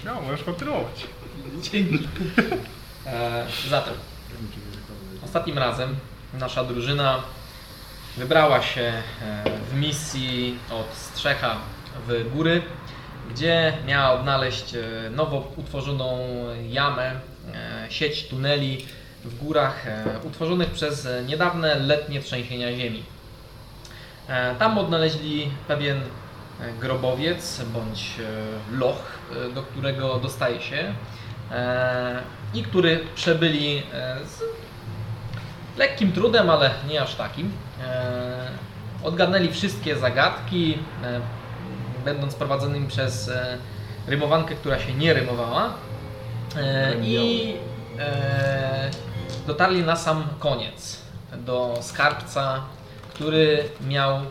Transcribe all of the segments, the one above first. Śmiało, No, możesz kontynuować. Dzięki. E, zatem, ostatnim razem nasza drużyna wybrała się e, w misji od Strzecha w góry, gdzie miała odnaleźć e, nowo utworzoną jamę, e, sieć tuneli w górach e, utworzonych przez e, niedawne letnie trzęsienia ziemi. E, Tam odnaleźli pewien e, grobowiec bądź e, loch, e, do którego dostaje się e, i który przebyli e, z lekkim trudem, ale nie aż takim. E, Odgadnęli wszystkie zagadki, e, będąc prowadzonymi przez e, rymowankę, która się nie rymowała. E, I e, dotarli na sam koniec do skarbca, który miał e,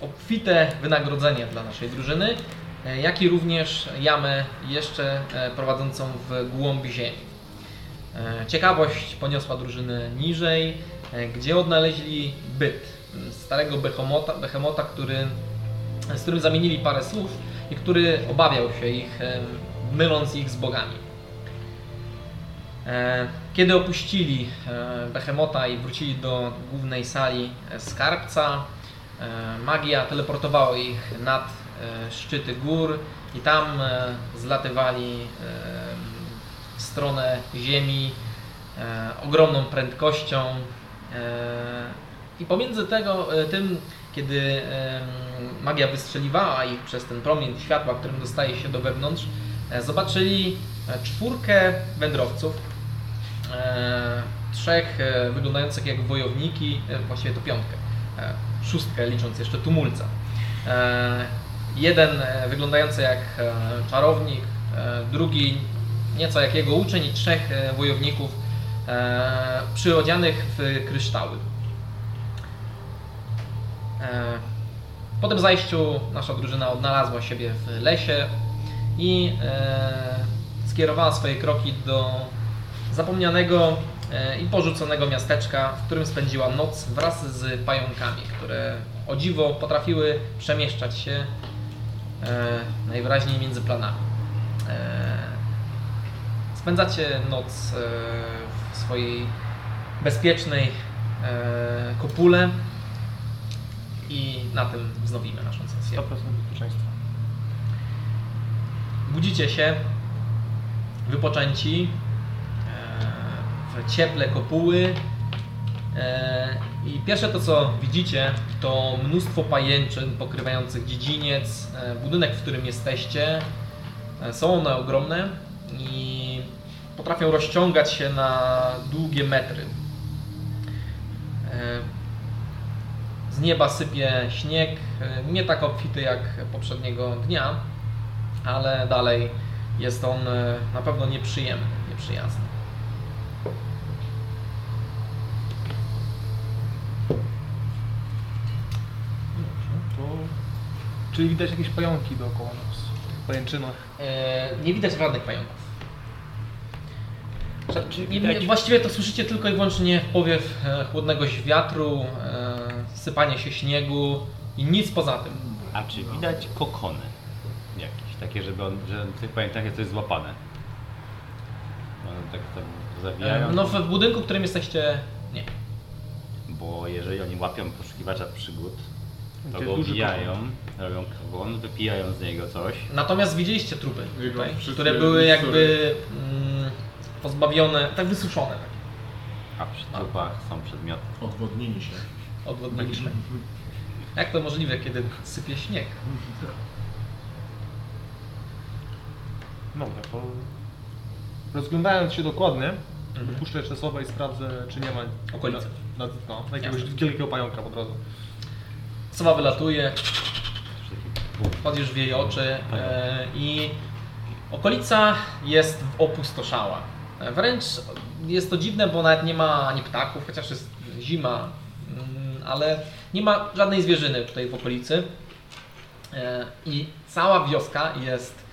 obfite wynagrodzenie dla naszej drużyny, e, jak i również jamę jeszcze e, prowadzącą w głąb ziemi. E, Ciekawość poniosła drużyny niżej, e, gdzie odnaleźli byt m, starego behemota, behemota który, z którym zamienili parę słów i który obawiał się ich, e, myląc ich z bogami. E, Kiedy opuścili e, behemota i wrócili do głównej sali e, skarbca, e, magia teleportowała ich nad e, szczyty gór i tam e, zlatywali e, w stronę Ziemi e, ogromną prędkością. E, I pomiędzy tego, e, tym, kiedy e, magia wystrzeliwała ich przez ten promień światła, którym dostaje się do wewnątrz, e, zobaczyli e, czwórkę wędrowców. E, trzech e, wyglądających jak wojowniki, e, właściwie to piątkę, e, szóstkę licząc jeszcze tumulca. E, jeden e, wyglądający jak e, czarownik, e, drugi nieco jak jego uczeń i trzech e, wojowników e, przyodzianych w kryształy. E, Po tym zajściu nasza drużyna odnalazła siebie w lesie i e, skierowała swoje kroki do zapomnianego e, i porzuconego miasteczka, w którym spędziła noc wraz z pająkami, które o dziwo potrafiły przemieszczać się e, najwyraźniej między planami. E, Spędzacie noc e, w swojej bezpiecznej e, kopule i na tym wznowimy naszą sesję. 100% bezpieczeństwa. Budzicie się wypoczęci e, w cieple kopuły. e, I pierwsze to, co widzicie, to mnóstwo pajęczyn pokrywających dziedziniec, e, budynek, w którym jesteście. E, Są one ogromne i potrafią rozciągać się na długie metry. E, Z nieba sypie śnieg, e, nie tak obfity jak poprzedniego dnia, ale dalej jest on e, na pewno nieprzyjemny, nieprzyjazny. Dobrze, to... Czyli widać jakieś pająki dookoła nas. W pajęczynach. E, Nie widać żadnych pająków. Prze- Czy nie- widać- nie- Właściwie to słyszycie tylko i wyłącznie powiew e, chłodnego wiatru, e, sypanie się śniegu i nic poza tym. A czy widać kokony jakieś, takie, żeby on, że w tych pamiętach jest coś złapane? One tak tam zawijają, E, No w w budynku, w którym jesteście, nie. bo jeżeli oni łapią poszukiwacza przygód, to Gdzie go duży obijają, robią kogon, wypijają z niego coś. Natomiast widzieliście trupy, Jego tutaj, wszystkie które były mikszury. jakby mm, pozbawione, tak wysuszone, tak, A przy A. trupach są przedmioty. Odwodnili się. odwodnione. Jak to możliwe, kiedy sypie śnieg? Dobra, to... No, Rozglądając się dokładnie, puszczę jeszcze słowa i sprawdzę, czy nie ma... Mhm. Okolicy. Na, na, no, na jakiegoś Jasne. wielkiego pająka po drodze. Sowa wylatuje, Wszystkie- wchodzisz w jej oczy e, i okolica jest opustoszała. E, Wręcz jest to dziwne, bo nawet nie ma ani ptaków, chociaż jest zima, mm, ale nie ma żadnej zwierzyny tutaj w okolicy. E, I cała wioska jest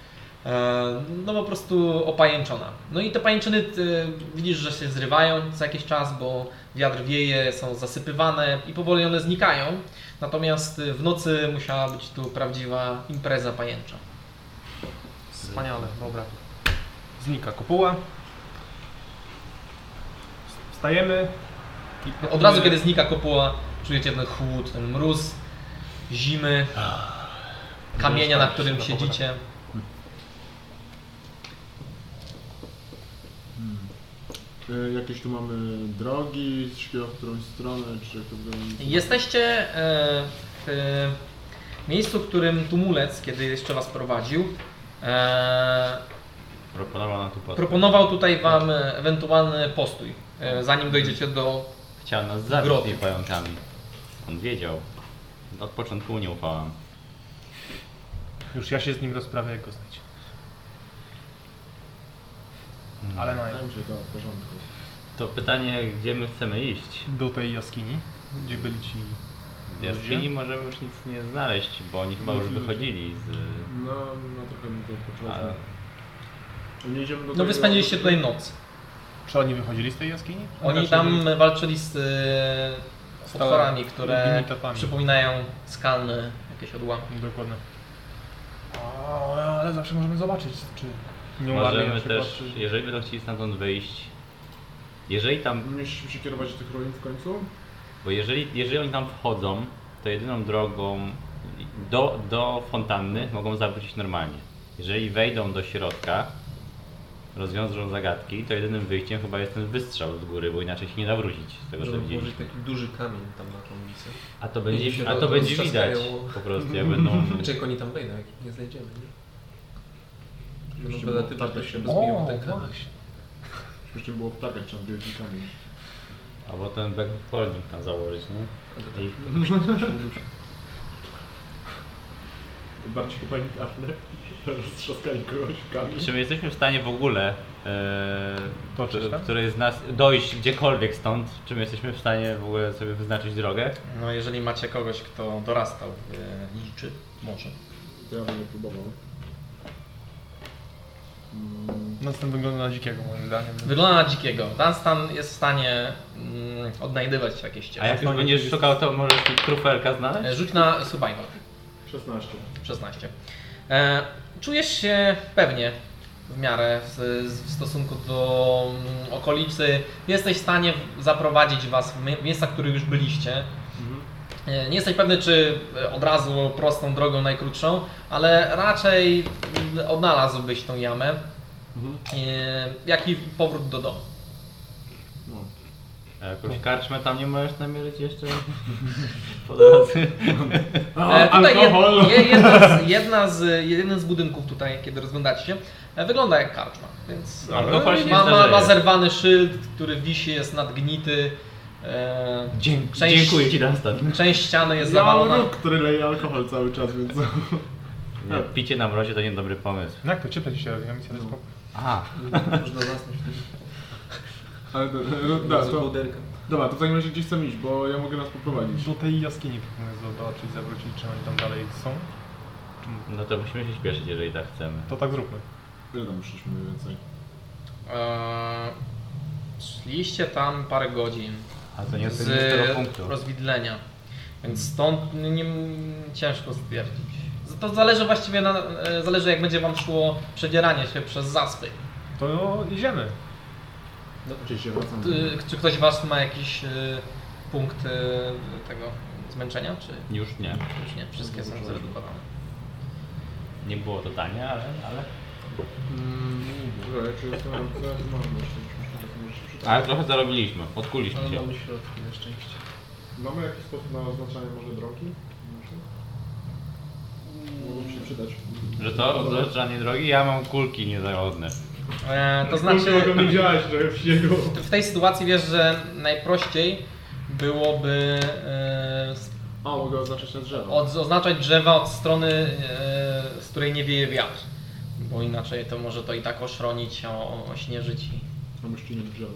e, no po prostu opajęczona. No i te pajęczyny e, widzisz, że się zrywają co jakiś czas, bo wiatr wieje, są zasypywane i powoli one znikają. y, Natomiast e, w nocy musiała być tu prawdziwa impreza pajęcza. Wspaniale, dobra. Znika kopuła. Wstajemy. I No, Od razu, kiedy znika kopuła, czujecie ten chłód, ten mróz, zimy, kamienia, na którym siedzicie. E, Jakieś tu mamy drogi, szkiel w którąś stronę, czy jak to wygląda? Jesteście e, w e, miejscu, w którym Tumulec, kiedy jeszcze was prowadził, e, Proponowała nam tu płatkę. proponował tutaj wam e, ewentualny postój, e, zanim dojdziecie do... Chciała nas zabić Grot. tymi pająkami. On wiedział. Od początku mu nie ufałam. Już ja się z nim rozprawię, jak go znajdzie. No. Ale Wydaje no, mi się, to w porządku. To pytanie, gdzie my chcemy iść? do tej jaskini, gdzie byli ci W jaskini możemy już nic nie znaleźć, bo oni chyba już wychodzili z... No, no trochę mi Ale... to odpoczywa. Nie idziemy do No wy tego- spędziliście tutaj noc. Czy oni wychodzili z tej jaskini? Znaczy, Oni Raczej tam byli- walczyli z e, Stałe- potworami, które limitopami. przypominają skalne jakieś odłamki. Dokładnie. O, ale zawsze możemy zobaczyć, czy nie umarli na Możemy przykład, też, czy... jeżeli będą chcieli stamtąd wyjść, jeżeli tam, Mieliśmy się kierować do tych ruin w końcu? No, bo jeżeli, jeżeli oni tam wchodzą, to jedyną drogą do, do fontanny mogą zawrócić normalnie. Jeżeli wejdą do środka, rozwiążą zagadki, to jedynym wyjściem chyba jest ten wystrzał z góry, bo inaczej się nie da wrócić z tego, co No, Żeby widzieliśmy. położyć taki duży kamień tam na tą ulicę. A to Będzie się będzie, a roz- to będzie widać roztrzaskają. po prostu, jak będą... Znaczy jak oni tam wejdą, jak ich nie znajdziemy, nie? No Jeszcze będę było ty tak, wartość się jak- rozbiją O, ten kamień. właśnie. Przecież nie było w ptakach, trzeba wielki kamień. Albo ten backfolding tam założyć, nie? A to I Bardziej humanitarne. Roztrzaskali kogoś w kamień. Czy my jesteśmy w stanie w ogóle, e, Toczyć który- tam? który z nas, dojść gdziekolwiek stąd? Czy my jesteśmy w stanie w ogóle sobie wyznaczyć drogę? No jeżeli macie kogoś, kto dorastał w e, liczy, może. To ja będę próbował. Mm, No ten wygląda na dzikiego moim zdaniem. Wygląda na dzikiego. Dunstan jest w stanie mm, odnajdywać jakieś A ścieżki. jak już będziesz szukał, to możesz tu trufelka znaleźć? E, Rzuć na survival. 16. 16. E, czujesz się pewnie w miarę w, w stosunku do mm, okolicy. Jesteś w stanie w- zaprowadzić Was w mi- miejsca, w których już byliście. E, Nie jesteś pewny, czy e, od razu prostą drogą najkrótszą, ale raczej mm, odnalazłbyś tą jamę, e, jak i powrót do domu. No. A jakąś karczmę tam nie możesz namierzyć jeszcze? Po drodze. E, tutaj jed, alkohol! je, jedna z, jedna z, jeden z budynków tutaj, kiedy rozglądacie się, e, wygląda jak karczma, więc e, Alkohol się nie ma, ma, ma zdarzeje. zerwany szyld, który wisi, jest nadgnity, e, Dzięk, Cześć. dziękuję Ci, Dunstan. część ściany jest Ja mam zawalona. róg, który leje alkohol cały czas, więc... Nie, No, Picie na mrozie to niedobry pomysł. No jak to cieplej się robi, ja mi się no. spokój. A, Można zasnąć wtedy. Ale to, e, Da, da, to, kołderka. dobra, to w takim razie gdzieś chcemy iść, bo ja mogę nas poprowadzić. Do tej jaskini proponuję zobaczyć, zawrócić, czy oni tam dalej są. Czy- no to musimy się śpieszyć, jeżeli tak chcemy. To tak zróbmy. Ile tam szliśmy mniej więcej? E, szliście tam parę godzin A to nie z z tego punktu. rozwidlenia, więc stąd nie, nie, ciężko stwierdzić. To zależy właściwie, na, e, zależy jak będzie Wam szło przedzieranie się przez zaspy. To idziemy. Oczywiście, wracam. Ty- Czy ktoś was ma jakiś y, punkt y, tego zmęczenia, czy Już nie. już nie? Wszystkie są zredukowane. Nie było to tanie, ale... ale... Mm, Dobra, ja się zastanawiam, co ja tu mam jeszcze. Czy mi się to może przyda? Ale trochę zarobiliśmy, odkuliśmy Ale się. mamy środki na szczęście. Mamy jakiś sposób na oznaczanie może drogi? Może? Mogą się przydać. Że to odwracanie drogi, ja mam kulki niezawodne. E, to znaczy, Mogą nie działać trochę w śniegu. w tej sytuacji wiesz, że najprościej byłoby A, mogę oznaczyć na y, drzewo. od, oznaczać drzewa od strony, y, z której nie wieje wiatr. Bo inaczej to może to i tak oszronić, o- ośnieżyć i... Mam jeszcze nie drzewo.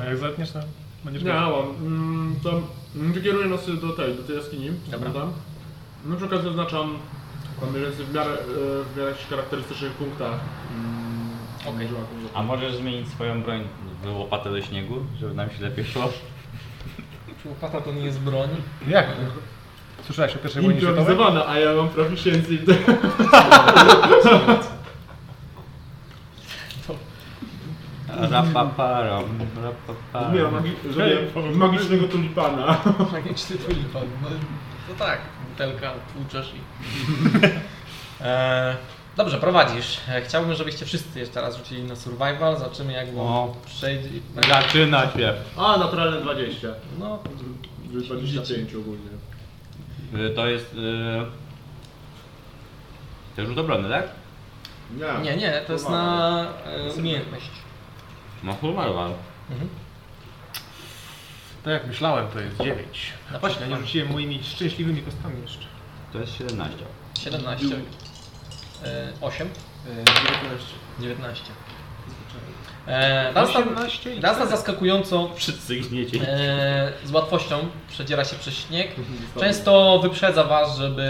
O, jak zetniesz, to będziesz Nie, miał. mam. Mm, to mm, wykieruję nas do tej, do tej jaskini. Dobra. Tam. No przy okazji oznaczam tam mniej więcej w miarę, e, w miarę jakichś charakterystycznych punktach. Mm, Okej. drzewa, które- A możesz zmienić swoją broń w łopatę do śniegu, żeby nam się lepiej szło? Czy łopata to nie jest broń? Jak? Słyszałeś o pierwszej wojnie światowej? Improwizowane, a ja mam proficiency w tym. Rapaparam, rapaparam. Zrobiłem magi- zrobiłem magicznego tulipana. Tak Magiczny tulipan. No, To tak, butelka tłuczesz i... e, dobrze, prowadzisz. E, Chciałbym, żebyście wszyscy jeszcze raz rzucili na survival. Zobaczymy jak go O. przejdzie. Zaczyna się. A, naturalne 20. No, 25 ogólnie. Y, To jest... Yy... To już rzut obronny, tak? nie, nie, to jest na e, umiejętność. No chyba Tak jak myślałem, to jest 9. Na No Właśnie, przykład. nie rzuciłem moimi szczęśliwymi kostkami jeszcze. To jest 17. 17. E, 8? e, 19. 19. E, Dalstan- 18 i Dalstan zaskakująco Wszyscy gniecie. e, z łatwością przedziera się przez śnieg. Często wyprzedza was, żeby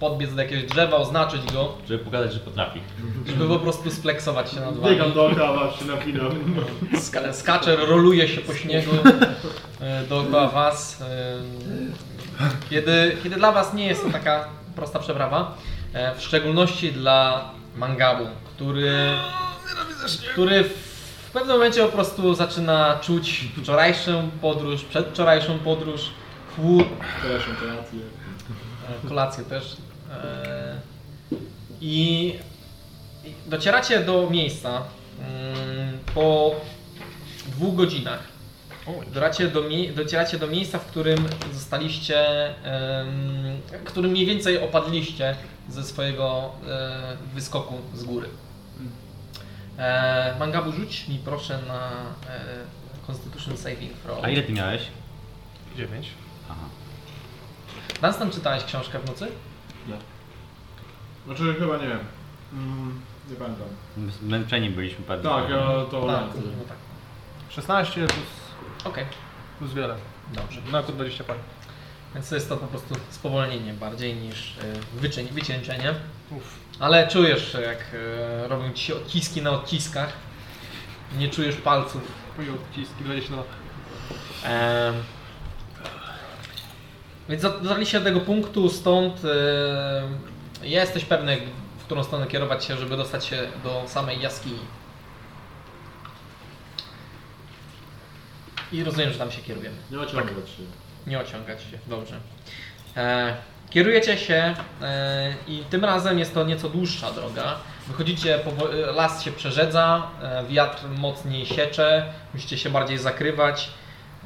podbiec do jakiegoś drzewa, oznaczyć go, Żeby pokazać, że potrafi. żeby po prostu spleksować się nad wami. Biegam dookoła, się napinam. Ska- skacze, roluje się po śniegu e, dookoła was. E, Kiedy, kiedy dla was nie jest to taka prosta przeprawa, e, w szczególności dla Mangabu, który, który w pewnym momencie po prostu zaczyna czuć wczorajszą podróż, przedwczorajszą podróż, chłód, Przepraszam, to rację. E, kolację też. E, I i docieracie do miejsca mm, po dwóch godzinach. Docieracie do, mie- docieracie do miejsca, w którym zostaliście, em, w którym mniej więcej opadliście ze swojego e, wyskoku z góry. E, Mangabu, rzuć mi proszę na e, Constitution Saving Throw. A ile ty miałeś? 9. Aha. Dunstan, czytałeś książkę w nocy? Znaczy chyba nie wiem. Mm, nie pamiętam. Zmęczeni byliśmy bardzo. Tak, ja to tak. rację. no tak. 16 plus, Okej, plus wiele. dobrze. Na około 20 par. Więc to jest to po prostu spowolnienie bardziej niż y, wycię- wycieńczenie. Uff. Ale czujesz, jak y, robią ci się odciski na odciskach. Nie czujesz palców. Moje odciski 20 na Em, Więc dot- dotarliście do tego punktu, stąd y, jesteś pewny, w którą stronę kierować się, żeby dostać się do samej jaskini. I rozumiem, że tam się kierujemy. Nie ociągać się. Nie ociągać się, dobrze. E, kierujecie się e, i tym razem jest to nieco dłuższa droga. Wychodzicie, powo- las się przerzedza, e, wiatr mocniej siecze, musicie się bardziej zakrywać.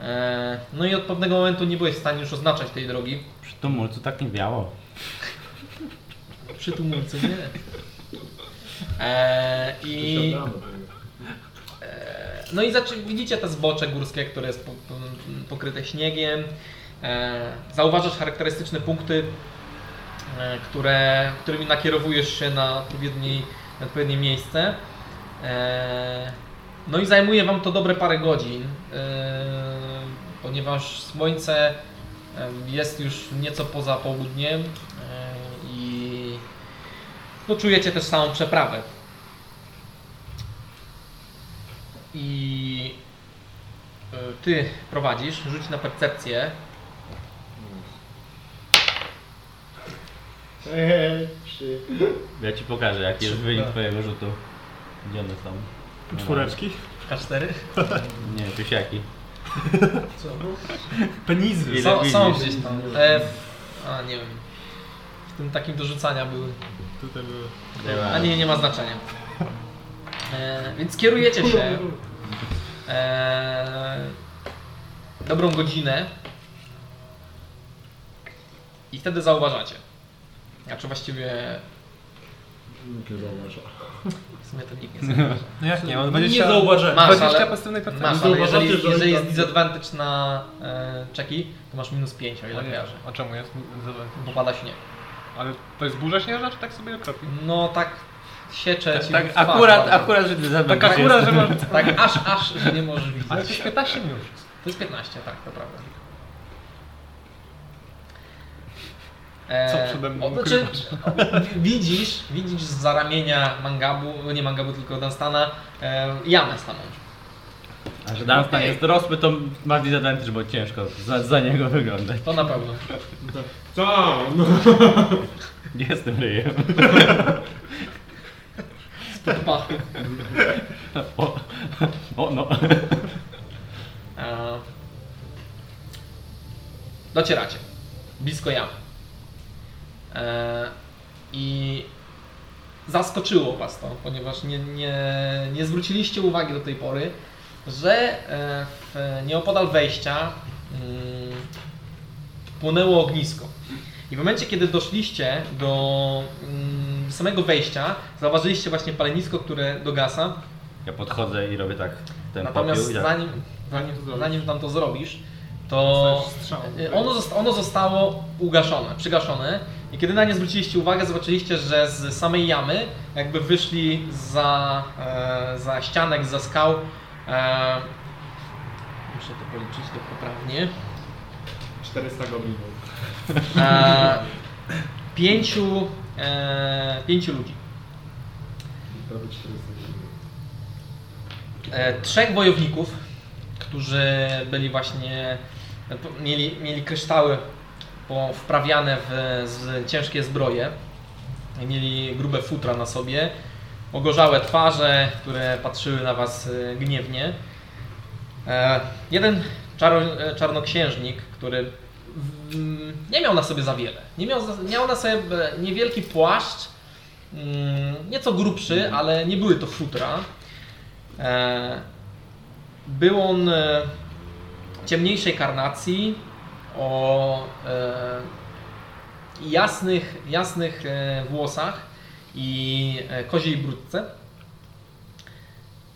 E, no i od pewnego momentu nie byłeś w stanie już oznaczać tej drogi. Przy tumulcu tak nie biało. Przy tumulcu nie. E, I Siadamy. No i zaczy- widzicie te zbocze górskie, które jest po- po- pokryte śniegiem. E, zauważasz charakterystyczne punkty, e, które, którymi nakierowujesz się na, odpowiedni, na odpowiednie miejsce. E, no i zajmuje Wam to dobre parę godzin, e, ponieważ słońce e, jest już nieco poza południem e, i poczujecie też samą przeprawę. I e, ty prowadzisz, rzuć na percepcję. Hej, hej, trzy. Ja ci pokażę, jaki jest wynik twojego rzutu. Gdzie one są? Czwóreczki? K4? Nie, pysiaki. Co? No, Penizy. Ile Są, są widzisz? gdzieś tam. E, w- a nie wiem. W tym takim do rzucania były. Tutaj były. A nie, nie ma znaczenia. E, więc kierujecie się e, dobrą godzinę i wtedy zauważacie. Znaczy właściwie Nikt nie zauważa. w sumie to nikt nie zauważy. No jak nie, mam Nie 20, zauważyłem. Masz, 20 ale- pasywnej percepcji. Masz, ale Zauważacie, jeżeli, że jeżeli oni jest tam- disadvantage na e, czeki, to masz minus 5, o ile O No nie, kojarzę. A czemu jest? Zobacz. Bo pada śnieg. Ale to jest burza śnieżna, czy tak sobie kropi? No tak siecze ci w Tak, twarz akurat, bardzo. akurat, że zabrał. Tak akurat, że masz... Tak aż, aż, że nie możesz Ale widzieć. to jest 15 minut. To jest 15, tak, to prawda. E, Co przede mną o, znaczy, w- widzisz, widzisz z za ramienia Mangabu, nie Mangabu, tylko Dunstana, e, jamę samą. A że Dunstan Okej. jest dorosły, to ma disadvantage, bo ciężko za, za niego wyglądać. To na pewno. Co? No. Nie jestem ryjem. Spod pachy. O, o no. E, Docieracie. Blisko jamy. E, I zaskoczyło Was to, ponieważ nie, nie, nie zwróciliście uwagi do tej pory, że e, w, nieopodal wejścia mm, płonęło ognisko. I w momencie, kiedy doszliście do mm, samego wejścia, zauważyliście właśnie palenisko, które dogasa. Ja podchodzę i robię tak ten Natomiast popiół i tak. zanim, zanim, to zrobisz. zanim tam to zrobisz, to Dostajesz strzał. y, ono, zosta- ono zostało ugaszone, przygaszone. I kiedy na nie zwróciliście uwagę, zobaczyliście, że z samej jamy jakby wyszli za, e, za ścianek, za skał. E, muszę to policzyć to poprawnie. 400 goblinów. E, pięciu, e, pięciu ludzi. Prawie 400 goblinów. E, trzech wojowników, którzy byli właśnie, e, po- mieli, mieli kryształy po- wprawiane w z, ciężkie zbroje, mieli grube futra na sobie, ogorzałe twarze, które patrzyły na was e, gniewnie. E, jeden czaro, e, czarnoksiężnik, który mm, nie miał na sobie za wiele, nie miał, za- miał na sobie e, niewielki płaszcz, mm, nieco grubszy, ale nie były to futra. E, Był on e, ciemniejszej karnacji, o e, jasnych, jasnych e, włosach i e, koziej brudce.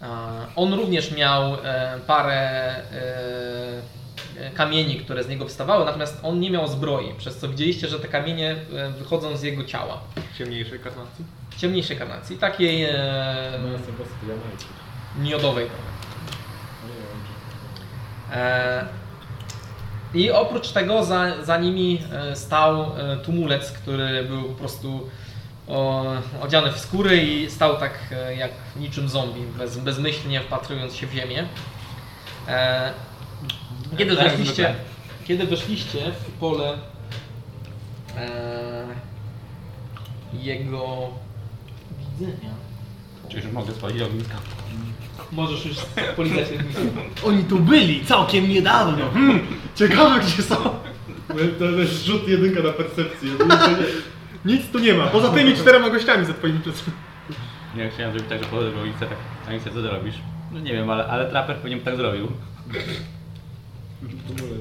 E, On również miał e, parę e, kamieni, które z niego wstawały, natomiast on nie miał zbroi, przez co widzieliście, że te kamienie e, wychodzą z jego ciała. Ciemniejszej karnacji? Ciemniejszej karnacji, takiej e, No jestem po prostu Jamajczyk. miodowej trochę. No, Nie wiem, czy- E, I oprócz tego za, za nimi e, stał e, tumulec, który był po prostu o, odziany w skóry i stał tak e, jak niczym zombie, bez, bezmyślnie wpatrując się w ziemię. E, Kiedy Tak, weszliście, zwykle. kiedy weszliście w pole e, jego widzenia, Czy już mogę spalić ognisko? możesz już polizać jednym Oni tu byli całkiem niedawno. Hmm, ciekawe gdzie są. No, To jest rzut jedynka na percepcję. Nic tu nie ma. Poza tymi czterema gościami za twoimi plecami. Nie, chciałem zrobić tak, że podchodzę do ulicy, tak. Anicja, co ty robisz? No nie wiem, ale, ale traper pewnie by tak zrobił. Tumulec.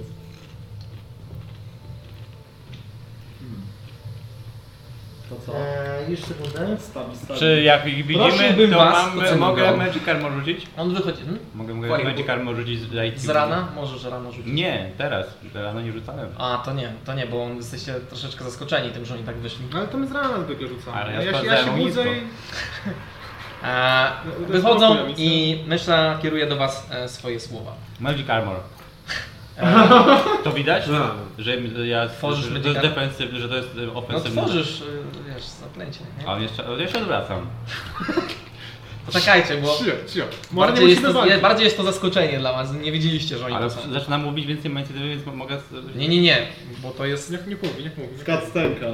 To co? Eee, już sekundę. Stawi, stawi. Czy jak ich widzimy, Prosiłbym to was, mam, o co mogę mogą. Magic Armor rzucić? On wychodzi. Hmm? Mogę, mogę Fajnie. Magic Armor rzucić z IQ. Z rana? Możesz rano rzucić. Nie, teraz. Rano nie rzucałem. A, to nie, to nie, bo jesteście troszeczkę zaskoczeni tym, że oni tak wyszli. Ale to my z rana zwykle rzucamy. Ale ja ja, się, ja sprawdzałem się budzę i... ognisko. E, No, to wychodzą jest i myśla kieruje do was e, swoje słowa. Magic Armor. E, To widać? No. Że ja Tworzysz że Magic to jest Armor? defensywny, że to jest y, no ofensywny. tworzysz, e, wiesz, zaklęcie, nie? A on jeszcze, ja się odwracam. Poczekajcie, bo Cio, cio. Może nie bardziej jest, musimy to, je- walczyć. bardziej jest to zaskoczenie dla was, nie wiedzieliście, że oni Ale to są. zaczynam mówić więcej inicjatywy, więc mo- mogę... z- Nie, nie, nie, bo to jest... Niech nie mówi, niech mówi. Skacstenka.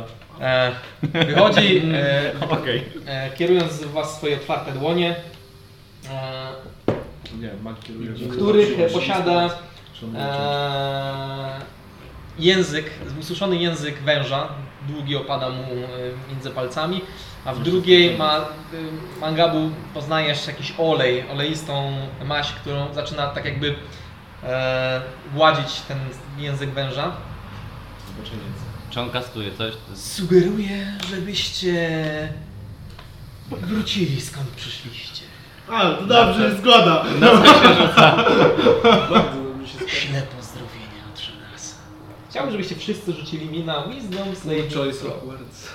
E, wychodzi, e, Okej. e, kierując w was swoje otwarte dłonie, e, Nie, Mac kieruje. żeby zobaczyła, których czy posiada... czy on wyłączył. Eee, język, ususzony język węża, długi opada mu e, między palcami, a w drugiej ma, e, mangabu poznajesz jakiś olej, oleistą maść, którą zaczyna tak jakby e, gładzić ten język węża. Zboczeniec. Czy on kastuje coś? E, Sugeruję, żebyście wrócili skąd przyszliście. A, to dobrze, zgoda. Bardzo mi się skończy. Śle pozdrowienia od nas. Chciałbym, żebyście wszyscy rzucili mi na Wisdom Saving No Choice throw. of words.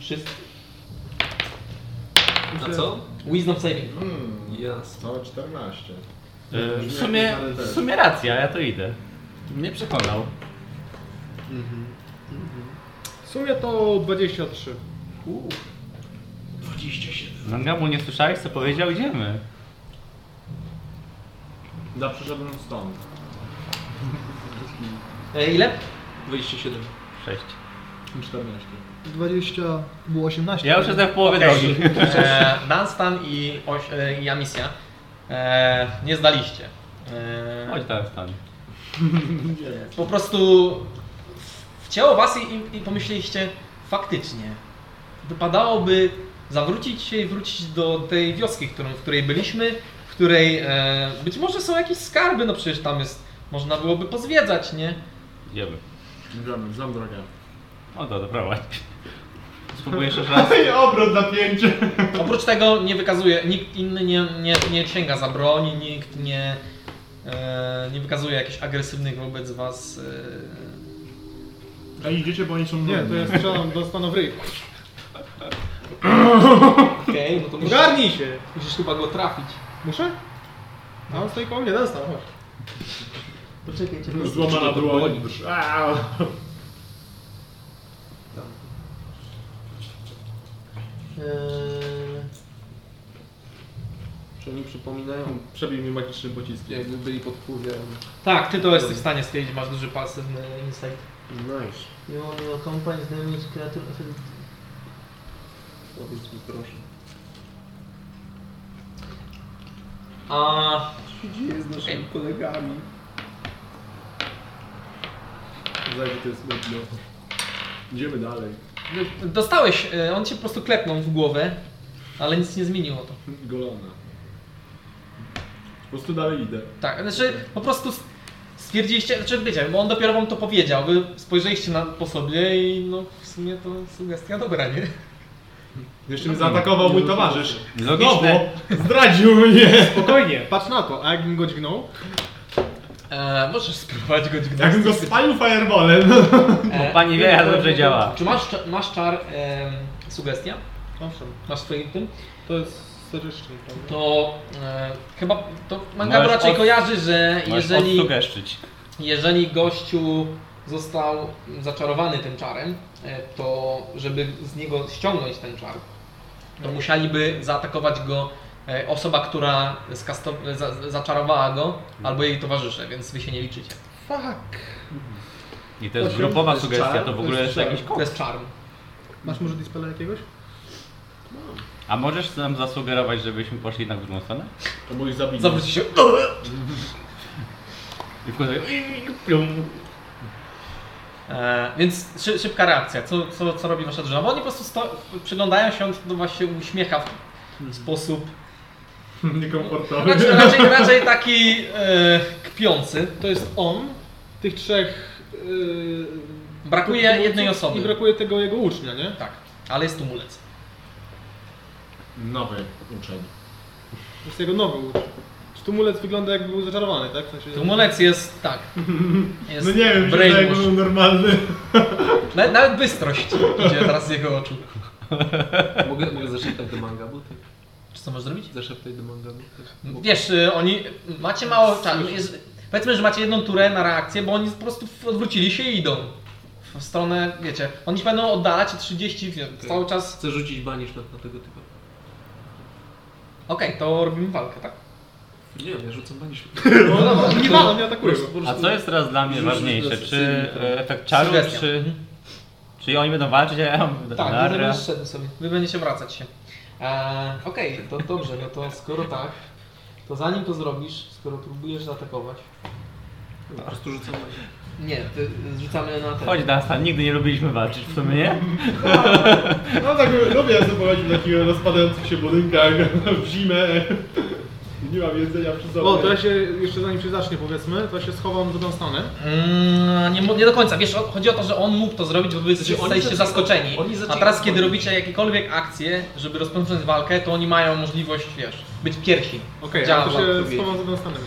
Wszyscy. Na co? Wisdom Saving throw. Hmm, Jasne. całe 14. E, W sumie, w sumie racja, ja to idę. Mnie przekonał. W sumie to 23. No, Mangamu, nie słyszałeś co powiedział? Idziemy. Ja przyszedłem stąd. E, ile? 27. 6. 14. 20 było 18. Ja już jestem w połowie drogi. E, Dunstan i, oś, e, i Amisja e, nie zdaliście. E, Chodź tam stan. po prostu wcięło was i, i, i pomyśleliście, faktycznie, wypadałoby zawrócić się i wrócić do tej wioski, którą, w której byliśmy, w której e, być może są jakieś skarby, no przecież tam jest, można byłoby pozwiedzać, nie? Idziemy. Znam, znam drogę. O to, dobra, Spróbuję jeszcze raz. Ej, obrót napięcie! Oprócz tego nie wykazuje, nikt inny nie, nie, nie sięga za broń, nikt nie, e, nie wykazuje jakichś agresywnych wobec was. e. A idziecie, bo oni są Nie, to brudni. jest strzelam do stanu w ryj. Okej, no to Ogarnij się! musisz chyba go trafić. Muszę? A on stoi koło mnie, dostał, chodź. Poczekajcie. Złamana dłoń. Au. Czy oni przypominają, Przebił mi magiczny pocisk. jakby byli pod wpływem? Tak, ty to jesteś w stanie stwierdzić, masz duży pasywny insight. Nice. You want to accompany damage creature affected. Powiedz mi proszę. A Co się dzieje z naszymi kolegami? Zajdzie to jest smutno. Idziemy dalej. dostałeś, e, on cię po prostu klepnął w głowę, ale nic nie zmieniło to. Golona. Po prostu dalej idę. Tak, znaczy po prostu stwierdziliście, znaczy wiecie, bo on dopiero wam to powiedział, wy spojrzeliście na, po sobie i no w sumie to sugestia dobra, nie? Jeszcze mnie zaatakował mój towarzysz. Logiczne. Zdradził mnie! Spokojnie, patrz na to, a jakbym go dźgnął? E, możesz spróbować go E, dźgnąć. Jakbym go spalił fireballem. E, Pani wie, jak dobrze działa. Czy masz, cza- masz czar em, sugestia? Owszem, Masz w swoim tym? to jest seryczny, prawda? To e, chyba, to Mangabu Możesz raczej od- kojarzy, że Możesz jeżeli... odsugeszczyć. Jeżeli gościu został zaczarowany tym czarem, e, to żeby z niego ściągnąć ten czar, to musieliby zaatakować go e, osoba, która skasto- za- zaczarowała go, albo jej towarzysze, więc wy się nie liczycie. Fuck! I to jest Osiem, to grupowa jest sugestia, czar, to w to ogóle jest jest czar. jakiś To jest czar. Masz może dispela jakiegoś? A możesz nam zasugerować, żebyśmy poszli jednak w drugą stronę? To mój zabijek. Zawróci się. I w końcu... E, więc szy, szybka reakcja. Co, co, co robi wasza drużyna? Bo oni po prostu sto- przyglądają się, on do was się uśmiecha w sposób Niekomfortowy. raczej, raczej, raczej taki e, kpiący. To jest on, tych trzech... Yy, Brakuje jednej I osoby. brakuje tego jego ucznia, nie? Tak, ale jest tumulec. Nowy uczeń. To jest jego nowy uczeń. Czy tumulec wygląda jakby był zaczarowany, tak? W sensie... Tumulec jest, tak. Jest No nie wiem, czy to brainwash. jakby był normalny. Nawet, nawet bystrość idzie teraz z jego oczu. Mogę, mogę zaszeptać do manga buty? Czy co możesz zrobić? Zaszeptać do manga buty? Wiesz, y, oni, macie mało czasu. Jest, powiedzmy, że macie jedną turę na reakcję, bo oni po prostu odwrócili się i idą. W stronę, wiecie, oni się będą oddalać o 30, wie- cały czas. Chcę rzucić banishment na tego typa. Okej, to robimy walkę, tak? Nie wiem, ja rzucam banishment. No dobra, nie walą, nie atakują. A co jest teraz dla mnie Rzuć, rzuć ważniejsze? dosyć Czy silny, e, efekt czaru, Sugestia. czy... Czy oni będą walczyć, a ja będę Tak, narra? będziesz szedł sobie. Wy będziecie wracać się. Eee, Okej, to dobrze, no to skoro tak, to zanim to zrobisz, skoro próbujesz zaatakować. Po prostu rzucam banishment. Nie, ty, rzucamy na ten. Chodź Dunstan, nigdy nie lubiliśmy walczyć w sumie, nie? No tak lubię jak sobie poradzić w takich rozpadających się budynkach w zimę. Nie mam jedzenia przy sobie. O, to ja się, jeszcze zanim się zacznie powiedzmy, to ja się schowam do Dunstana. Mm, nie, mo- nie do końca, wiesz, o- chodzi o to, że on mógł to zrobić, bo wy Znaczy, oni jesteście zaczę- zaskoczeni. oni A zaczęli teraz, kiedy wchodzić. robicie jakiekolwiek akcje, żeby rozpocząć walkę, to oni mają możliwość, wiesz, być pierwsi. Okej, Działa ja to walka. się schowam za Dunstanem.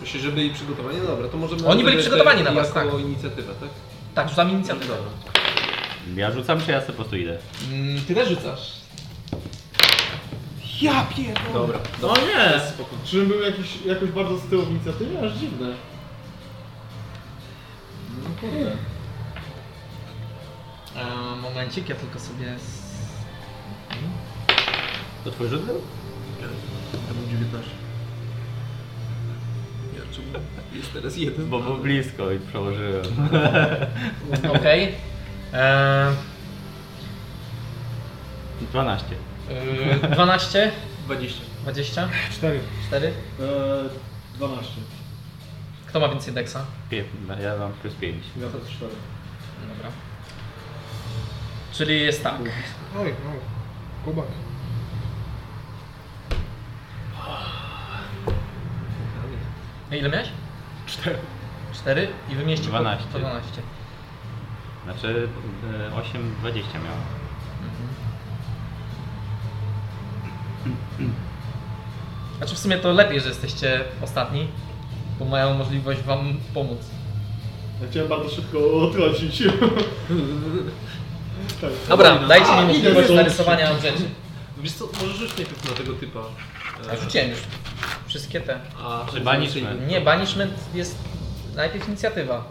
Myślę, że byli przygotowani? No dobra, to możemy... Oni byli przygotowani na was, jako tak. inicjatywę, tak? Tak, rzucam inicjatywę. Dobra. Ja rzucam, czy ja sobie po prostu idę? Mm, ty też rzucasz. Ja pierdolę! Dobra. No O nie! Czym był jakiś, jakoś bardzo z tyłu w inicjatywie? Aż dziwne. No kurde. E, momencik, ja tylko sobie... s- To twój rzut był? To był 19. Czemu jest teraz jeden? Bo było blisko i przełożyłem. Mhm. Okej. Eee, 12. yy, 12? 20. 20? 4. 4? Eee, 12. Kto ma więcej deksa? Pię- Ja mam plus 5. Ja to 4. Dobra. Czyli jest tak. Oj, no. Kubak. Ile miałeś? 4. 4 i wymieścił po- 12. po 12. Znaczy e, 8, 20 miałem. Znaczy w sumie to lepiej, że jesteście ostatni, bo mają możliwość wam pomóc. Ja chciałem bardzo szybko odchodzić. tak. Dobra, dajcie mi A, możliwość idę. narysowania rzeczy. Wiesz co, może rzuć najpierw na tego typa. e, A rzuciłem już wszystkie te. A, Czy banishment? Okej. Nie, banishment jest najpierw inicjatywa.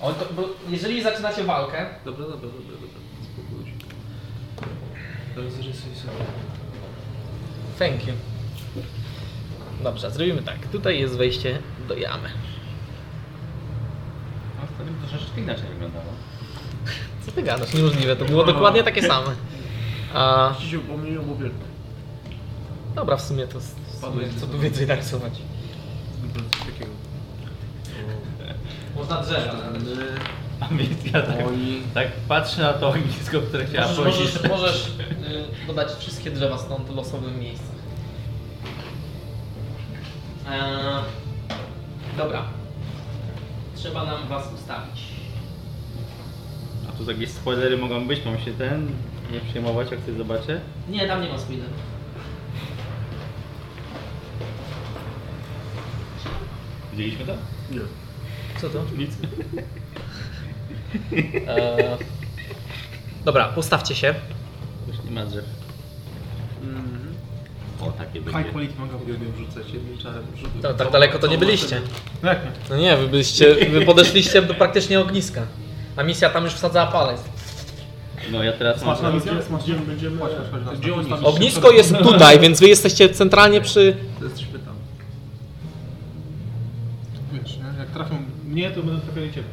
O, to, bo jeżeli zaczynacie walkę, Dobra, dobra, dobra, dobra. Spokój się. Dobra, zarysuj sobie. Thank you. Dobrze, zrobimy tak. Tutaj jest wejście do jamy. No wtedy by to troszeczkę inaczej wyglądało. Co ty gadasz? Niemożliwe, to było dokładnie takie same. A, Ci się upomnieniło, bo wielko. dobra, w sumie to s- w sumie, co tu więcej narysować. Dobra, coś takiego. Można drzewa Dany, Ambicja tak. moi... Tak patrzę na to ognisko, które chciałem Możesz, powiedzieć. możesz, możesz y, dodać wszystkie drzewa stąd w losowym miejscu. Eee, dobra. Trzeba nam was ustawić. A tu jakieś spoilery mogą być, mam się ten nie przejmować, jak coś zobaczę. Nie, tam nie ma spoilerów. Widzieliśmy to? Nie. Co to? Nic. Eee, dobra, ustawcie się. Już nie ma drzew. Mhm. O, takie High będzie. quality manga. Uwielbiam rzucać jednym czarem. Rzuty. No, tak daleko to nie byliście. No jak nie? No nie, wy byliście, wy podeszliście do praktycznie ogniska. A misja tam już wsadzała palec. No ja teraz mam... Smaczna misja? Będziemy, będziemy... Chodź, chodź, chodź. Gdzie oni? Postawić- Ognisko jest tutaj, więc wy jesteście centralnie przy... To jesteśmy tam. Wiesz, nie? jak trafią mnie, to będą trafiali ciebie.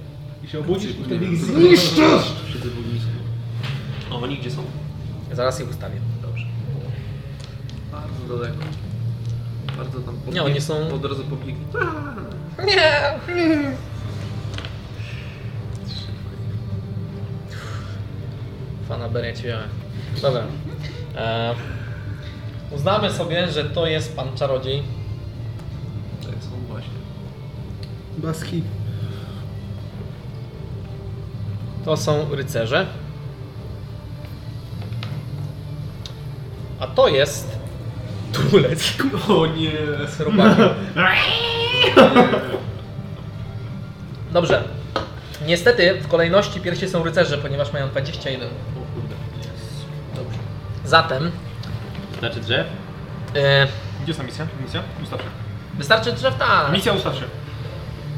I się obudzisz i wtedy ich Siedzę w ognisku. A oni gdzie są? Zaraz ich ustawię. Dobrze. Bardzo daleko. Bardzo tam pobiegli. Nie, oni są- Od razu pobiegli. Nie! Fana berecie miałem. Dobra. E, uznamy sobie, że to jest pan czarodziej. Tak są właśnie. Baski. To są rycerze. A to jest... Tulec. O nie! z robakiem. Dobrze. Niestety w kolejności pierwsi są rycerze, ponieważ mają 21. O kurde. Dobrze. Zatem Znaczy drzew? e, Gdzie jest ta misja? Misja? Ustaw się. wystarczy drzew tak. Misja ustaw się.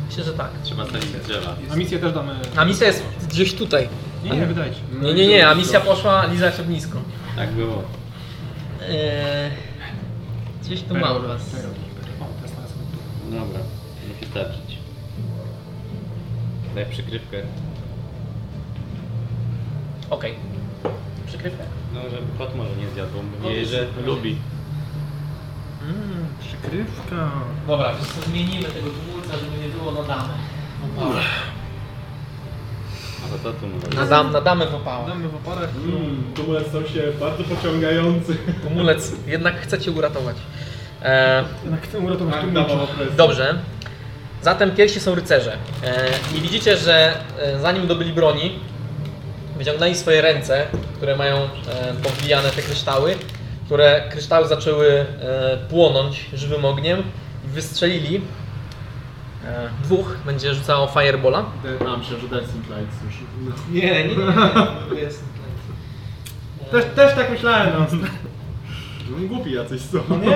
Myślę, że tak. Trzeba stawić drzewa. A misję też damy. A misja jest gdzieś tutaj. Nie, nie, wydajcie. Nie, nie, nie, a misja poszła lizać ognisko. Tak było. E, gdzieś tu mam was. O, to jest na sobie. No Dobra, musi starczyć. Daj przykrywkę. Okej. Przykrywkę? No, żeby kot może nie zjadł, bo mówi, że lubi. Mmm, przykrywka. Dobra, więc to zmienimy tego tumulca, żeby nie było nadamy. A to co tu może? Nadam, nadamy w opałę. Damy w oparach. Mm, Tumulec stał się bardzo pociągający. Tumulec, jednak chcecie uratować. E, Jednak chcę uratować Tak, tym dawał mieczem. opresję. dobrze. Zatem pierwsi są rycerze. E, I widzicie, że e, zanim dobyli broni, wyciągnęli swoje ręce, które mają e, powbijane te kryształy, które kryształy zaczęły e, płonąć żywym ogniem i wystrzelili. E, dwóch będzie rzucało firebola. A, myślałem, że Dancing Lights już. Nie, nie, nie. Jest. Też, też tak myślałem. No. No, Głupi jacyś są. Nie?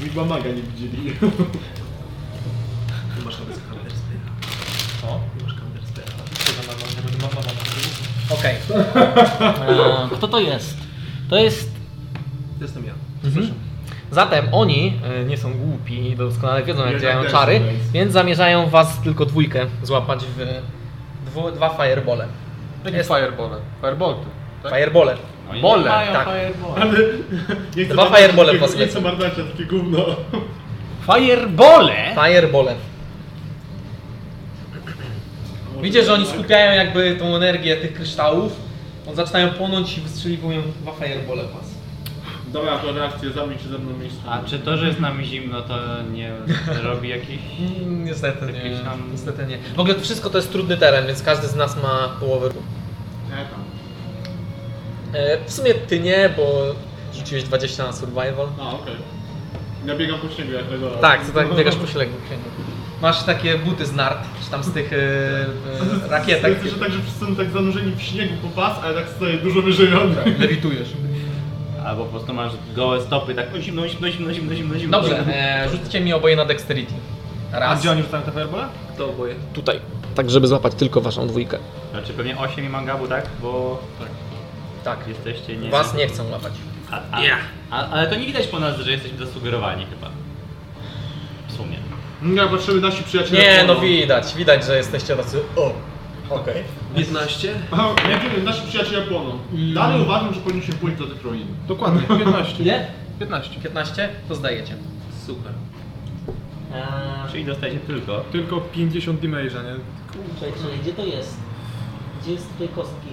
Liczba maga nie widzieli. Ty masz nawet Counterspell'a. Co? Ty masz Counterspell'a. Okej. E, Kto to jest? To jest To jestem ja. Mhm. Zatem oni e, nie są głupi i doskonale wiedzą, jak Jednak działają też, no czary, więc- więc zamierzają was tylko dwójkę złapać w dwu, dwa firebole. Jakie Jest- firebole? Firebolty. Tak? Firebole. Oni nie Bole, mają tak. firebole. Ale nie chcę Dwa marnować firebole takiego- polecę. Nie chcę marnować na takie gówno. Firebole? Firebole. Widzicie, że tak. oni skupiają jakby tą energię tych kryształów, on zaczynają płonąć i wystrzeliwują dwa firebole w was. Dobra, to reakcję za mnie czy ze mną mistrz. A czy to, że jest nam zimno, to nie robi jakiś... Mm, Niestety nie. Jakieś tam- Niestety nie. W ogóle wszystko to jest trudny teren, więc każdy z nas ma połowę. Nie, tam. E, w sumie ty nie, bo rzuciłeś 20 na survival. A, okej. Ja biegam po śniegu jak Legora. Tak, to tak biegasz po ślegu. Masz takie buty z nart, czy tam z tych e, e, rakietek. Chcę, że tak, że wszyscy są tak zanurzeni w śniegu po pas, ale tak stoję dużo wyżej od tak Lewitujesz. Albo po prostu masz gołe stopy, tak o, zimno, zimno, zimno, zimno, zimno, zimno. Dobrze, e, rzućcie mi oboje na dexterity. A Raz. gdzie oni rzucają te firebole? To oboje. Tutaj. Tak, żeby złapać tylko waszą dwójkę. Znaczy pewnie 8 i mangabu, tak? Bo Tak. jesteście nie... Was nie chcą łapać. A, a, a, ale to nie widać po nas, że jesteśmy zasugerowani chyba. W sumie. Nie, patrzymy nasi przyjaciele. Nie, płoną. no widać, widać, że jesteście tacy. O! Okej. 15? A, Nie wiem, nasi przyjaciele płoną. Dalej uważam, że powinniśmy pójść do tych ruin. Dokładnie, 15. Ile? 15. 15? To zdajecie. Super. Czyli dostajecie tylko. Tylko 50 damage'a, nie? Kurczę, czyli gdzie to jest? Gdzie jest tej kostki?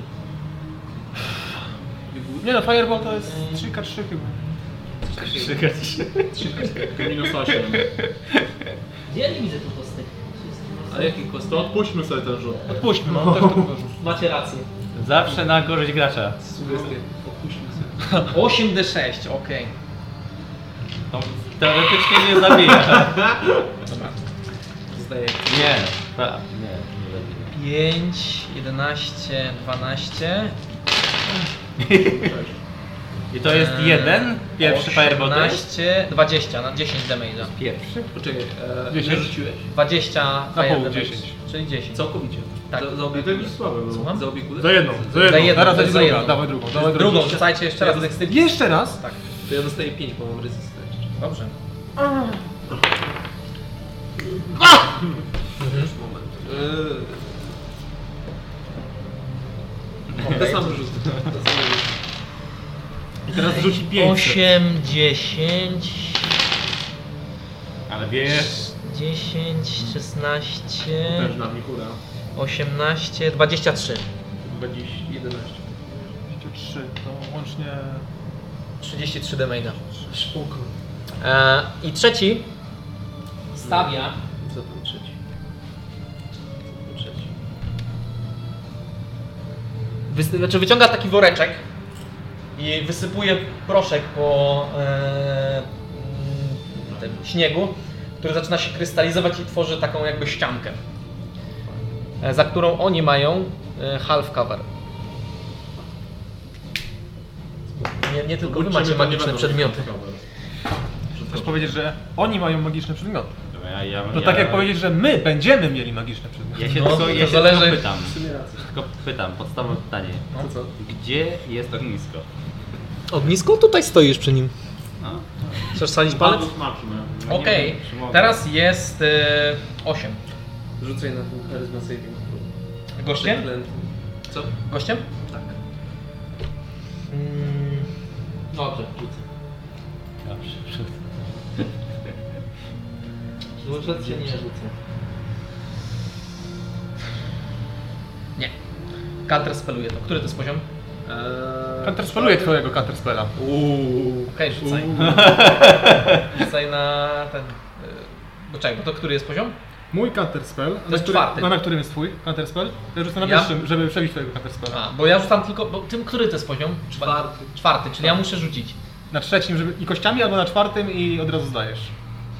Nie no, Fireball to jest 3K3 chyba. Minus 8. Gdzie ja nie widzę tych kostek? Czy jest tu A jaki kostek? To odpuśćmy sobie ten rzut. Odpuśćmy, no. Też to położę. Macie rację. Zawsze na korzyść gracza. Sugestie. Odpuśćmy sobie. 8d6, okej. To teoretycznie nie zabija. Zdaję. Nie, ta, nie, nie zabija. 5, 11, 12. I to jest Eee, jeden? Pierwszy fireball to jest? 18, 20, na 10 damage'a. Pierwszy? Poczekaj, e, nie 10. rzuciłeś? 20 Na fire pół, damage, 10. Czyli 10. Całkowicie. Tak. Za, za Ale obie to kule. już słabe no. było. Słucham? Za obie kule? Za jedną, za jedną. Za jedną, Teraz to będzie jest druga, za jedną. dawaj drugą. Dawaj Drugą, drugą. rzucajcie jeszcze raz dexterity. Jeszcze raz? Tak, To ja dostaję 5, bo mam resistance. dobrze. Już moment. Eee. Te same rzuty. Te same rzuty. I teraz rzuci 8, 10, Ale wiesz, 10, 16, Też na mnie kura. 18, 23. 20, 11. 23, to łącznie... 33 damage'a. Spoko. E, I trzeci stawia. Co tam trzeci? Co tam trzeci? Wysy- znaczy wyciąga taki woreczek i wysypuje proszek po e, mm, tym śniegu, który zaczyna się krystalizować i tworzy taką jakby ściankę, e, za którą oni mają e, half cover. Nie, nie tylko wy macie magiczne przedmioty. Chcesz powiedzieć, że oni mają magiczne przedmioty. ja, ja, To ja, tak jak powiedzieć, że my będziemy mieli magiczne przedmioty. Ja się, No, tylko, ja to się zależy- tylko pytam. W sumie racja. Tylko pytam, podstawowe pytanie. To No. co? Gdzie jest ognisko? Ognisko? Tutaj stoisz przy nim. No, Chcesz sadzić palec? Bardzo smaczne. no nie Okej, wiem, czy mogę. teraz jest y, 8. Rzucaj na ten charyzma saving. Gościem? Przeklęty. Co? Gościem? Tak. Mm, Dobrze, rzucę. Dobrze, Rzucę czy nie rzucę? Nie. Counter speluje to. Który to jest poziom? Eee, Counterspelluję twojego counterspella. Uuu. Okej, rzucaj. Rzucaj na ten... y, Bo czekaj, bo to który jest poziom? Mój counterspell, na, jest który, czwarty. na, na którym jest twój counterspell, ja rzucę na Ja? wyższym, żeby przebić twojego counterspella. A, bo ja rzucam tylko... Bo tym, który to jest poziom? Czwa- Czwarty. Czwarty, czyli ja muszę rzucić. Na trzecim żeby, i kościami, albo na czwartym i od razu zdajesz.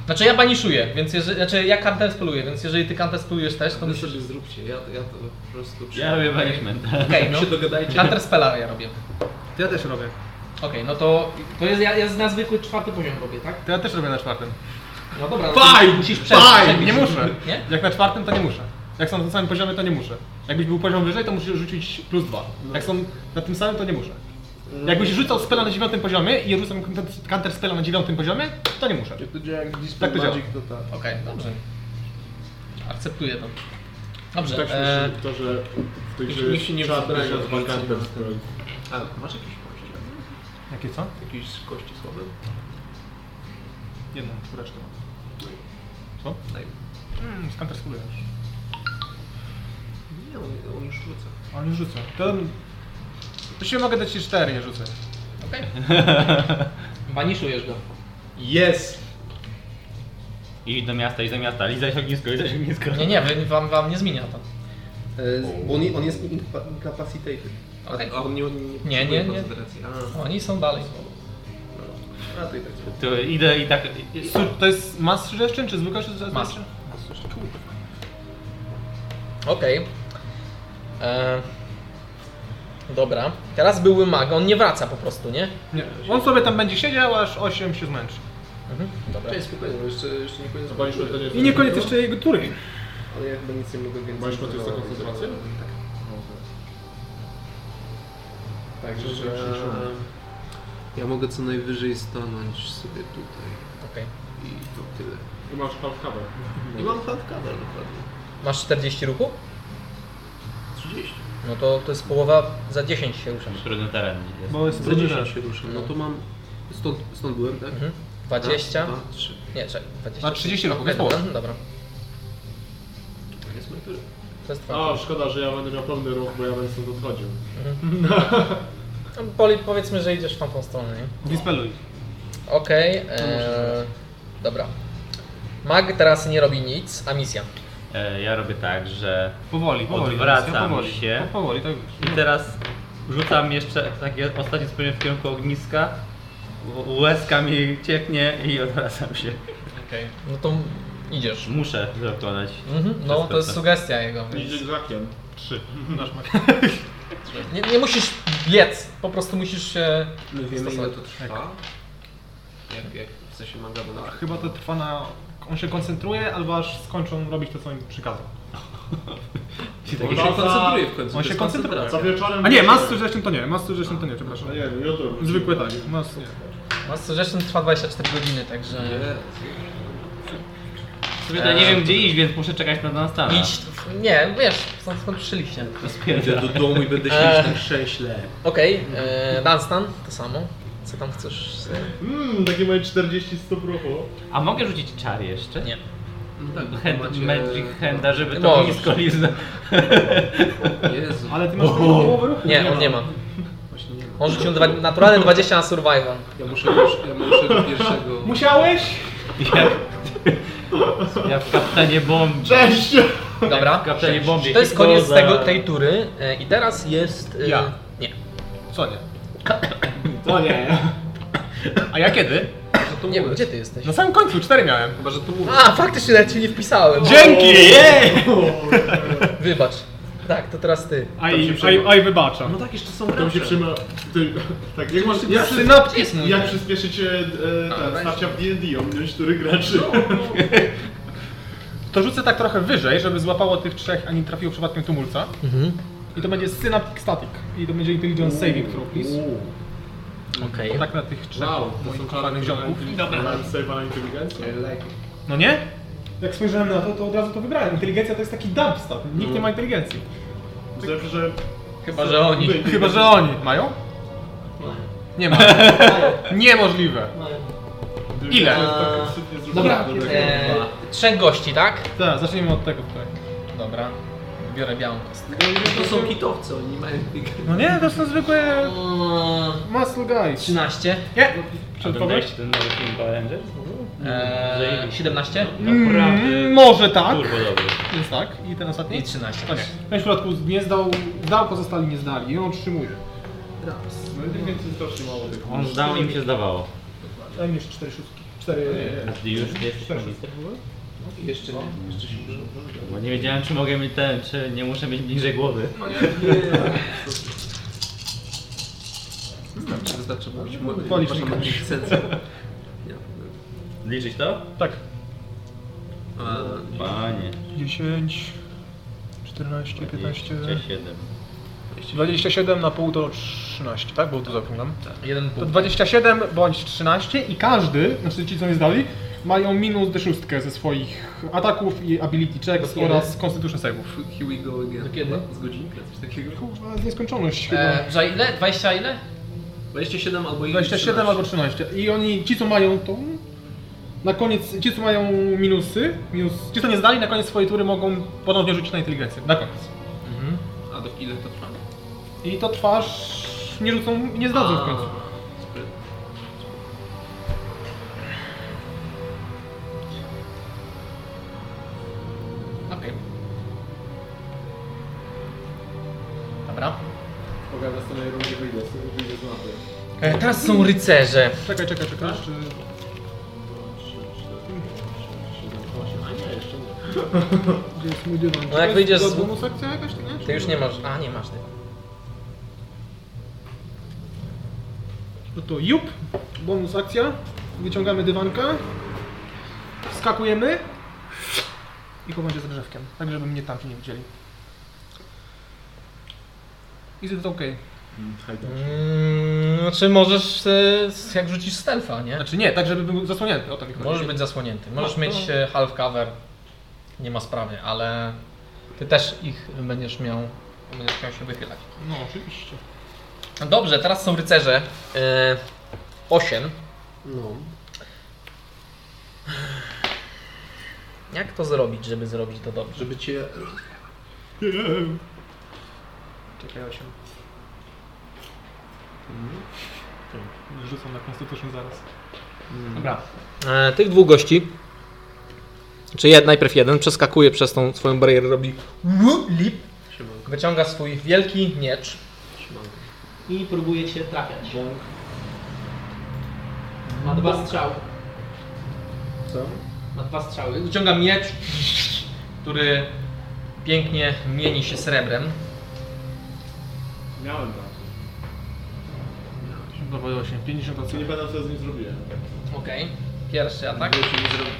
Znaczy ja baniszuję, więc jeżeli... Znaczy ja counter speluję, więc jeżeli ty counter spelujesz też, to Wy musisz... sobie zróbcie, ja, ja to po prostu przy... Ja robię banishment. Okej, się no. dogadajcie. Counter spela ja robię. To ja też robię. Okej, no to... To jest... Ja, ja na zwykły czwarty poziom robię, tak? To ja też robię na czwartym. No dobra, no to Faj! musisz przebić. Faj! przebić. Nie muszę. Nie? Jak na czwartym, to nie muszę. Jak są na tym samym No. poziomie, to nie muszę. Jakbyś był poziom wyżej, to musisz rzucić plus dwa. Jak są na tym samym, to nie muszę. Jakbyś rzucał spela na dziewiątym poziomie i ja rzucam counter- counter spela na dziewiątym poziomie, to nie muszę. Ja to działa jak Tak Dispel to działa. Magic, to tak. Okej, dobrze. Akceptuję to. Dobrze. Tak e, śmieszy to, że w tej Niech- grze niech się nie trzeba też wzbrania. nazwać counter spell. A, masz jakieś kości? Jakie co? Jakieś kości słabe? Jedną czwóreczkę mam. Co? Tak. Mm, z counter spela już. Nie, on, on już rzuca. On już rzuca. To... Właściwie mogę dać ci cztery, nie rzucę. Okej. Baniszujesz go. Jest! Idź do miasta, idź do miasta, lizaj ognisko, lizaj ognisko. Nie, nie, wy- wam, wam nie zmienia to. Bo E, on, on jest inca- incapacitated. Okej. A, a on nie, nie, Nie, nie, nie. koncentracji. A, Oni są dalej. a to i tak. To idę i tak... Su- To jest mas rzeszczyn, czy zwykła rzeszczyn? Mas. Okej. E, Dobra. Teraz były mag, on nie wraca po prostu, nie? Nie. On sobie tam będzie siedział, aż 8 się zmęczy. Mhm. Dobra. Cześć, spokojnie, bo jeszcze, jeszcze nie koniec. Balisz, to nie jest I nie koniec jeszcze jego tury. Ale ja chyba nic nie mogę więcej. Balisz, to jest ta zrobić. koncentracja? Tak. Także, Także ja mogę co najwyżej stanąć sobie tutaj Okej. i to tyle. I masz half cover. I mam half cover dokładnie. Masz 40 ruchu? 30. No to, to jest połowa, za 10 się ruszasz. Trudny teren jest. Bo jest Za 10 się ruszam. No to mam... Stąd, stąd byłem, tak? Mhm. Raz, 20. dwa, trzy. Nie, czekaj, 20. No, Na 30 ruchu, Okej, jest połowa. dobra, Dobra, To jest moja tura. to jest No. twoja. A, szkoda, że ja będę miał pełny ruch, bo ja będę stąd odchodził. No, Poli, powiedzmy, że idziesz w tamtą stronę, nie? Dispeluj. Okej, e, dobra. Mag teraz nie robi nic, a misja. E, Ja robię tak, że Powoli, powoli. Odwracam Alicja, powoli. się. Po- Powoli, tak wiesz. I teraz rzucam jeszcze takie ostatnie spojrzenie w kierunku ogniska. Ł- Łezka mi cieknie i odwracam się. Okej. No to idziesz. Muszę dokonać. Mhm, no to jest sugestia jego. Więc Idzie zakiem. Trzy. nie, nie musisz biec, po prostu musisz się. My wiemy ile stosować. to tak. trwa. Jak, jak w sensie manga na Chyba to trwa na... On się koncentruje, albo aż skończą robić to, co im przykazał. On się koncentruje w końcu. On to się koncentruje. jest koncentracja. Za wieczorem... A nie, mas rzeszczyn to nie, mas rzeszczyn to nie, przepraszam. No nie wiem, jutro. Zwykłe tak, mas nie. Master Rzeszyn trwa 24 godziny, także. Sobie to nie wiem gdzie iść, więc muszę czekać na Donastana. Idź. Nie, wiesz, skąd skąd przyszliście. Idę do domu i będę siedzieć na krześle. Okej, okay, Dunstan, to samo. Co tam chcesz? sobie? Mmm, takie moje 40 stóp ruchu. A mogę rzucić czar jeszcze? Nie. No tak, bo Hand, macie- Magic handa, żeby to Możesz. ognisko liznę. Jezu. Ale ty masz tylko połowę ruchu. Nie, on nie ma. Właśnie nie ma. On rzucił dwa, naturalne 20 na survival. Ja muszę, już- ja muszę do pierwszego... Musiałeś? Ja, ja w kapitanie bomb. Cześć! Dobra. Kapitanie bombie. To jest koniec Hipnoza. tego, tej tury e, i teraz jest... e, Ja. Nie. Co nie? To nie. A ja kiedy? Chyba, że to Nie wiem, mówię. gdzie ty jesteś? Na samym końcu, cztery miałem. Chyba, że to mówię. A, faktycznie nawet ci nie wpisałem. Dzięki! Wybacz. Tak, to teraz ty. A i, a, i, a i wybaczam. No tak, jeszcze są Tam się racze. trzyma... Ty, tak, jak masz... Jak, przy, synapki jest mój. jak przyspieszyć e, e, A, ten, weź. starcia w D&D, ominąć który graczy. To rzucę tak trochę wyżej, żeby złapało tych trzech, a nie trafiło przypadkiem tumulca. I to będzie synaptic static. I to będzie intelligence saving throw, please. Uuu. Okej. To tak na tych trzech Wow, to są moich czarne kochanych ziomków. Dobra. Sejwa na inteligencję. No nie? Jak spojrzałem na to, to od razu to wygrałem. Inteligencja to jest taki dump stat. Nikt nie ma inteligencji. Zawsze, że... Chyba, że oni. Chyba, że oni. Mają? Nie ma. Niemożliwe. Ile? jest tak absolutnie Dobra. zrównane do tego. E, trzech gości, tak? Tak, zacznijmy od tego tutaj. Dobra. Biorę białą kostkę. To są kitowcy, oni mają tylko- No nie, to są E, zwykłe O, muscle guys. 13. Nie! A Przed kogoś? oglądaliście ten nowy film Power Rangers? E, 17. No. Mm, może tak. Turbo dobry. Więc tak. I ten ostatni? I 13. O nie. Ten w środku nie zdał, zdał, pozostali nie zdali. I on otrzymuje. Raz. No inteligencji jest strasznie mało tych. On zdał, im się zdawało. Daj mi jeszcze cztery szóstki. Cztery... A ty już nie jesteś Cztery minister? Jeszcze nie. Jeszcze się muszę obronić. Bo nie wiedziałem, czy mogę mieć ten, czy nie muszę mieć bliżej głowy. Znaczy, wystarczy mówić Walisz Wasza mi ma kogoś. licencję. Liczyć to? Tak. A, Panie. 10... 14, 27. 27 na pół to 13, tak? Bo tu zapomniałem. Jeden To punkt. 27 bądź 13 i każdy, znaczy ci co nie zdali, mają minus D6 ze swoich ataków i ability checks Do kiedy? oraz constitution save'ów. Here we go again. Do kiedy? Z godzinka, coś takiego. Kurwa, z nieskończoność chyba. E, za ile? 20 ile? 27 albo 27 albo 13. I oni, ci co mają tą, na koniec, ci co mają minusy, minus, ci co nie zdali, na koniec swojej tury mogą ponownie rzucić na inteligencję. Na koniec. A do ile to trwa? I to twarz nie rzucą, nie zdadzą w końcu. Okej. Dobra. Pogadam z tej rundzie, wyjdę, z- wyjdę z mapy. E, teraz są rycerze. Czekaj, czekaj, czekaj. Tak. Czy... 7, 8, a nie, jeszcze nie. Gdzie jest mój dywan? No jak wyjdziesz To z- jest bonus akcja jakaś, czy nie? Ty już nie masz. A, nie masz tego. No to jup, bonus akcja, wyciągamy dywanka, skakujemy i chowamy się za drzewkiem, tak żeby mnie tam nie widzieli. Is it okay? tak. Mm, znaczy możesz. E, s- jak rzucisz stealtha, nie? Znaczy nie, tak żeby był zasłonięty, o to mi chodzi. Możesz być zasłonięty. Możesz No, mieć to- e, half cover. Nie ma sprawy, ale ty też ich będziesz miał. Będziesz miał się wychylać. No oczywiście. No Dobrze, teraz są rycerze. E, 8. No. Jak to zrobić, żeby zrobić to dobrze? Żeby cię... Czekaj 8. Rzucam na Constitution zaraz. Dobra. E, tych dwóch gości, czy jed, najpierw jeden, przeskakuje przez tą swoją barierę, robi lip, Siemanko. wyciąga swój wielki miecz. Siemanko. I próbuje cię trafiać. Bąk. Ma dwa strzały. Co? Ma dwa strzały. Wyciąga miecz, który pięknie mieni się srebrem. Miałem tak. Dawaj 8, 50 Czy nie ocen. pamiętam co z nim zrobiłem. Okej, pierwszy atak. Wiecie, nie zrobię.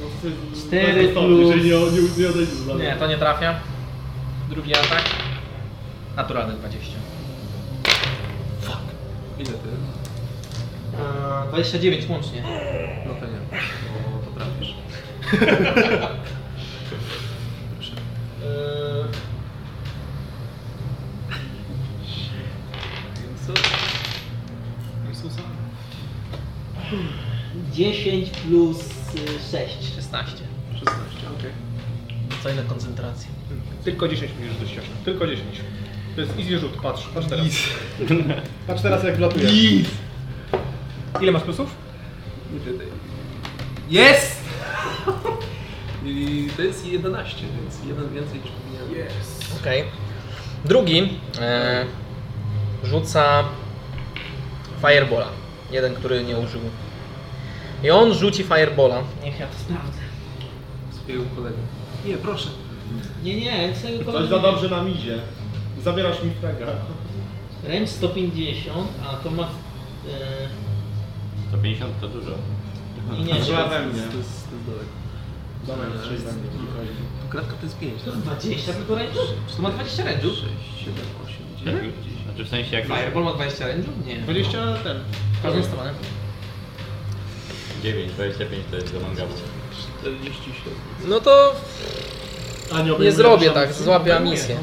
No, to jest- Cztery to jest to, plus- Jeżeli nie, nie, nie odejdzie za Nie, to nie trafia. Drugi atak. Naturalny 20. Ile ty? E, 29 łącznie. No to nie. O, to trafisz. Proszę. Co? Jezusa? 10 plus y, 6. 16. 16, okej. Co ile koncentracji? Tylko 10 musisz rzucić 8. Tylko 10. To jest easy rzut, patrz, patrz teraz. Patrz teraz jak wlatuje. Ile masz plusów? Nie pytaj. Jest! I to jest 11, więc jeden więcej niż powinienem. Jest. Okej. Drugi e, rzuca Firebola. Jeden, który nie użył. I on rzuci Firebola. Niech ja to sprawdzę. Swojego kolegę. Nie, proszę. Nie, nie, tego Coś za dobrze nam idzie. Zabierasz mi fraga. Range 150, a to ma... E, 150 to dużo. nie, nie, Dwa to we mnie. To jest, to jest daleko. Dobra, Eee, trzy za mnie. To klatka to jest 5, to tak? jest 20 tylko range? Czy to ma 20 6, range'ów? 7, 8, 9, Jak, znaczy w sensie jak Fireball ma 20 range'ów? Nie. 20 ten. W każdą stronę. 9, 25 to jest do mangabu. 47. No to A nie, nie obejmujesz zrobię szans? tak, złapię misję.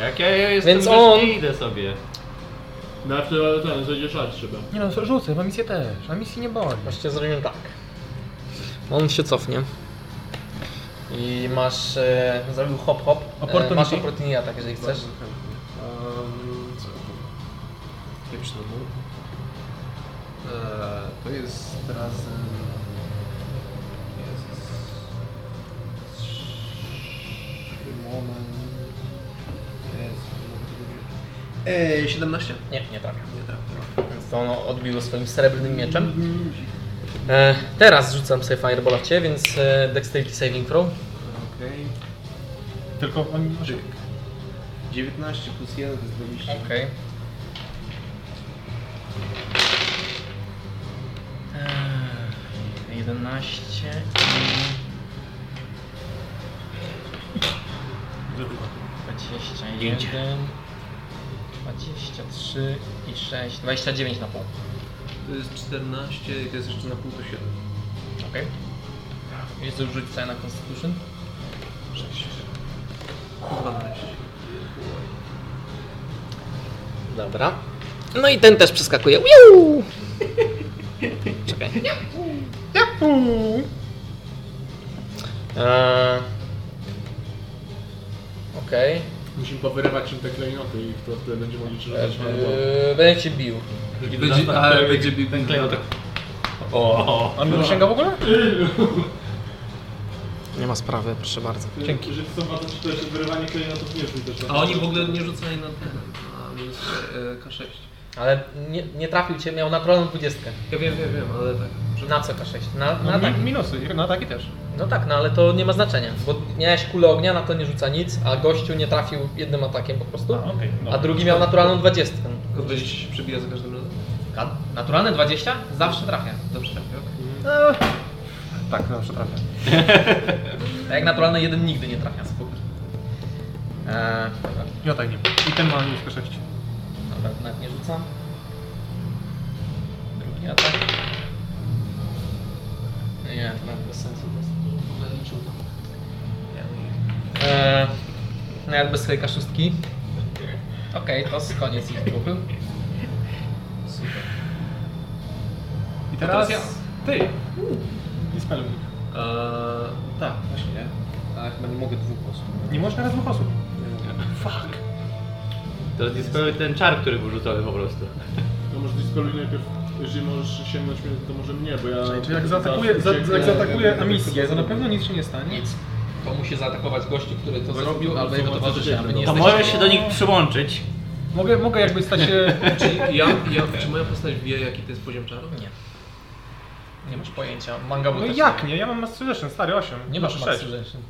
Jak ja ja jestem Więc on- gość, idę sobie. No, ale wtedy ten, zejdzie szać trzeba. Nie no, rzucę, na misję też, na misji nie boli. Właściwie zrobimy tak. On się cofnie. I masz. E, zrobił hop hop. E, Opportunity? masz opportunity atak, jeżeli chcesz. Um, co? Pieprz na dół. Eee, to jest razem... Jezus. Moment. Jezu, mogę tego nie- Eee, 17? Nie, nie trafia. Nie trafię. Więc to ono odbiło swoim srebrnym mieczem. E, teraz rzucam sobie Firebola w ciebie, więc e, Dexterity Saving Throw. Okej. Tylko oni... Czyk. 19 plus 1 to jest 20. Okej. Okay. 11 i 21 23 i 6, 29 na pół. To jest 14 i to jest jeszcze na pół to 7. Okej. Okay. Jest to rzuć sobie na Constitution. 6. 12. Dobra. No i ten też przeskakuje. Uiu! Czekaj. Eee, E, Okej. Musimy powyrywać im te klejnoty i to wtedy będzie mogli czytać. Eee, Będę cię bił. Będzie, a, będzie bił ten klejotek. tak- O, Mam księga w ogóle? nie ma sprawy, proszę bardzo. Dzięki. Jeżeli chcą was to jeszcze wyrywanie klejnotów nie rzuć też. A oni w ogóle nie rzucają na ten, na minus e, K6. Ale nie, nie trafił cię, miał naturalną 20. Ja wiem, wiem, wiem, ale tak. Na co K6? Na, na No, tak. mi, minusy, na ataki też. No tak, no ale to nie ma znaczenia, bo miałeś kulę ognia, na to nie rzuca nic, a gościu nie trafił jednym atakiem po prostu, A, okej, a dobra. drugi miał naturalną 20. Tylko 20 się przebija za każdym razem. A naturalne 20? Zawsze trafia. Dobrze, tak, okej. Tak, zawsze trafia. A jak naturalne jeden nigdy nie trafia, spokój. Eee, dobra, Ja tak nie. I ten ma minus 6. dobra, nawet nie rzucam. Drugi atak. Nie, to nawet bez sensu jest. Eee, no jak bez hejka szóstki. Okej, to jest koniec ich grupy. I teraz, teraz ja. ty. I spelling. Eee, E, tak, właśnie. A chyba nie mogę dwóch osób. Nie możesz na raz dwóch osób. to jest zupełnie ten czar, który był rzucony po prostu. To może dispeluj najpierw, jeżeli możesz sięgnąć mnie, No to może mnie, bo ja... Czyli Znaczy, jak zaatakuje, za, jak zaatakuje Amisję, to na pewno nic się nie stanie. Nic. To musi zaatakować gości, który to Zrobił, zrobił, albo jego zobaczycie, towarzyszy, aby no. nie To jesteś... możesz się do nich przyłączyć. Mogę, mogę jakby stać się... Czyli ja, ja, czy moja postać wie, jaki to jest poziom czaru? Nie. Nie masz pojęcia. Manga No jak nie? Ja mam Masterzeszyn, stary, 8. Nie masz Znaczy Max sześć. Rejection.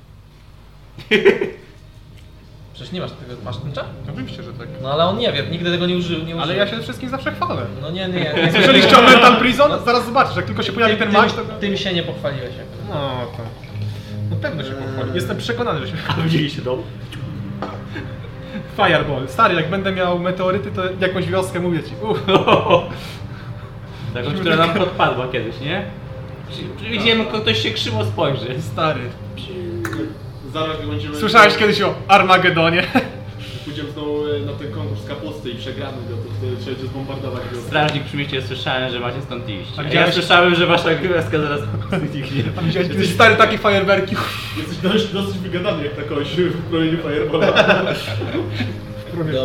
Przecież nie masz tego. Masz ten czar? Oczywiście, że tak. No ale on nie wie, nigdy tego nie użył. Nie Ale użył. ja się wszystkim zawsze chwalę. No nie, nie. nie. Słyszeliście o Mental Prison? Zaraz zobaczysz, jak tylko się pojawi ten maś, to... Tym, tym się nie pochwaliłeś. akurat. No to... Na pewno się pochwali. Jestem przekonany, że się A widzieliście dom? Fireball. Stary, jak będę miał meteoryty, to jakąś wioskę mówię ci. Uff. Taką, która nam podpadła kiedyś, nie? No. Przy- Widziałem, jak ktoś się krzywo spojrzy. Stary. Zaraz jak będziemy... Słyszałeś kiedyś o Armagedonie? Pójdziemy znowu e, na ten konkurs kapusty i przegramy go, to wtedy trzeba będzie zbombardować go. Strażnik przy mieście słyszałem, że macie stąd iść. A A ja widziałeś- słyszałem, że wasza gwiazdka zaraz zniknie. Widziałeś kiedyś stary takie fajerwerki? Jesteś dość, dosyć wygadany jak na kogoś w brojeniu Fireballa. Dobra.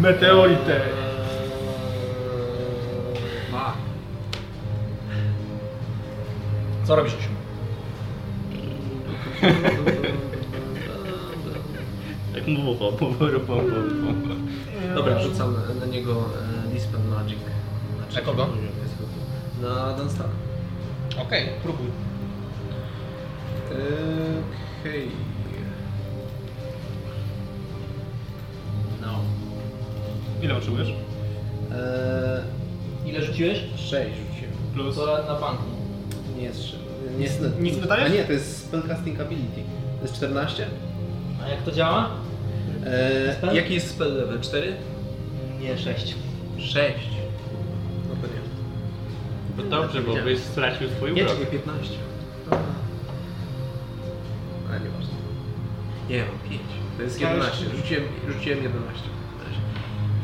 Meteorite. E, Ma. Co robisz Osiu? E, Tak mu w ucho, bu- bu- bu- bu- bu- bu- Dobra, rzucam na niego e, Dispel Magic. Na trzecim kogo? poziomie jest chyba. Na Dunstana. Okej, próbuj. Okej. No. Ile otrzymujesz? Eee, Ile rzuciłeś? 6 rzuciłem. Plus. To na banku. Nie jest 6. Nie jest, Nic nie dajesz? A nie, to jest Spellcasting Ability. To jest 14. A jak to działa? Eee, Spell? Jaki jest spell level? 4? Nie, 6. 6. No to nie. Bo dobrze, bo byś stracił swój Nie, urok. czekaj, 15. Ale nie ważne. Nie, mam 5. To jest 11. Rzuciłem, rzuciłem 11.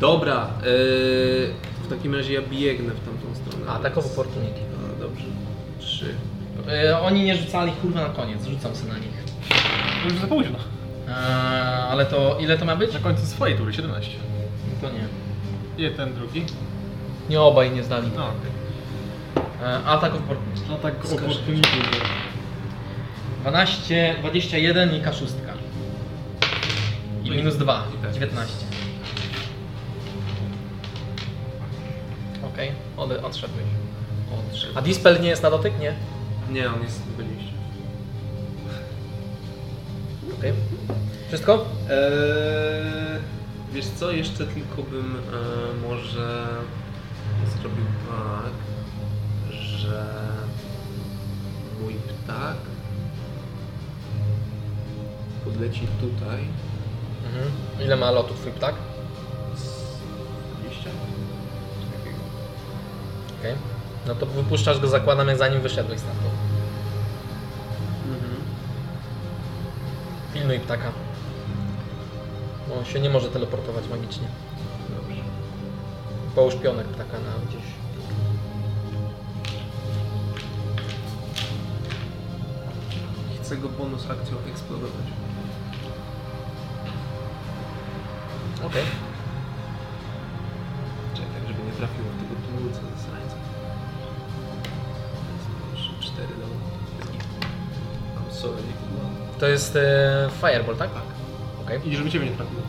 Dobra, yy, w takim razie ja biegnę w tamtą stronę. A, tak of opportunity. No, dobrze. 3. E, oni nie rzucali kurwa na koniec, rzucam sobie na nich. Już za późno. E, ale to ile to ma być? Na końcu swojej tury, 17. To nie. I ten drugi. Nie obaj nie zdali. No, okej. E, atak of opportunity. No tak oportunity. 12, 21 i K6. No I minus 2, 19. Okej, okay. odszedłeś. Odszedł. A dispel nie jest na dotyk? Nie. Nie, on jest 20. Okej. Wszystko? Eee, wiesz co, jeszcze tylko bym e, może zrobił tak, że mój ptak podleci tutaj. Mhm. tak? Ile ma lotów twój ptak? S- 20. Coś takiego. Okej. No to wypuszczasz go, zakładam, jak zanim wyszedłeś stamtąd. Pilnuj ptaka. Bo on się nie może teleportować magicznie. Dobrze. Połóż pionek ptaka na gdzieś. Chcę go bonus akcją eksplodować. Okej. Czekaj, tak żeby nie trafiło w tego tłumica ze srańca. Trzy, cztery do... I'm sorry, nie kudłam. To jest e, fireball, tak? Tak. Okej. I żeby ciebie nie trafiło.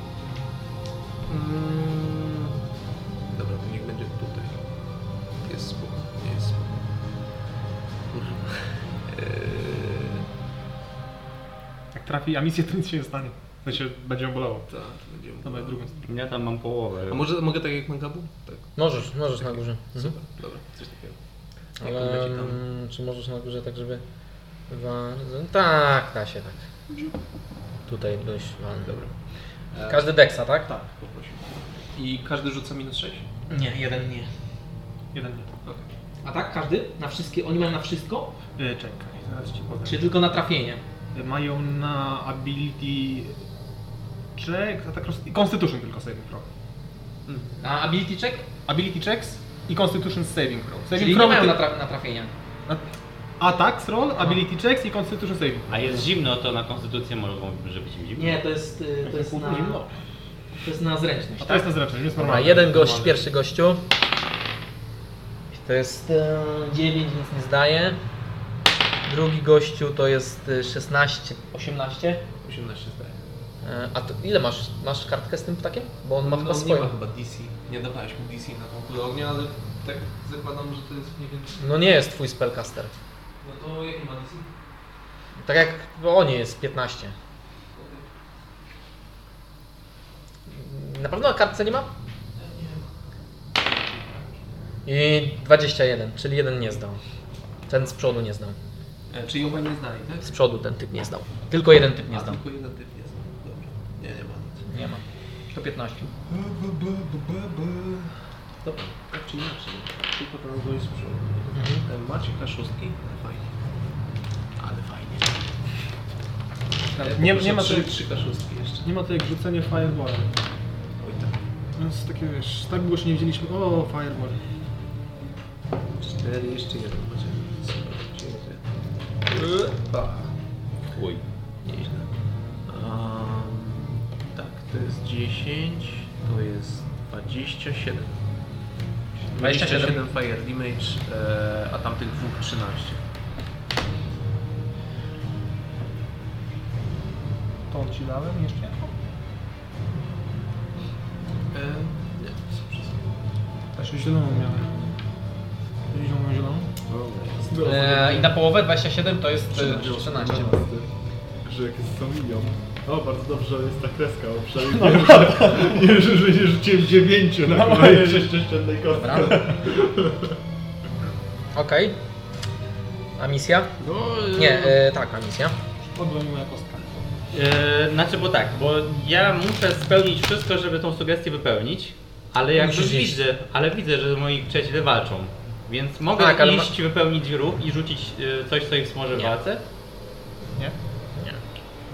Mm, Dobra, to niech będzie tutaj. Jest spoko, nie jest spoko. Kurwa. Eee, Jak trafi, a misję to nic się nie stanie. W sensie będzie ją bolało. tak, to będzie... Dobra, drugą stronę. Ja tam mam połowę. A może mogę tak jak na gabu? Tak, Możesz, możesz na górze. Mhm. super, dobra, coś takiego. Ale mm, czy możesz na górze tak, żeby... Dwa... Tak, da się tak. Tutaj dość wan. Dobra. E, Eee, Każdy deksa, tak? Tak, poprosił. I każdy rzuca minus 6? Nie, jeden nie. Jeden nie. A tak? Każdy? Na wszystkie? Oni mają na wszystko? E, czekaj, zaraz ci powiem. Czy tylko na trafienie? E, Mają na ability check, atak tak roz... i constitution tylko saving throw. Na ability check? Ability checks i constitution saving throw. Tak, Saving Czyli nie throw mają ty- na, No. tra- na trafienia. na- Attacks roll, ability checks i constitution saving throw. A jest zimno, to na konstytucję mogą, żeby być im zimno. Nie, to jest, y, to jest na... no. To jest na zręczność, A to tak? jest na zręczność, jest Dobra, normalne. jeden gość, Normalne. pierwszy gościu. To jest e, 9, nic nie zdaje. Drugi gościu to jest e, 16, 18. 18 zdaje. E, A to ile masz? Masz kartkę z tym ptakiem? Bo on ma chyba on No, nie swoją. ma chyba DC. Nie dawałeś mu DC na tą kulę ognia, ale tak zakładam, że to jest mniej więcej... No nie jest twój spellcaster. No to jaki ma DC? Tak jak o nie jest 15. Na pewno na kartce nie ma? I 21, czyli jeden nie zdał. Ten z przodu nie zdał. E, czyli obaj nie znali, tak? Z przodu ten typ nie zdał. Tylko jeden typ nie A, zdał. Tylko jeden typ nie znał. Dobra. Nie, nie ma nic. Nie ma. To 15. Dobra, tak czy inaczej. Tylko ten gość z przodu. E, Macie K6, ale fajnie. Ale fajnie. Nie- poproszę nie ma trzy, tej- trzy K6 jeszcze. Nie ma to jak rzucenie fireballa. Oj tak. To jest takie wiesz, tak było, że nie widzieliśmy. O, fireball. Cztery, jeszcze jeden macie. Super, dziękuję. Dwa. Chuj. Nieźle. Um, tak, to jest 10, to jest 27. 27. Fire Damage, e, a tamtych dwóch 13. To ci dałem jeszcze. E, nie, to są wszystkie. Też zieloną miałem. Zieloną, zieloną. E- Eee, I na połowę 27 to jest e, 13. Grzeg jest familią. O, bardzo dobrze że jest ta kreska, bo No przynajmniej wiem, że- nie, że, że nie rzuciłem dziewięciu na no, jeszcze szczętnej kostki. Dobra. Okej. A misja? Nie, e, tak, a misja. Odbyła mi moja kostka. Yy, znaczy, bo tak, bo ja muszę spełnić wszystko, żeby tą sugestię wypełnić, ale jak Musisz iść. widzę, ale widzę, że moi przyjaciele walczą, więc mogę Tak, ale ma- iść, wypełnić ruch i rzucić yy, coś, co ich wsmoży w Nie. walce? Nie? Masz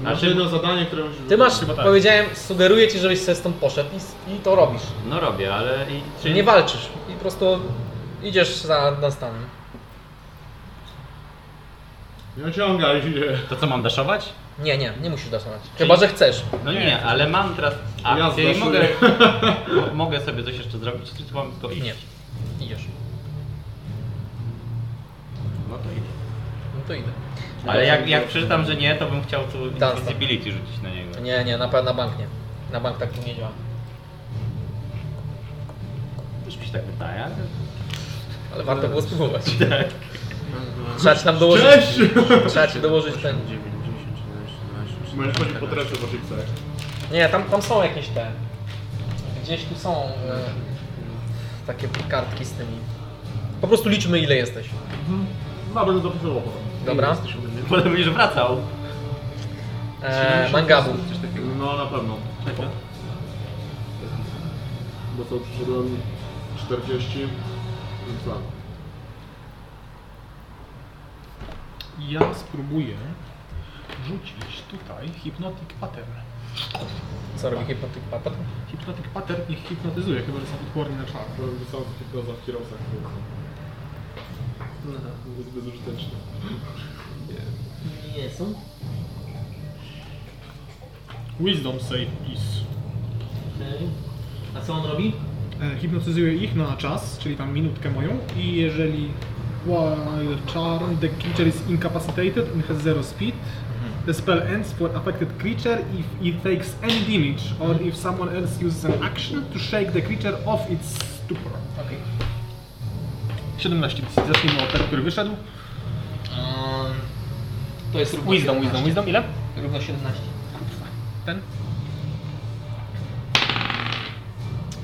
no- Znaczy- jedno zadanie, które musisz Ty masz, Chyba tak. powiedziałem, sugeruję ci, żebyś sobie stąd poszedł i, s- i to robisz. No robię, ale... I, Czyli nie walczysz i po prostu idziesz za nastanem. Nie ociągaj się. To co, mam daszować? Nie, nie, nie musisz daszować. Chyba, że chcesz. No nie, ale mam teraz akcję Ja i mogę, mo- mogę sobie coś jeszcze zrobić, czy mam tylko iść? Nie. Idziesz. No to idę. No to idę. Ale jak, jak przeczytam, że nie, to bym chciał tu tak. invisibility rzucić na niego. Nie, nie, na, pe- na bank nie. Na bank tak to nie działa. Też mi się tak wydaje, ale... Ale warto było spróbować. Tak. Trzeba ci tam dołożyć, Cześć! trzeba ci dołożyć tak. ten... 9, 10, 11, 12, Możesz chodzić po trefie w waszych psach. Nie, tam, tam są jakieś te... Gdzieś tu są e, takie kartki z tymi. Po prostu liczmy ile jesteś. No, będę dopisywał potem. Dobra? Bo będziesz wracał. E, mangabu. Coś takiego. No, na pewno. Czekaj. bo to przyszedłem tak. 40 i plan. Ja spróbuję rzucić tutaj Hypnotic Pattern. Co robi Hypnotic Pattern? Hypnotic Pattern ich hipnotyzuje, chyba że są odporni na czar. Byłem wysoko w hipnoza w kierowcach. No. Jest bezużyteczny. Nie są. Wisdom save is. Okej. A co on robi? E, Hipnotyzuje ich na czas, czyli tam minutkę moją i jeżeli while charmed the creature is incapacitated and has zero speed, the spell ends for affected creature if it takes any damage or if someone else uses an action to shake the creature off its stupor. Okej. 17, więc zacznijmy od tego, który wyszedł. Um, to jest równo Wisdom, 17. wisdom, wisdom, ile? Równo 17. Ten?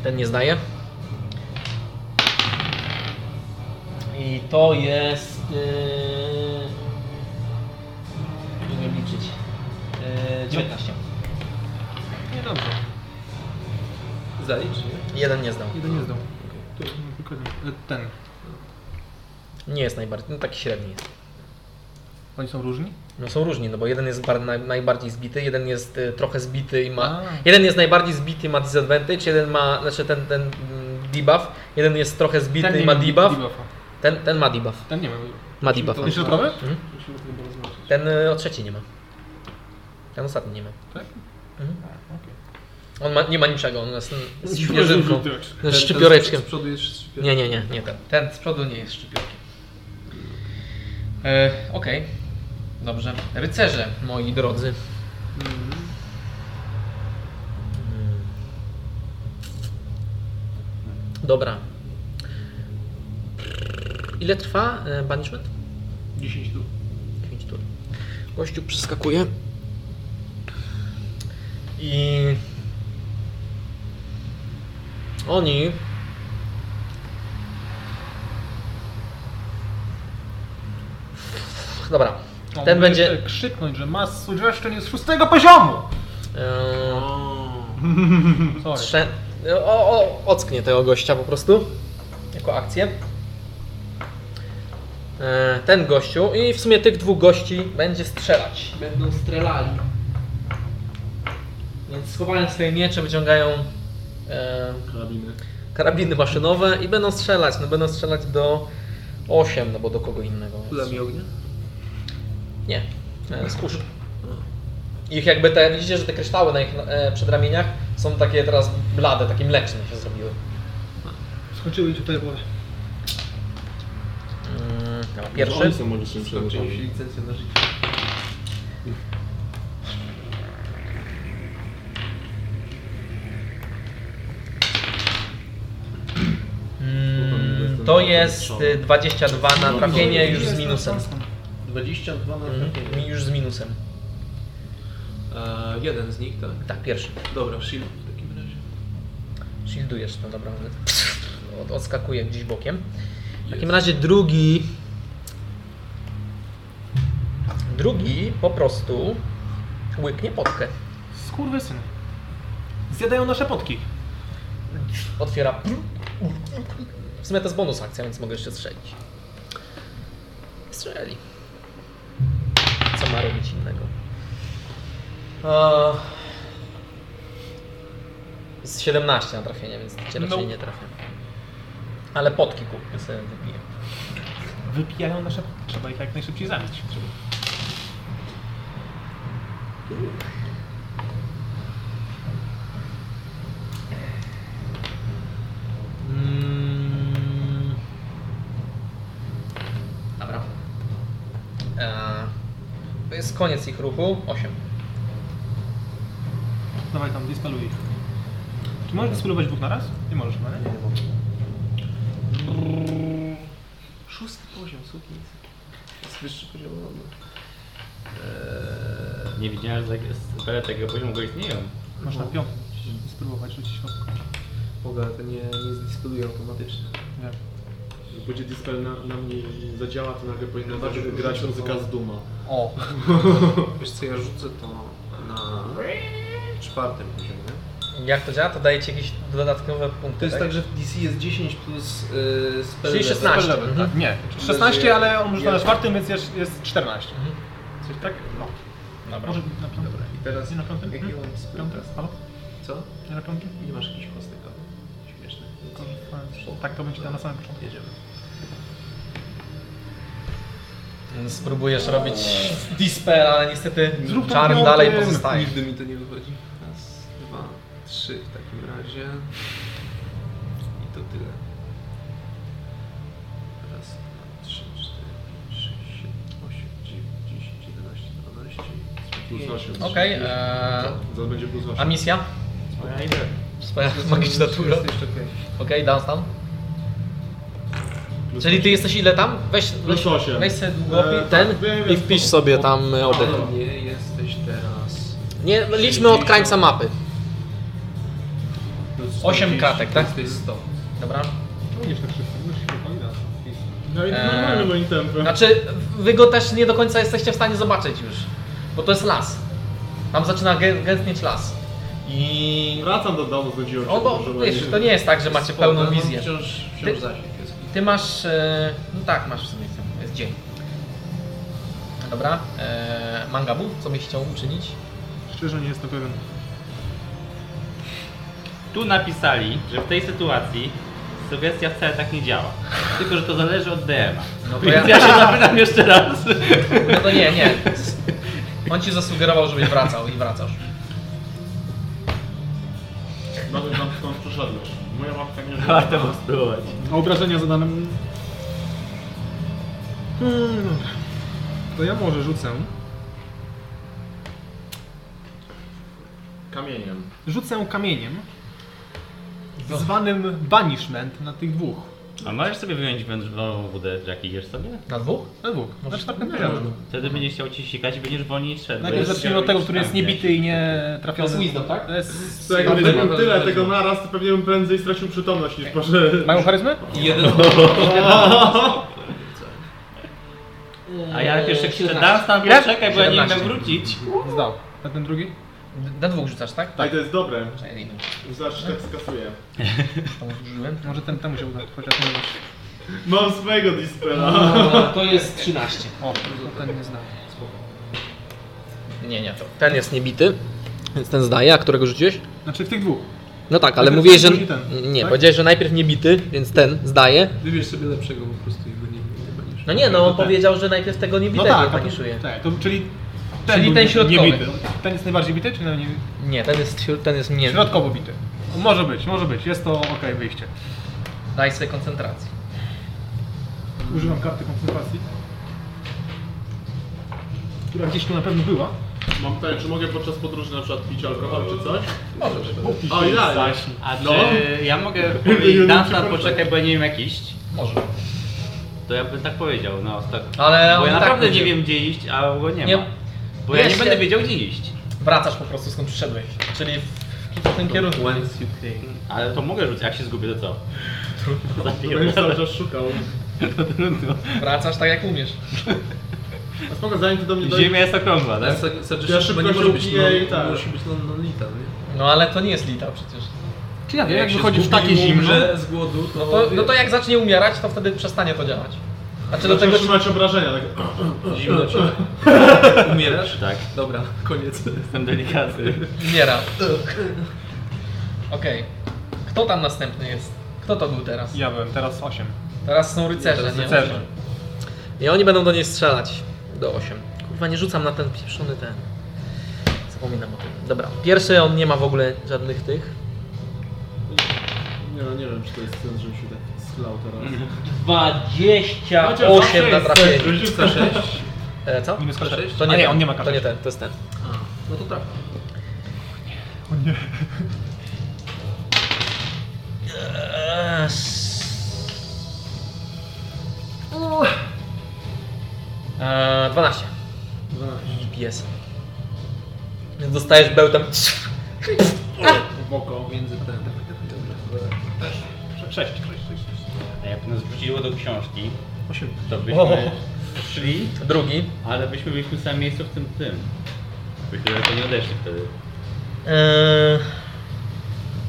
Ten nie zdaje? I to jest. Yy... Nie umiem liczyć. Yy, 19. Nie dobrze. Zalicz, nie? Jeden nie zdał. Jeden nie zdał. Tu, no, tylko ten. E, Ten. Nie jest najbardziej, no taki średni jest. Oni są różni? No są różni, no bo jeden jest bar- naj- najbardziej zbity, jeden jest y, trochę zbity i ma... A. Jeden jest najbardziej zbity, ma disadvantage, jeden ma, znaczy ten, ten mm, debuff, jeden jest trochę zbity i nie ma ma debuff, debuffa. ten, ten ma debuff, Ten nie ma. ma debuff. Hmm? Ten środkowy? Musimy to chyba rozmawiać. Ten y, o trzeci nie ma. Ten ostatni nie ma. Tak? Mhm. okej. On ma, nie ma niczego, on jest z śpieżynką, Ten- z Tak. ten szczypioreczkiem. Z przodu jest szczypiorek. Nie, nie, nie, tak. nie ten. Ten z przodu nie jest szczypiorkiem. E, Okej. Dobrze. Rycerze, moi drodzy. Dobra. Ile trwa y, banishment? 10 tu. 5 tur. Gościu przeskakuje. I. Oni. Dobra. On Ten może będzie. krzyknąć, że ma suggestion jest szóstego poziomu! Yy, Sorry. trze- o, o, ocknie tego gościa po prostu. Jako akcję. E, ten gościu i w sumie tych dwóch gości będzie strzelać. Będą strelali. Więc schowają swoje miecze, wyciągają e, Karabiny. karabiny maszynowe i będą strzelać. No będą strzelać do 8, no bo do kogo innego. więc- Kulami ognia? Nie, e, z kuszy. Ich jakby te, widzicie, że te kryształy na ich e, przedramieniach są takie teraz blade, takie mleczne się zrobiły. Skończyły mi się tutaj pole. Mm, dobra, Oni pierwszy. są magicznymi Skończyli się przedmiotami. licencją na życie. Mm, to jest e, 22 na trafienie już z minusem. 22 na Mhm, trafienie. już z minusem. E, jeden z nich, tak. Tak, pierwszy. Dobra, shield w takim razie. Shieldujesz, no dobra, ale od, odskakuje gdzieś bokiem. W takim razie drugi. Drugi po prostu łyknie potkę. Skurwysyn. Zjadają nasze potki. Otwiera. W sumie to jest bonus akcja, więc mogę jeszcze strzelić. Strzeli. Co ma robić innego? Eee, Z 17 na trafienie, więc cię raczej No. nie trafię. Ale potki kupię sobie wypiję. Wypijają nasze potki. Trzeba ich jak najszybciej zabić. Mm, Dobra. eee, to jest koniec ich ruchu. 8. Dawaj tam, dispeluj ich. Czy możesz dispelować dwóch na raz? Nie możesz, no nie? Szósty poziom, sukiennicy. Jest wyższy poziom lądu. Nie widziałem, że spele takiego poziomu go istnieją. Masz na piątym. Spróbować rzucić kostką. Boga, to nie, nie zdyskutuję automatycznie. Nie. Jak będzie dispel na, na mnie i zadziała, to nagle powinna zacząć grać muzyka z Duma. O! Wiesz co, ja rzucę to na czwartym poziomie. Jak to działa? To daje ci jakieś dodatkowe punkty, To jest tak? tak, że w DC jest 10 plus yy, spell Czyli level. 16. Spell level, Mhm. tak. Nie, 16, ale on rzuca na czwartym, więc jest, jest 14. Coś tak? No. Mhm. Dobra. Może na piątym. I teraz Nie na piątym? Jaki Mhm. Hmm? mam spell? Piąty? Halo? Co? Nie na piątym? Nie masz jakichś kostek, ale śmieszne. Tak to będzie tam na samym początku. Jedziemy. Spróbujesz robić dispel, ale niestety Zrób to czarn miałbym. dalej pozostaje. Nigdy mi to nie wychodzi. Raz, dwa, trzy w takim razie. I to tyle. Raz, dwa, trzy, cztery, pięć, sześć, siedem, osiem, dziewięć, dziesięć, jedenaście, dwanaście. Plus 8. Okej, eee, Zaraz będzie plus 8. a misja? Ja idę. Wspaniała magiczna tura. Okej, Jeszcze okej. dam tam. Plus Czyli ty jesteś ile tam? Weź, weź, Plus osiem. weź sobie długopis, Eee, tak, ten wiem, i wiem, wpisz to- sobie to- tam e, oddech. To Nie jesteś teraz. Nie, liczmy od krańca mapy. Plus 8 kratek, tak? Jesteś 100. Dobra. Mówisz tak szybko, mówisz No i Eee. normalny moim tempem. Znaczy, wy go też nie do końca jesteście w stanie zobaczyć już. Bo to jest las. Tam zaczyna gę- gęstnieć las. I... Wracam do domu, znudziłem się. O, bo położyłem wiesz, i- to nie jest tak, że macie pełną No, wizję. Wciąż, Ty- wciąż zasięg jest. Ty masz. E, no tak, masz w sumie. ten- Jest dzień. Dobra. E, mangabu, co byś chciał uczynić? Szczerze nie jestem pewien. Tu napisali, że w tej sytuacji sugestia wcale tak nie działa. Tylko, że to zależy od DM-a. No to Więc ja się zapytam jeszcze raz. No to nie, nie. On ci zasugerował, żebyś wracał i wracasz. Nawet tam skąd przeszedłeś. Moja mapka nie Warto było spróbować. A obrażenia zadane. mu- Hmm, dobra. To ja może rzucę. Kamieniem. Rzucę kamieniem. Zwanym banishment na tych dwóch. A możesz sobie wyjąć wędrową wódę, jak idziesz sobie? Na dwóch? Na dwóch. Na czwartym poziomie. Wtedy będziesz chciał ci sikać Mhm. No i będziesz wolniej szedł. bo Najpierw jest- zacznijmy od tego, który jest niebity i nie trafiony. To jest wisdom, tak? To jest... To jakby charyzma. zrobił tyle tego naraz, to pewnie bym prędzej stracił przytomność niż proszę. Tak. Mają charyzmę? I jeden A Y, ja tak pierwszy krzyczę, 17. dam tam, Ile? czekaj, bo Eee, ja nie mogę 17. wrócić. Zdał. A ten drugi? Na dwóch rzucasz, tak? Tak, to jest dobre. Czekaj, no. nie wiem, czy Zawsze tak skasuję. tam zużyłem. Może ten temu się uda, chociaż nie już. Mam swojego No. dispela. To jest 13. O, ten nie znam. Nie, nie, to. Ten jest niebity, więc ten zdaje, a którego rzuciłeś? Znaczy w tych dwóch. No tak, ale Najpierw mówiłeś, że. ten, później ten, Nie, tak? powiedziałeś, że najpierw niebity, więc ten zdaje. Wybierz sobie lepszego po prostu i go nie, nie będziesz. No nie, no on powiedział, że najpierw tego niebitego no a to- paniszuje. tak, to, czyli Czyli był ten nie- środkowy. niebity. Ten jest najbardziej bity, czy nie? Nie, ten jest, śró- ten jest mniej. Środkowo bity. Może być, może być. Jest to okej wyjście. Daj sobie koncentrację. Używam karty koncentracji. Która gdzieś tu na pewno była. Mam pytanie, czy mogę podczas podróży na przykład pić alkohol czy coś? Możesz. O, idealnie. A czy No. ja mogę Nie, powiedzieć, nie, dam nie, tam, nie, poczekaj, bo ja nie wiem jak iść? Może. To ja bym tak powiedział, no tak. Ale Bo on ja tak naprawdę będzie. nie wiem gdzie iść, a go nie, Nie. ma. Bo ja nie Wiesz, będę ja- wiedział gdzie iść. Wracasz po prostu skąd przyszedłeś. Czyli w, w tym kierunku. Once you came. Ale to mogę rzucić, jak się zgubię to co? Będziesz Zapierdolę. cały czas szukał. Wracasz tak jak umiesz. A spoko, zanim ty do mnie dojdziesz. Ziemia jest okrągła, tak? Ja Serdecznie szybko chyba nie może się być, ubiję i no, tak. musi być non lita, nie? No ale to nie jest lita przecież. Czy ja wiem, jak się wychodzi w zgubi takie i zimno? umrze z głodu, to... No to, no to jak zacznie umierać, to wtedy przestanie to działać. Znaczy do tego. trzymać obrażenia, tak. Zimno ci. Umierasz? Tak, Dobra, koniec. jestem delikatny. Umiera. Okej. Kto tam następny jest? Kto to był teraz? Ja byłem, teraz 8. Teraz są rycerze, nie? Rycerze. I oni będą do niej strzelać. Do 8. Kurwa, nie rzucam na ten pieprzony ten. Zapominam o tym. Dobra. Pierwszy on nie ma w ogóle żadnych tych. Nie no, nie wiem, czy to jest sens, żebym się tak schlał teraz. 28 na trafienie. Rzuca 6. E, co? Minus To K6. sześć? To nie, A nie, ten, on nie ma To K6. nie ten, to jest ten. No to trafia. Eee, Eee, 12. 12. Pies. Więc dostajesz bełtem. W oko. Między ten. Dobra. 6, 6, 6. A jak nas wrzuciło do książki, 8. to O. byśmy szli, Drugi. ale byśmy byliśmy w samym miejscu w E, tym tym. Byśmy daleko nie odeszli wtedy. Eee,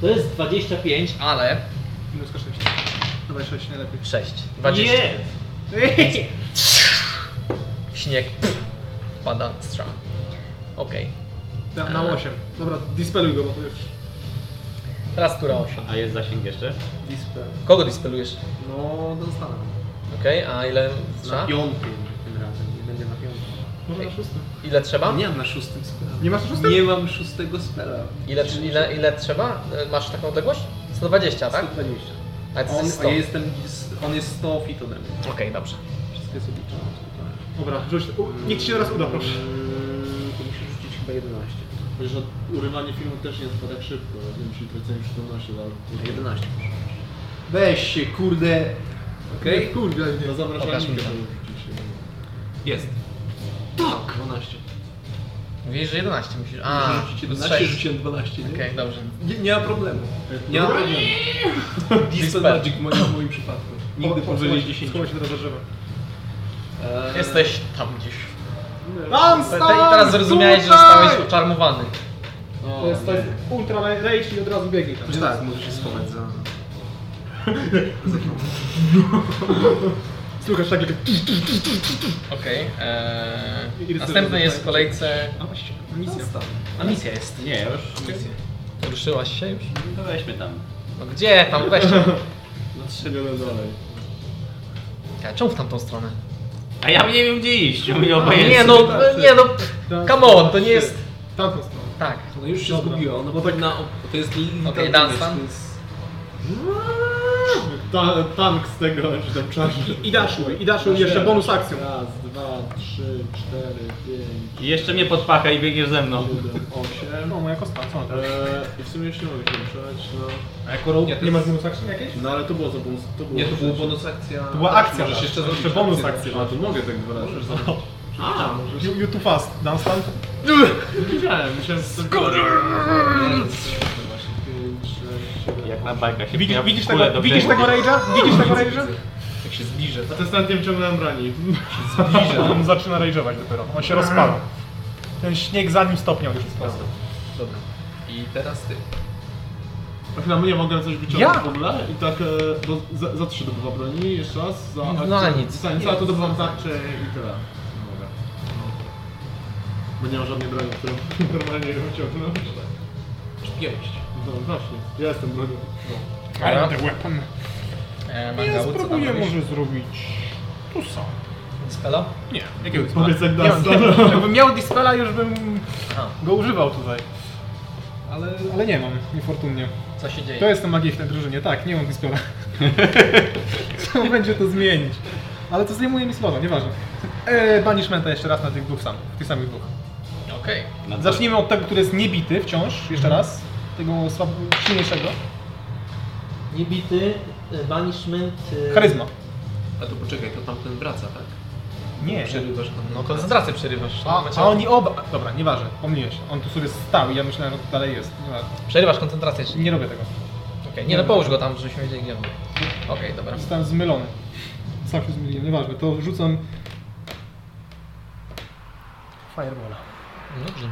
To jest 25. ale Minus 6. Dawaj 6, najlepiej. 6. 20. Jest! Śnieg pff, pada strzał. Okej. E. Na, na 8. Dobra, dispeluj go, bo to już. Teraz tura 8. A jest zasięg jeszcze? Dispel. Kogo dispelujesz? No, dostanę. Okej, a ile Na trzeba? piątym tym razem. Nie będę na piątym. Może na 6. Ile trzeba? Nie mam na szóstym spela. Nie masz na szóstym? Nie mam szóstego spela. Ile, ile, ile trzeba? E, Masz taką odległość? 120, tak? 120. A ty On, jesteś a 100. ja jestem, on jest 100 feet ode mnie. Okej, dobrze. Wszystkie jest obliczone. Dobra, rzuć. U, niech ci się teraz uda, proszę. Mm, To muszę rzucić chyba 11. Chociaż od- urywanie no, filmu też nie trwa tak szybko, nie musi tracenie przytomności, ale... 11. Weź się, kurde. Okej? Kurde, nie. No Pokaż mi zapraszam. to. Jest. Tak! 12. Mówiłeś, że 11 musisz. A, Rzucić plus 11, sześć. rzuciłem 12, nie? Okej, dobrze. Nie, nie ma problemu. Nie ma problemu. Dispel Dispel. Magic w moim, w moim przypadku. Nigdy powyżej 10. Skoro się teraz za drzewem. Eee, Jesteś tam gdzieś. Tam, Te, te, teraz zrozumiałeś, że zostałeś oczarmowany. o, To jest, to jest ultra rage i od razu biegli tam. Znaczy tak, może się schować za... Słuchasz tak, jak... Okej. I- i Eee, to następny jest- jest w kolejce. A właśnie, misja. A misja jest. Nie, już. Ruszyłaś się już? To weźmy tam. No gdzie tam weź? Na strzelione dalej. Ja, Czemu w tamtą stronę? A ja nie wiem gdzie iść, mi obojętnie. Nie no, no, nie no. pff, Come on, to nie jest. Tamtą stronę. Tak. No tak- już się Dobra. zgubiła, ona powinna... op- To jest Lilith. Okej, dance tam. Ta, tank z tego, czy tam czarny. I daszuj, i daszuj jeszcze bonus akcją. Raz, dwa, trzy, cztery, pięć, I jeszcze mnie podpaka i biegniesz ze mną. siedem, osiem. No, moja kostka, co ona teraz? Eee, I w sumie już nie mogę się ruszać, no. Nie, to Nie jest- masz bonus akcji jakiejś? No ale to było za bonus. To było Nie, to za była rzecz. bonus akcja. To była akcja, Możesz tak. jeszcze zrobić Jeszcze bonus akcję. A to mogę tak dwa razy. A, możesz. No, You, you too fast, Dunstan. Widziałem, myślałem, że to Jak na bajkach się Widzisz, pojawia widzisz kule tego, do widzisz brzegu. tego rage'a? Widzisz tego rage'a? Jak się zbliżę. A to ostatnio wciągnąłem broni. On zaczyna rage'ować dopiero, on się rozpala. Ten śnieg za nim stopniał już spadł. Dobra. I teraz ty. Na mnie mogę coś wyciągnąć Ja? w ogóle i tak e, do, za, za trzy dobywa broni, jeszcze raz, za No, akcję- no, nic. Za nic, a to dobywam tarczę i tyle. Mogę. Bo nie mam żadnej broni, którą normalnie ją ciągnąć. Pięść. No właśnie, ja jestem bronią. No. Dobra. weapon. E, Ja Mangału, co tam spróbuję robisz? może zrobić... Tu są. Spela? Nie, jakiego Powiedz jak Nie, Dunstan. nie, Jakbym miał dispela, już bym Aha. go używał tutaj. Ale... Ale nie mam, niefortunnie. Co się dzieje? To jest ta magia w tej drużynie, tak, nie mam dispela. Trzeba będzie to zmienić. Ale to zdejmuje mi słowa, nieważne. E, banishmenta jeszcze raz na tych dwóch sam, tych samych dwóch. Okej. Na dole. Zacznijmy od tego, który jest niebity wciąż, jeszcze raz. Tego słab... silniejszego. Niebity, e, banishment... e, Charyzma. A to poczekaj, to tamten wraca, tak? Nie. Przerywasz tam. No koncentrację przerywasz. A, a oni oba... Dobra, nieważne, pomyliłeś. On tu sobie stał i ja myślałem, że to dalej jest. Dobra, Przerywasz koncentrację. czy- Nie robię tego. Okej, nie no połóż go tam, żebyśmy wiedzieli gdzie on był. Okej, dobra. Zostałem zmylony. Sam się zmyliłem, nieważne. To rzucam... Fireballa. Dobrze.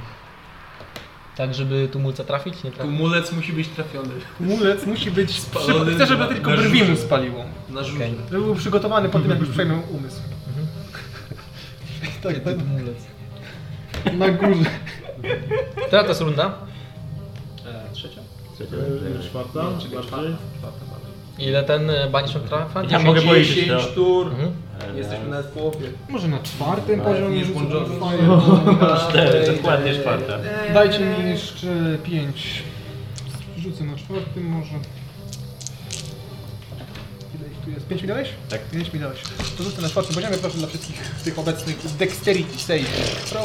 Tak, żeby tumulca trafić, nie trafić. Kumulec musi być trafiony. Mulec musi być Spalony spalony. Chcę, żeby na- tylko na brwi mu żużel. spaliło. Na żółcie. Okej. Żeby był przygotowany po tym, jak już przejmę umysł. Mhm. tak, Kiedy tumulec. tak, na górze. Teraz to jest runda. E, trzecia? Eee, Czwarta? Czy Bardziej? czwarta? Czwarta, bardziej. Ile ten e, banishment trafia? Ja mogę powiedzieć, 10 no. tur. Mhm. Ale Jesteśmy na- na połowie. Może na czwartym poziomie nie rzucę włączony. No, fireball. Cztery, dokładnie czwarta. Dajcie mi jeszcze pięć. Rzucę na czwartym może. Ile ich tu jest? Pięć mi dałeś? Tak. Pięć mi dałeś. To rzucę na czwartym poziomie, proszę dla wszystkich tych obecnych. Dexterity save. Pro.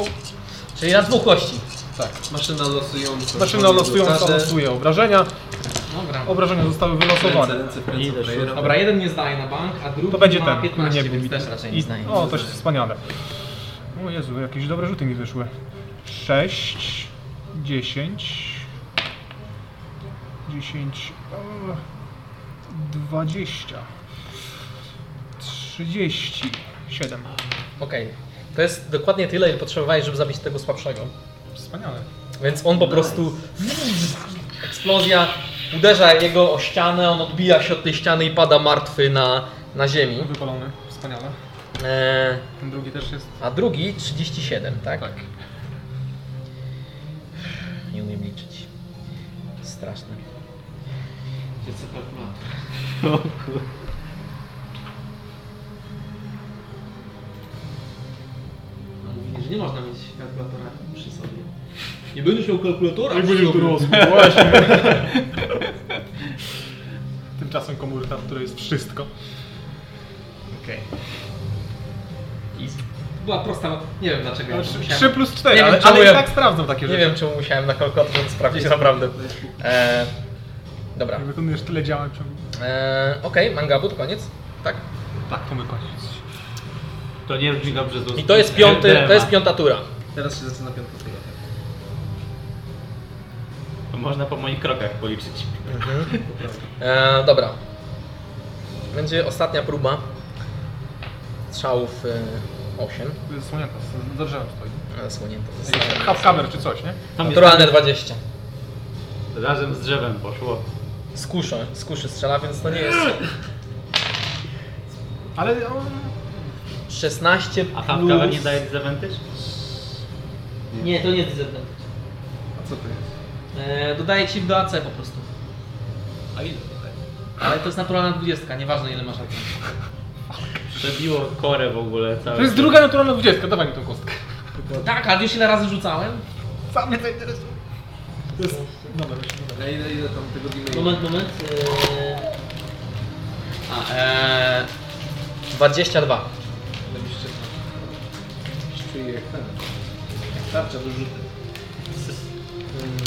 Czyli na dwóch kości. Maszyna losująca. Maszyna losująca Każde- losuje obrażenia. Dobra. Obrażenia zostały Ręce, wylosowane. ręce, w ręce Ile playera. Dobra, jeden nie zdaje na bank, a drugi To będzie ma ten, który 15, nie był No, więc bity. też raczej nie I- zdaje. O, to jest wspaniale. O Jezu, jakieś dobre rzuty mi wyszły. 6, 10, 10, o, 20, 37. Okej. To jest dokładnie tyle, ile potrzebowałeś, żeby zabić tego słabszego. Wspaniale. Więc on po prostu... Eksplozja, Uderza jego o ścianę, on odbija się od tej ściany i pada martwy na, na ziemi. Wypalony, wspaniale. E, Ten drugi też jest. a drugi 37, tak? Nie umiem liczyć. Straszne. A Mówili, że nie można mieć kalkulatora przy sobie. Nie będziesz miał kalkulatora Jak przy będziesz sobie. dorosły, właśnie. Tymczasem komórka, w której jest wszystko. Okej. I z- Była prosta, no, nie wiem dlaczego. ja to 3, musiałem- plus 4, Nie wiem, ale, czemu ale i ja- tak sprawdzą takie Nie rzeczy. wiem czemu musiałem na kalkulator sprawdzić naprawdę. E, dobra. Jak wykonujesz tyle działań w ciągu. E, Okej, mangabu to koniec. Tak? Tak, to my koniec. To nie brzmi dobrze z I to jest piąty, E, to jest piąta tura. Teraz się zaczyna piątka tura. tak. To można po moich krokach policzyć. E, dobra. Będzie ostatnia próba. Strzałów e, 8. To jest Słonięta, z- za drzewem stoi. Zasłonięte Jakiś zostało. Halfhammer czy coś, nie? Tam jest- Naturalne 20. Razem z drzewem poszło. Z kuszy, z kuszy strzela, więc to nie jest Ale on... 16 A Hamkawa plus... nie daje disadvantage? Nie, to nie jest disadvantage. A co to jest? E, dodaję ci do AC po prostu. A ile? Ale to jest naturalna 20, nieważne ile masz akcji. Przebiło korę w ogóle całe. To jest druga naturalna 20, dawaj mi tą kostkę. Tak, a wiesz ile razy rzucałem? Co mnie to interesuje? To jest... Dobra, już, dobra. Na ile, ile tam tego dima Moment, moment. E, A, eee, e, 22. Oczywiście. Czuję jak ten. jak Tarcza do rzuty. Hmm.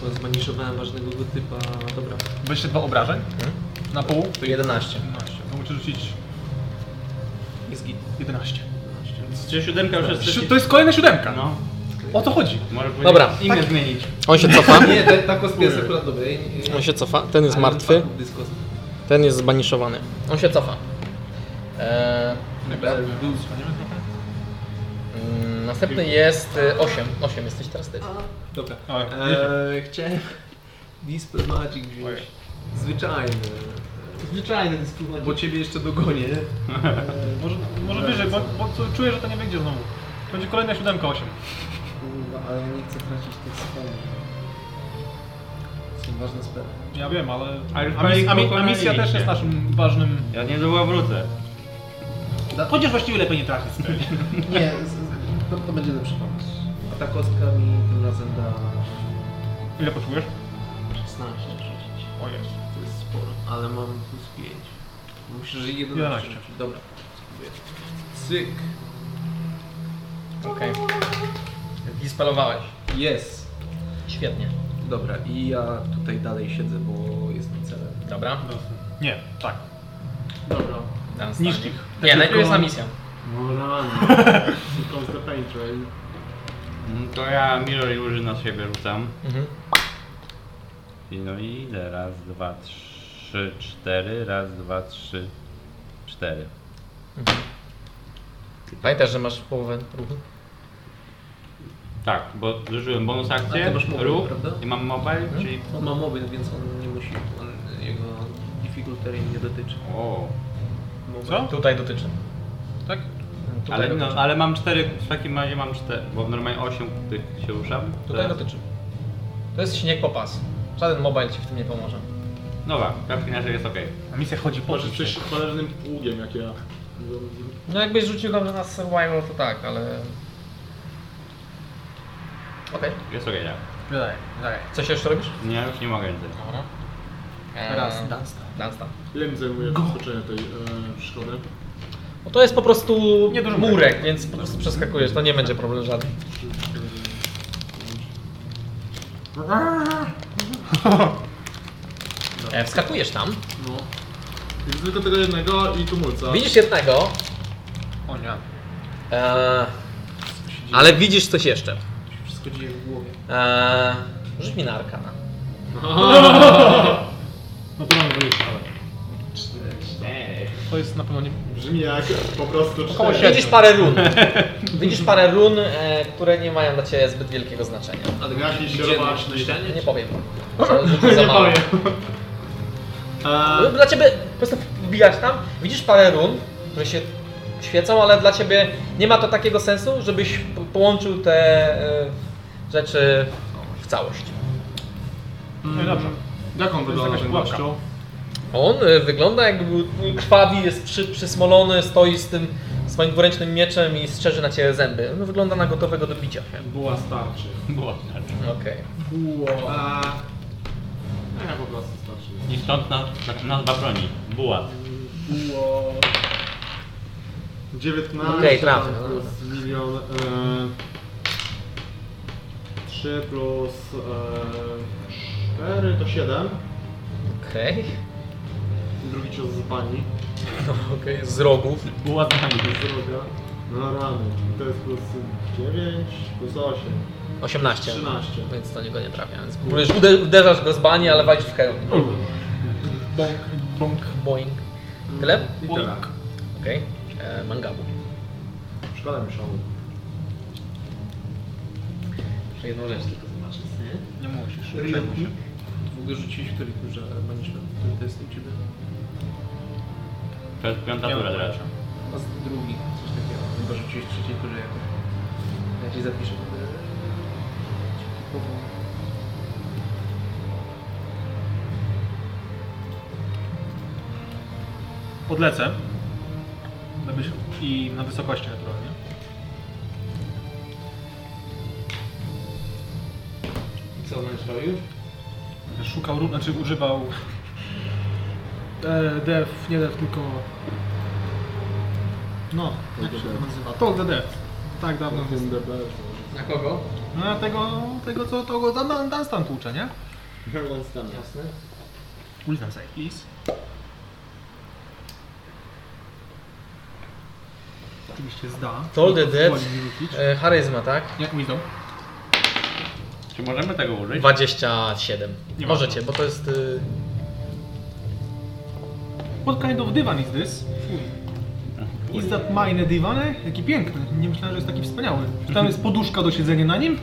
Chyba zmaniszowałem ważnego go typa. Dobra. 22 obrażeń. Na pół? To 11. 11. To muszę rzucić... Jest git. 11. Czy siódemka już jest Si- To jest kolejna siódemka. No. O co chodzi? Może powinieneś Dobra. Tak. imię zmienić. On się cofa. Nie, ta, ta kostka jest akurat dobra. Ja, nie- ja, On się cofa. Ten jest ale martwy, padł dyskos. ten jest zbaniszowany. On się cofa. Eee, Był mm, następny jest e, 8. 8 jesteś teraz ty. Dobra. Oj. Eee, chciałem Dispel Magic wziąć. Zwyczajny. zwyczajny dyskryminator. Bo ciebie jeszcze dogonię. Może, może wyżej, bo, bo co- czuję, że to nie będzie znowu. To będzie kolejna siódemka, osiem. Kurwa, ale ja nie chcę tracić tych spelów. Są ważne spele. Ja wiem, ale... A już A, mis, a, mi, a misja pokonaliście. też jest naszym ważnym... Ja niedługo wrócę. No, Chociaż właściwie lepiej nie trafić z tego. Nie, z, z, to, to będzie lepszy pomysł. A ta kostka mi tym razem da Ile potrzebujesz? 16 przecież. O jest. To jest sporo, ale mam plus 5. Myślę, że 11. 11. rzucić. Dobra, spróbuję. Cyk. Okej. Dispelowałeś. Jest. Świetnie. Dobra, i ja tutaj dalej siedzę, bo jestem celem. Dobra. Nie, tak. Dobra. Dan Niszcz stanie. ich. Nie, najpierw jest na misję. No rano. Tylko z Paintrail. Mm, To ja Mirror Illusion na siebie rzucam. Mhm. I no i ile? Raz, dwa, trzy, cztery. Raz, dwa, trzy, cztery. Pamiętasz, że masz połowę ruchu? Tak, bo zużyłem bonus akcję, A ty masz mobile, ruch prawda? i mam mobile, czyli... On ma mobile, więc on nie musi, on, jego difficult terrain nie dotyczy. O, Co? Tutaj dotyczy. Tak? Tutaj ale, no, dotyczy. ale mam cztery, w takim razie mam cztery, bo normalnie osiem tych się ruszam. Tutaj Teraz- dotyczy. To jest śnieg po pas. Żaden mobile ci w tym nie pomoże. Dobra, w takim razie jest okej. A misja chodzi po Może coś cholernym pługiem jak ja. No jakbyś rzucił dobrze na survival, to tak, ale... Okej. Jest okej, tak. Dalej, dalej. Coś jeszcze robisz? Eee, Nie, już nie mogę nic zrobić. Dobra. Raz, dan. dance. Dunstan. Ile mi zajmuje rozpoczęcie tej e, szkody? No to jest po prostu Nie dużo murek, więc po prostu przeskakujesz, to nie będzie problem żaden. E, wskakujesz tam, No. Jest tylko tego jednego i tumulca. widzisz jednego, O nie. e, ale widzisz coś jeszcze. Wszystko dzieje w głowie. E, rzuć mi na arkana. No to mamy wyjść, ale... Eee. to jest na pewno nie... Brzmi jak po prostu Około cztery. siedmiu. Widzisz parę run. Widzisz parę run, e, które nie mają dla ciebie zbyt wielkiego znaczenia. Ale Jakiś gdzie robaczny. Eee, na ścianie? Nie powiem. To jest za Nie mało. powiem. No, Dla ciebie po prostu wbijasz tam, widzisz parę run, które się świecą, ale dla ciebie nie ma to takiego sensu, żebyś po- połączył te e, rzeczy w całość. mm, No i dobrze. Jak on To jest wygląda jakaś ten pułapka. gościu? On y, wygląda jakby był krwawi, jest przy, przysmolony, stoi z tym swoim dwuręcznym mieczem i strzeży na ciebie zęby. On wygląda na gotowego do bicia. Buła starczy. Było tak. Okej. A... No ja po prostu starczy. I stąd na, na, nazwa broni. Bułat. Buło... 19 Okej, trafię, tam no plus milion... E... 3 plus e... 4 to 7. Okej. No, Drugi cios z pani. Okej, z rogów. Bułat na To jest druga. No rany. To jest plus 9, plus 8. 18. 13. Więc do niego nie trafia. Więc próbujesz, uder- uderzasz go z bani, ale walisz w hełm. Bąk, bąk. Boing. Tyle? I tyle. tak. Okej. Okay. Mangabu. Szkoda mi szału. Jeszcze jedną rzecz tylko zobaczyć. Mhm. Nie musisz. Ryjki. W ogóle rzuciłeś który kurze banishment? Który to jest u ciebie? To jest piąta tura teraz. A z drugi, coś takiego. Chyba rzuciłeś trzeciej Eee, kurze jako. Ja ci zapiszę. Odlecę. Będę się- I na wysokości naturalnie. I co on robił? Szukał run, znaczy używał e, def, nie def, tylko no, jak się to nazywa? Talk the def. Tak No, dawno jest. Na kogo? No a tego, tego co to go Dan- Dunstan tłucze, nie? Jasne. Wisdom save, please. Oczywiście zda. Told the dead. Pozwoli mi rzucić. E, charyzma, tak? Jak wisdom? Czy możemy tego użyć? 27. Nie Możecie, bo to jest. Y... What kind of divan is this? Is that mine divane? Jaki piękny. Nie myślałem, że jest taki wspaniały. Czy tam jest poduszka do siedzenia na nim?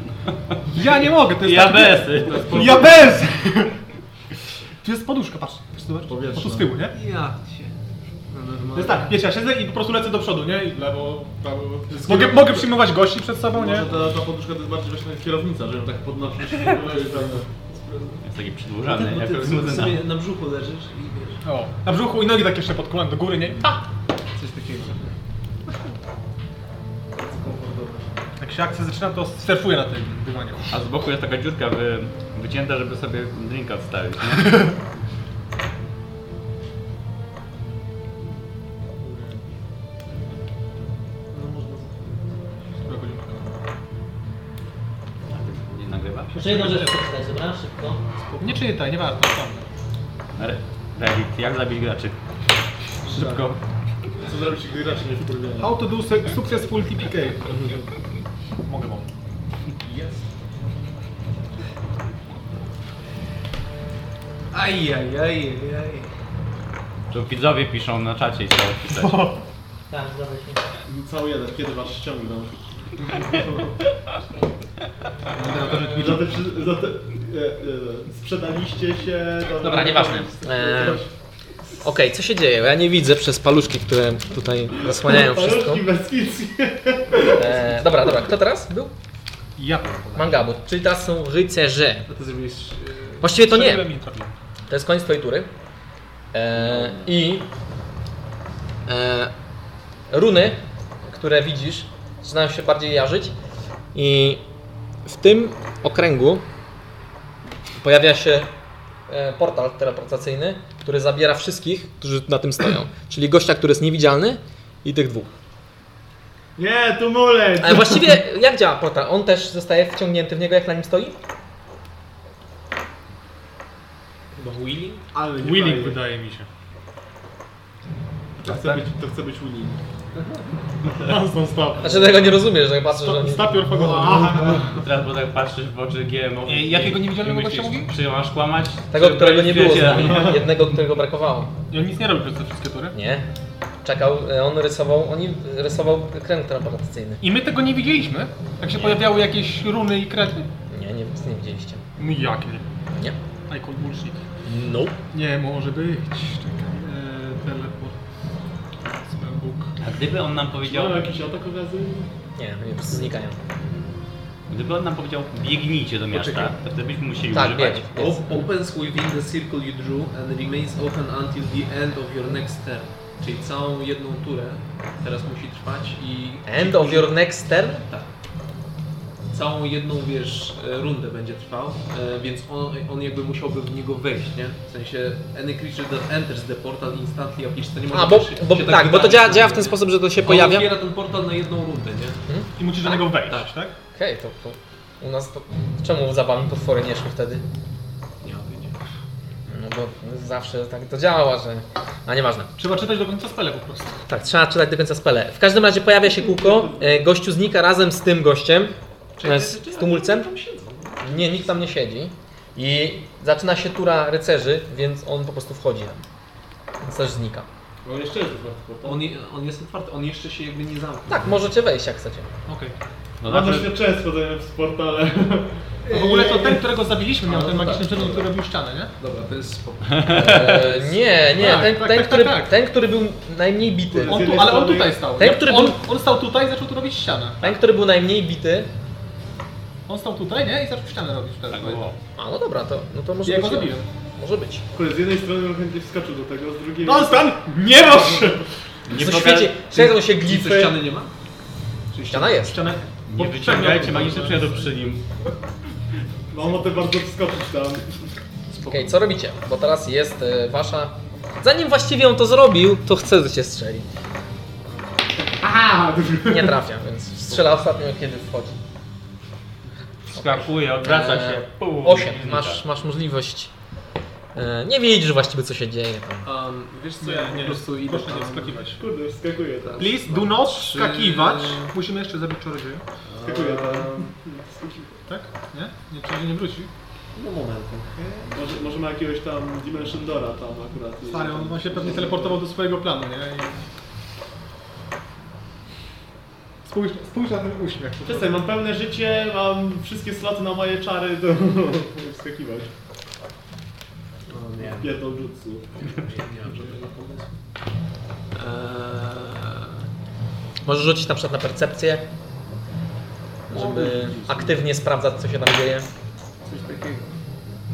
Ja nie mogę, to jest Ja taki- besy. Ja bez! Tu jest poduszka, patrz. Zobacz, Powietrzna. o tu z tyłu, nie? Ja cię. No normalnie. To jest tak, wiecie, ja siedzę i po prostu lecę do przodu, nie? I Lewo, prawo... Mogę, mogę przyjmować gości przed sobą, nie? Może ta, ta poduszka to jest bardziej właśnie jak kierownica, że ją tak podnosisz. Jest taki No przedłużany, ty, jak bo ty limuzyna. sobie na brzuchu leżysz i wiesz. O, na brzuchu i nogi tak jeszcze podkułem do góry, nie? Tak. A! Coś takiego. Bardzo komfortowe. Jak się akcja zaczyna, to surfuję na tym dywanie. A z boku jest taka dziurka wy, wycięta, żeby sobie drinka odstawić. nie? No można. Nie nagrywa się. Jeszcze jedną rzecz przeczytać, dobra? Szybko. Nie czytaj, nie warto, tam. Re- Reddit, jak zabić graczy? Szybko. Co zrobić, gdy gracze nie wkurwiają? How to do su- successful TPK. Mogę wam. Ajajajajaj. To widzowie piszą na czacie i trzeba pisać. Tak, zgadza się. Cały jeden, kiedy was ściągną. Za Dobra, te, przy- za te, e, e, sprzedaliście się... do- Dobra, nieważne. Eee, Okej, co się dzieje? Ja nie widzę przez paluszki, które tutaj zasłaniają wszystko. Paluszki bez pizzy. Eee, dobra, dobra, kto teraz był? ja powiem. Mangabu, czyli teraz są rycerze. A ty zrobiłeś... e, Właściwie to nie. Tyle mi trafiłem. To jest koniec twojej tury. Eee, I eee, runy, które widzisz, zaczynają się bardziej jarzyć. I w tym okręgu pojawia się e, portal teleportacyjny, który zabiera wszystkich, którzy na tym stoją. Czyli gościa, który jest niewidzialny i tych dwóch. Nie, tu mulec! Ale właściwie jak działa portal? On też zostaje wciągnięty w niego, jak na nim stoi? Chyba Willing? Ale nie Winning fajnie. wydaje mi się. To chce być, to chce być winning. Dunstan stop. Znaczy tego nie rozumiesz, jak patrzysz na nie. Stop your fucking Teraz bo tak patrzysz w oczy GMO. Ej, jakiego i- niewidzialnego i myślisz, gościa mówi? Czy masz kłamać? Tego, czy którego nie było z przyjaciela? nami. Jednego, którego brakowało. I on nic nie robi przez te wszystkie tury? Nie. czekał, e, on rysował, oni rysował kręg teleportacyjny. I my tego nie widzieliśmy? Jak się pojawiały jakieś runy i krety? Nie, nie, nic nie widzieliście. No jak nie? Nie. Michael Bullshit. No. Nie może być. Czekaj. Eee, teleport. Spellbook. A gdyby on nam powiedział, Miał jakiś atak od razu? Nie, oni po prostu znikają. gdyby on nam powiedział, biegnijcie do miasta, Poczekaj. to wtedy byśmy musieli Tak, używać. bieg. Jest. O- Opens within the circle you drew and remains open until the end of your next turn. Czyli całą jedną turę teraz musi trwać i... End of your next turn? Tak. Całą jedną, wiesz, e, rundę będzie trwał, e, więc on, on jakby musiałby w niego wejść, nie? W sensie, any creature that enters the portal instantly appears, to nie może A, bo, się- bo się tak, bo to wydarzyć, działa, działa w ten nie? sposób, że to się On pojawia. Okej, otwiera ten portal na jedną rundę, nie? I musisz do niego wejść, tak. tak? to, to u nas to... Czemu za wami potwory nie szły wtedy? Nie, nie. No bo zawsze tak to działa, że... A nieważne. Trzeba czytać do końca spele po prostu. Tak, trzeba czytać do końca spele. W każdym razie pojawia się kółko, e, gościu znika razem z tym gościem, e, z, z tumulcem. Nie, nikt tam nie siedzi. I zaczyna się tura rycerzy, więc on po prostu wchodzi tam. Więc też znika. No jeszcze jest otwarty portal. On, je- on jest otwarty, on jeszcze się jakby nie zamknął. Tak, możecie wejść jak chcecie. Okej. No znaczy- Mam zawsze, doświadczenie z chodzeniem w portale. A W ogóle to ten, którego zabiliśmy, miał A, ten no magiczny tak. przedmiot, który robił ścianę, nie? Dobra, to jest spoko. E, nie, nie, Tak, ten, tak, ten, tak, który, tak, tak. ten, który był najmniej bity. On tu, jednej ale on strony- tutaj stał. Ten, nie? który on, był- on stał tutaj i zaczął tu robić ścianę. Ten, który był najmniej bity. On stał tutaj, nie? I zaczął ścianę robić wtedy. tak było. A no dobra, to, no to może Ja być. go zabiłem. Może być. Kurde, z jednej strony on chętnie wskoczył do tego, z No, drugiej... Konstan! Nie masz! Nie Nie, to poga- świecie, świecą się Nic glify. ściany nie ma? Ściana jest. Ścianę. nie wyciągajcie magiczny przedmiot przy nim. No on to bardzo wskoczyć tam. Okej, co robicie? Bo teraz jest e, wasza. Zanim właściwie on to zrobił, to chce, że cię strzeli. Aha! Nie trafia, więc strzela ostatnio, kiedy wchodzi. Skakuje, odwraca E, się. Pół, 8. znika. Masz, masz możliwość. E, nie widzisz właściwie, co się dzieje. Tam. Um, wiesz co, ja po prostu idę Proszę No nie tam. wskakiwać. Kurde, wskakuje tam. Please, do not Trzy. wskakiwać. Musimy jeszcze zabić czarodzieja. Wskakuje tam. Tak? Nie? Nie, czarodziej nie wróci. No momentu. Może, może ma jakiegoś tam Dimension Dora tam akurat. Stary, on, on się pewnie teleportował do swojego planu, nie? I... Spójrz, spójrz na ten uśmiech. Przestań, mam pełne życie, mam wszystkie sloty na moje czary, to mogę wskakiwać. O nie. Pierdol jutsu. Nie mam żadnego pomysłu. Eee, Możesz rzucić na przykład na percepcję, żeby aktywnie sprawdzać, co się tam dzieje. coś takiego.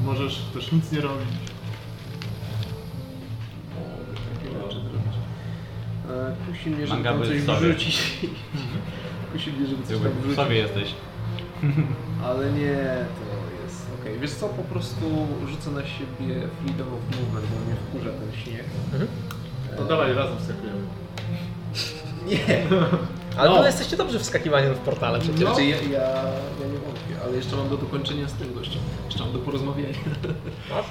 Możesz też nic nie robić. Mogę takie rzeczy zrobić. Eee, Kusi mnie, żeby Manga tam był coś w sobie. wrzucić. Kusi mnie, żeby coś tam Jakby W wrzucić. sobie jesteś. Ale nie, to jest... Okej, wiesz co, po prostu rzucę na siebie freedom of movement, bo mnie wkurza ten śnieg. To dawaj, razem wskakujemy. Nie! Ale No. no. jesteście dobrze wskakiwani w portale przecież. No. Znaczy, ja, ja, ja nie wątpię, ale jeszcze mam do dokończenia z tym gościem. Jeszcze mam do porozmawiania. Masz?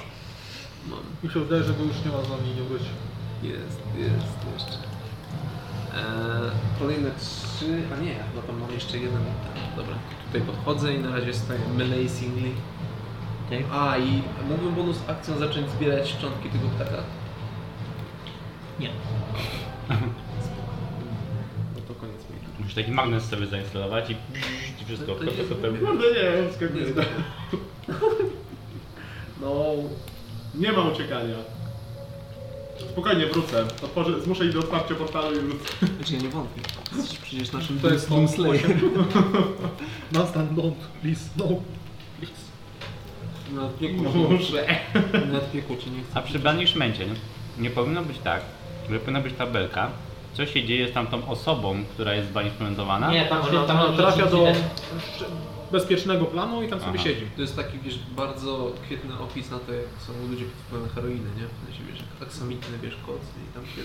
Mam. Mi się wydaje, że go już nie ma z nami i nie wróci. Jest, jest jeszcze. Eee, kolejne trzy, a nie, no to mam jeszcze jeden. Dobra, tutaj podchodzę i na razie staję melee singly. Okej. A i mógłbym bonus akcją zacząć zbierać szczątki tego ptaka? Nie. No to koniec mojej tury. Musisz taki magnes sobie zainstalować i, i wszystko. To- to nie- potem- Kurde, nie, on wskakuje. No, Nie ma uciekania. Spokojnie, wrócę. Otworzę, zmuszę ich do otwarcia portalu i wrócę. znaczy ja nie wątpię. Jesteś przecież naszym To jest Doom Doom Slayer. Slayer. Nastan, don't, please, no, please. No Nawet mnie kurczy, Muszę. nawet mnie kurczy, nie chcę. A przy banishmencie nie? nie powinno być tak, że powinna być tabelka, co się dzieje z tamtą osobą, która jest banishmentowana. Nie, tam, Ona, się, tam ona trafia do widać. szcz- bezpiecznego planu i tam sobie Aha. siedzi. To jest taki, wiesz, bardzo kwietny opis na to, jak są ludzie pod wpływem heroiny, nie? W sensie, wiesz, jak aksamitny, wiesz, koc i tam się...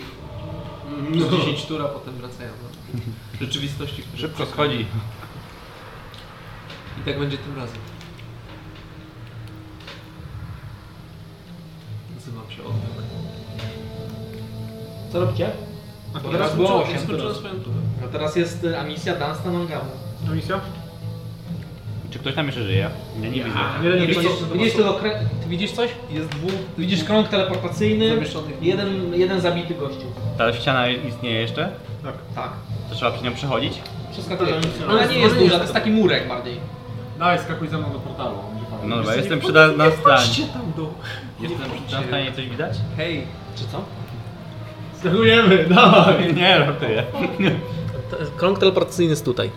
No. Przez 10 tur, a potem wracają do rzeczywistości, które Szybko schodzi. I tak będzie tym razem. Nazywam się Odwyk. Co robicie? A to Bo teraz ja było skończyłem- osiem ja skończyłem No teraz. swoją turę. No teraz jest y, a misja Dunstan on Gamu. misja? Czy ktoś tam jeszcze żyje? Ja nie widzę. Jeden Widzisz, jest- Widzisz tego krę... Ty widzisz coś? Jest dwóch. Widzisz krąg teleportacyjny, Zamieszczonych. jeden, jeden zabity gościu. Ta ściana istnieje jeszcze? Tak. Tak. To trzeba przy nią przechodzić? Przeskakuje. Ona nie jest duża, to jest taki murek bardziej. Dawaj, skakuj ze mną do portalu. on będzie fajny. No dobra, jestem przy na- na stanie. tam do... Jestem przy na stanie, coś widać? Hej, Czy co? Skakujemy, dawaj! Nie, rotuję. Krąg teleportacyjny jest tutaj.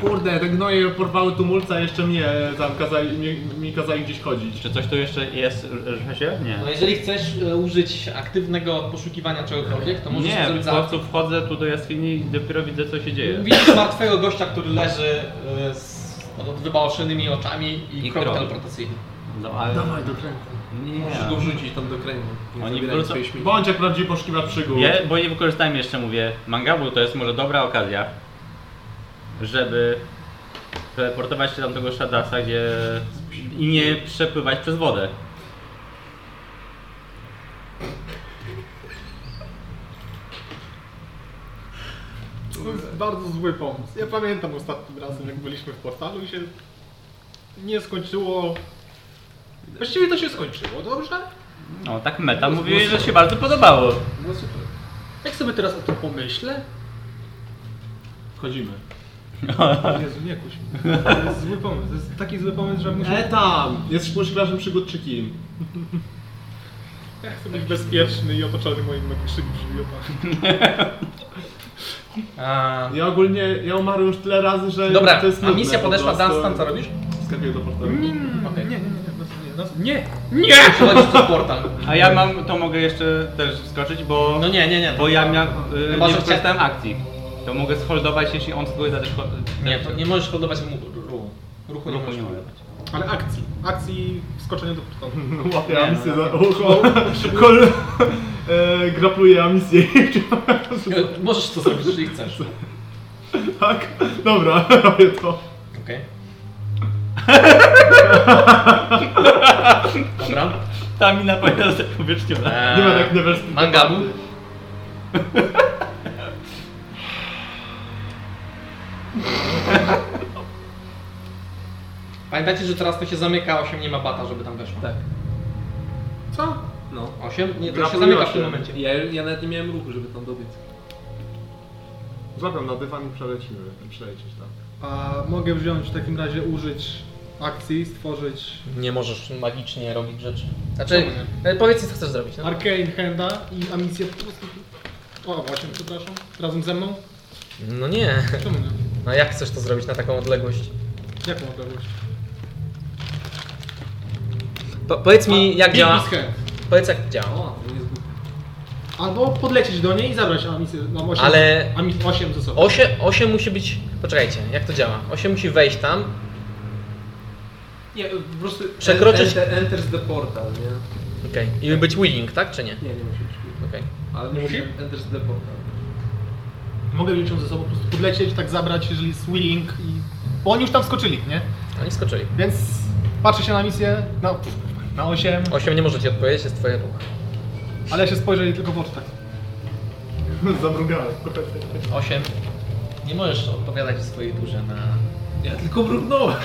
Kurde, te gnoje porwały tumulca, jeszcze mnie tam kazali, mi, mi kazali gdzieś chodzić. Czy coś tu jeszcze jest? Rusza się? Nie. No jeżeli chcesz e, użyć aktywnego poszukiwania czegokolwiek, to możesz to Nie, zrobić po za akcję. prostu wchodzę tu do jaskini i dopiero widzę co się dzieje. Widzisz martwego gościa, który leży e, z wybałaszonymi oczami i, I krok krok. teleportacyjny. No ale... Dawaj do kręgu. musisz go Nie. wrzucić tam do kręgu. Nie Oni zabieraj wrócą- swojej śmieci. Bądź jak prawdziwy poszukiwacz przygód. Ja, bo nie wykorzystałem jeszcze, mówię, mangabu to jest może dobra okazja, żeby teleportować się tam do tego Shadasa, gdzie... i nie przepływać przez wodę. To jest bardzo zły pomysł. Ja pamiętam ostatnim razem, jak byliśmy w portalu i się nie skończyło. Właściwie to się skończyło, dobrze? No, tak meta mówi, że się bardzo podobało. No super. Jak sobie teraz o tym pomyślę? Wchodzimy. O Jezu, nie kuś. To jest zły pomysł. To jest taki zły pomysł, że muszę... E tam! Jesteś poszukiwaczem przygód czy kim? Ja chcę być bezpieczny i otoczony moimi magicznymi przymiotami. A, Ja ogólnie, ja umarłem już tyle razy, że dobra, to jest a nudne misja po podeszła, prostu. Dunstan, co robisz? Skakuję do portalu. Nie, nie, nie, nie, nas- nie, nie. Przechodzisz przez portal. A ja mam, to mogę jeszcze też wskoczyć, bo... No nie, nie, nie. Bo ja miał, y, Chyba, nie że wykorzystałem akcji. To mogę sholdować, jeśli on spłynie za też... Nie, to nie możesz hodować mu ruchu. Ruchu nie Ruchu możesz. nie mogę. Ale akcji. Akcji wskoczenia do portalu. Łapię Nie, no. misję za ucho. Kol... E, grapluję misję. E, Możesz to zrobić, jeżeli chcesz. tak? Dobra, robię to. Okej. Dobra. Ta mina powinna zostać powierzchniona. Eee, Nie ma tak never speak. Mangabu. Pamiętajcie, że teraz to się zamyka, 8 nie ma bata, żeby tam weszło. Tak. Co? No. 8? Nie, to się Grapluję zamyka w tym się. momencie. Ja, ja nawet nie miałem ruchu, żeby tam dobiec. Złapiam na dywan i przelecimy. Przelecieć tam. A mogę wziąć w takim razie użyć akcji, stworzyć Nie możesz magicznie robić rzeczy. Znaczy, e, powiedz mi co chcesz zrobić. No. Arcane Handa i Amisję. O, właśnie, przepraszam. Razem ze mną? no nie. Czemu nie? No jak chcesz to zrobić na taką odległość? Jaką odległość? Po, powiedz mi jak Big działa. Miss Hand. Powiedz jak działa. O, to nie jest głupie. Albo podlecieć do niej i zabrać Amisję. Mam 8, Ale- Amis 8 ze sobą. 8, 8 musi być. Poczekajcie, jak to działa? 8 musi wejść tam. Nie, po prostu... Przekroczyć- Enter, enters the portal, nie? Okej. I być willing, tak czy nie? Nie, nie musi być. Okej. Ale Nie musi musi? enters the portal. Mogę wziąć ją ze sobą, po prostu podlecieć, tak zabrać, jeżeli jest willing i... Bo oni już tam skoczyli, nie? Oni skoczyli. Więc patrzę się na misję, na, na 8, 8 nie możecie odpowiedzieć, jest twoje ruch. ale ja się spojrzę jej tylko w oczy tak. Zamrugałem. 8. Nie możesz odpowiadać w swojej turze na... Ja tylko mrugnąłem.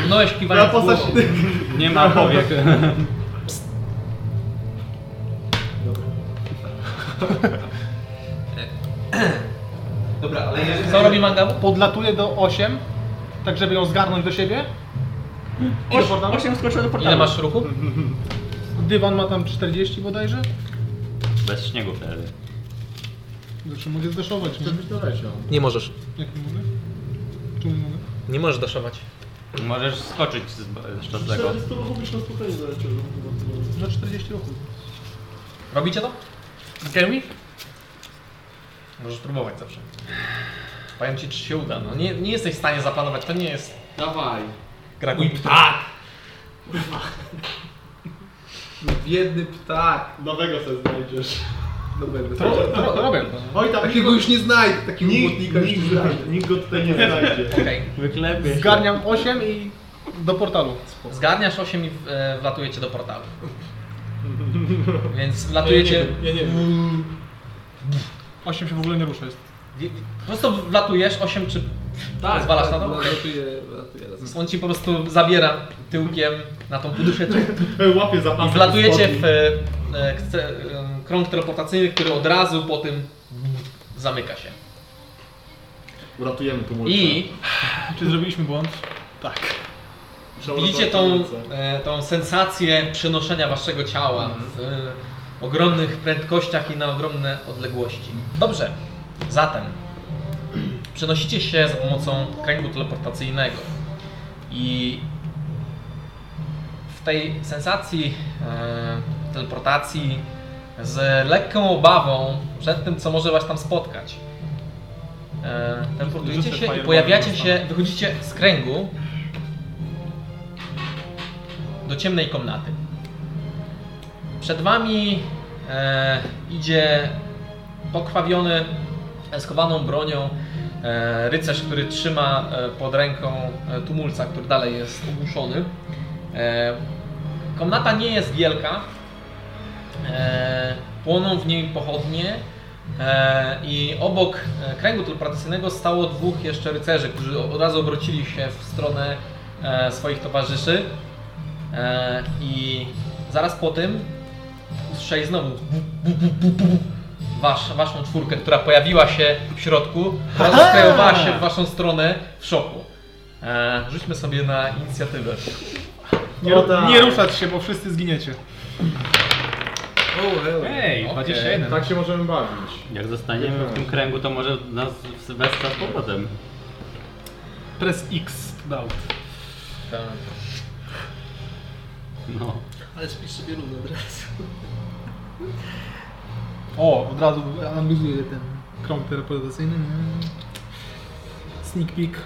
Brnąłeś Ja kiwając postać... głową. Nie ma powiek. Dobra, ale jeżeli... Co robi Mangabu? Podlatuję do 8, tak żeby ją zgarnąć do siebie. Osiem skoczyłem do portalu. Ile masz ruchu? Dywan ma tam 40 bodajże. Bez śniegu wtedy. Zresztą mogę zdeszować, nie? doleciał. Nie możesz. Jak nie mogę? Czemu nie mogę? Nie możesz daszować. Możesz skoczyć z, z szczotnego. 400 ruchów już na spokojnie doleciał. Za 40 ruchów. Robicie to? Z Gary? Możesz próbować zawsze. Powiem ci, czy się uda. No, nie, nie jesteś w stanie zaplanować, to nie jest Dawaj. gra Tak. Mój ptak! No biedny ptak. Nowego sobie znajdziesz. Dobra, To, to... to, to robię. Oj tam Takiego już nie znajdę, takiego nikt, błotnika już nie znajdę. nikt, nikt go tutaj nie znajdzie. Okej. Wyklepię Zgarniam 8 i do portalu. Zgarniasz 8 i e, wlatujecie do portalu. No Więc Ja wlatujecie... nie wiem, Ja nie wiem. 8 się w ogóle nie rusza jest. Po prostu wlatujesz 8 czy Tak, Pozwalasz na to? no, Ratuję, ratuję razem. On ci po prostu zabiera tyłkiem na tą poduszeczkę Łapie za i pasek wlatujecie spodni. w e, e, kce- e, krąg teleportacyjny, który od razu po tym zamyka się. Uratujemy tu I Czy zrobiliśmy błąd? Tak. Widzicie tą, e, tą sensację przenoszenia waszego ciała w e, ogromnych prędkościach i na ogromne odległości. Dobrze, zatem przenosicie się za pomocą kręgu teleportacyjnego i w tej sensacji e, teleportacji z lekką obawą przed tym, co może was tam spotkać. E, teleportujecie Rzucę się i fireballem pojawiacie na się, wychodzicie z kręgu do ciemnej komnaty. Przed wami e, idzie pokrwawiony, schowaną bronią e, rycerz, który trzyma e, pod ręką e, tumulca, który dalej jest ogłuszony. E, komnata nie jest wielka. E, płoną w niej pochodnie. E, I obok e, kręgu teleportacyjnego stało dwóch jeszcze rycerzy, którzy od razu obrócili się w stronę e, swoich towarzyszy. E, I zaraz po tym usłyszeli znowu bu, bu, bu, bu, bu, bu, wasz, waszą czwórkę, która pojawiła się w środku, rozkrajowała się w waszą stronę w szoku. E, rzućmy sobie na inicjatywę. Nie, O ru- tak. nie ruszać się, bo wszyscy zginiecie. O, hell. Ej, Okej. 21. Tak się możemy bawić. Jak zostaniemy w tym kręgu, to może nas wesprze z powrotem. Press X dał. No. Ale spisz sobie równo od razu. O, od razu analizuję ten krąg teleportacyjny. Mm. Sneak peek.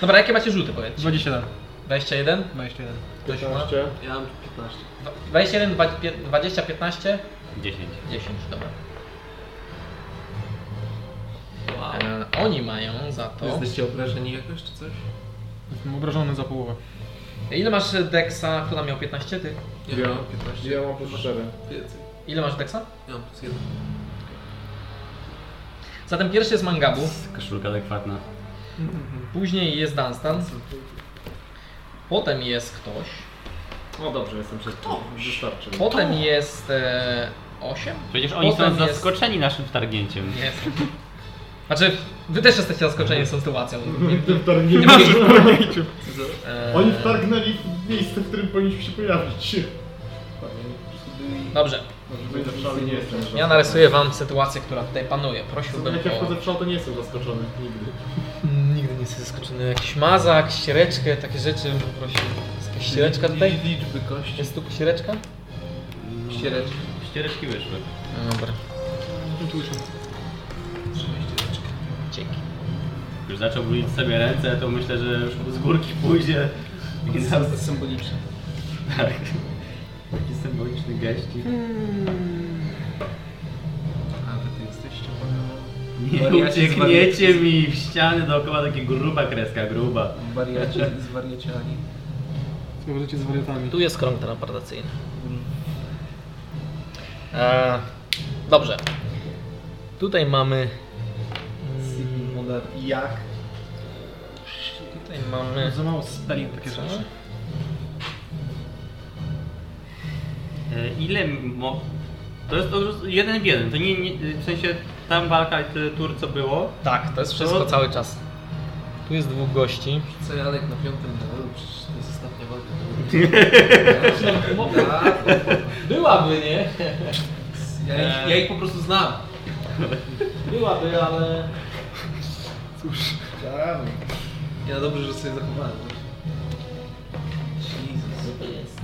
Dobra, jakie macie rzuty, powiedzcie? 27. 21? 21. Ktoś ma? 15. Ja mam 15. Dwa- 21, dwa- pie- 20, 15, 10. 10, dobra. E, oni mają za to. Jesteście obrażeni jakoś czy coś? Jestem obrażony za połowę. Ile masz Dexa? Kto tam miał 15? Ty? Ja, Ja. mam 15. Ja mam plus 4. Więcej. Ile masz Dexa? Ja mam plus 1. Zatem pierwszy jest Mangabu, Koszulka adekwatna. później jest Dunstan, potem jest ktoś, O dobrze, jestem przed Wystarczy. potem jest e, 8? Przecież oni Potem są jest- zaskoczeni naszym wtargnięciem. Jest. Znaczy, wy też jesteście zaskoczeni tą sytuacją. Wtargnęli. E, Oni wtargnęli w miejsce, w którym powinniśmy się pojawić. E, Dobrze, Dobrze, wejdę w szale nie jestem. ja narysuję wam sytuację, która tutaj panuje. Prosiłbym Jak ja o... wchodzę w szale, to nie jestem zaskoczony. Nigdy. Nigdy nie jestem zaskoczony. Jakiś mazak, ściereczkę, takie rzeczy bym prosił. Jest jakaś ściereczka tutaj? Liczby kości. Jest tu ściereczka? Ściereczki. No, Ściereczki wyszły. No Dobra, Trzymaj ściereczkę. dzięki. Już zaczął bulić sobie ręce, to myślę, że już z górki pójdzie. I zaraz jest symboliczne. tak. Taki symboliczny geścik. Ale ty jesteś ściągnięty. Nie Wariaci z uciekniecie mi w ściany dookoła, taka gruba kreska, gruba. Wariacie z wariaciami. Możecie z wariatami. Tu jest krąg teleportacyjny. E, Dobrze. Tutaj mamy... mm, Sigmund Jak? tutaj mamy... Za mało spelling takie rzeczy. E, Ile mo... To jest to już jeden w jeden, to nie, nie w sensie tam walka i tyle tur co było. Tak, to jest wszystko To- cały czas. Tu jest dwóch gości. Co Janek na piątym levelu? Przecież to jest ostatnia walka. Tak. Byłaby, nie? Ja, ich, ja ich po prostu znam. Byłaby, ale... Ja dobrze, że sobie zachowałem. Jezus. Co to jest?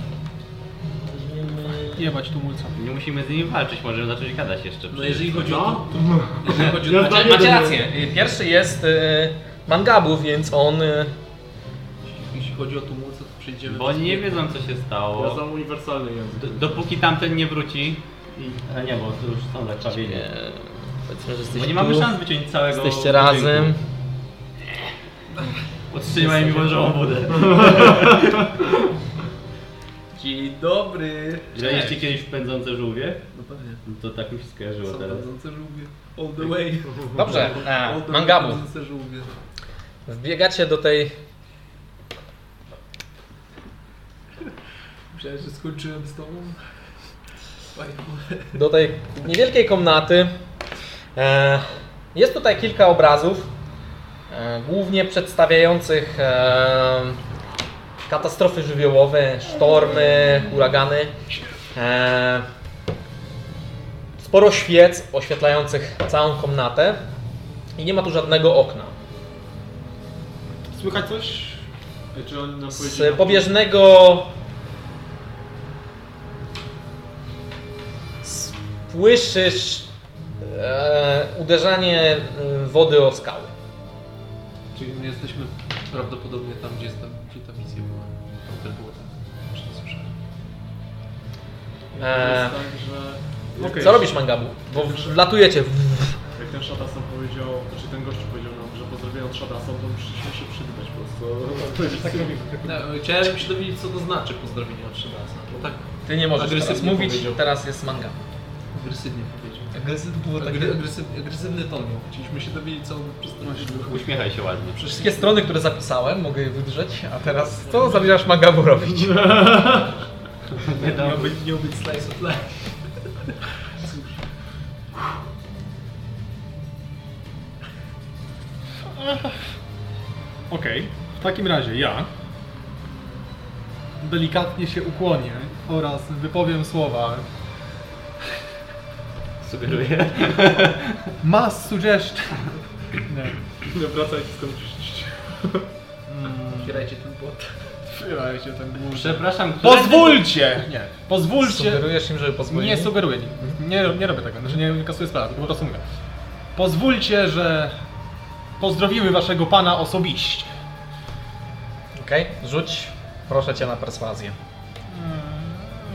Weźmiemy... Jebać tumulca. Nie musimy z nimi walczyć, możemy zacząć gadać jeszcze. No przecież. jeżeli chodzi o No. to, jeżeli chodzi Ja o to, zdaję- Macie, macie rację. Y, Pierwszy jest y, Mangabu, więc on... y, jeśli chodzi o tumulce, to przejdziemy... Bo oni nie wiedzą co się Ja stało. znam uniwersalny język. D- dopóki tamten nie wróci. I... A nie, bo to już są zakrwawieni. Nie. Powiedzmy, że jesteś Bo nie mamy tu. szans wyciąć całego. Jesteście razem. budynku. Otrzymaj mi wążową wodę. Dzień dobry. Graliście kiedyś w pędzące żółwie? No pewnie. No to tak mi się skojarzyło Są teraz. pędzące żółwie. All the way. Dobrze, All the e, way znaczy, mangabu. Pędzące żółwie. Wbiegacie do tej Myślałem, że skończyłem z tobą. Fajnie. do tej niewielkiej komnaty. E, Jest tutaj kilka obrazów, e, głównie przedstawiających e, katastrofy żywiołowe, sztormy, huragany. E, Sporo świec oświetlających całą komnatę i nie ma tu żadnego okna. Słychać coś? E, Czy on nam powiedział? Z pobieżnego słyszysz e, uderzanie e, mm, wody o skały. Czyli my jesteśmy prawdopodobnie tam, gdzie, jest ta, gdzie ta misja była. Tam też było tak. Już to słyszałem. E, Jest tak, że... Okej. co robisz, Mangabu? Bo latujecie. Jak ten Shadason powiedział, znaczy ten gościu powiedział nam, że pozdrowienia od Shadason, to musieliśmy się przywitać po prostu. Powiedzieć tak No, chciałem się dowiedzieć, co to znaczy pozdrowienie od Szydasa. Bo tak Ty nie możesz Agresywnie teraz mówić, powiedział. teraz jest manga. agresywnie powiedział. Agresywnie było Agry, agresyw, agresywny ton miał. Chcieliśmy się dowiedzieć, co on przez to myśli. Uśmiechaj się ładnie. Wszystkie strony, które zapisałem, mogę je wydrzeć, a teraz co zamierzasz mangabu robić? Miał być, miał być slice of life. Cóż. Okej, w takim razie ja delikatnie się ukłonię oraz wypowiem słowa Sugeruję. Mass suggestion. Nie. Nie wracajcie z tym Otwierajcie ten błot. Otwierajcie ten głód. Przepraszam, które- Pozwólcie! Nie, pozwólcie. Sugerujesz im, żeby pozwolili? Nie sugeruję, nie, nie, nie robię tego, znaczy nie kasuję sprawy, tylko po prostu mówię. Pozwólcie, że pozdrowiły waszego pana osobiście. Okej, rzuć proszę cię na perswazję.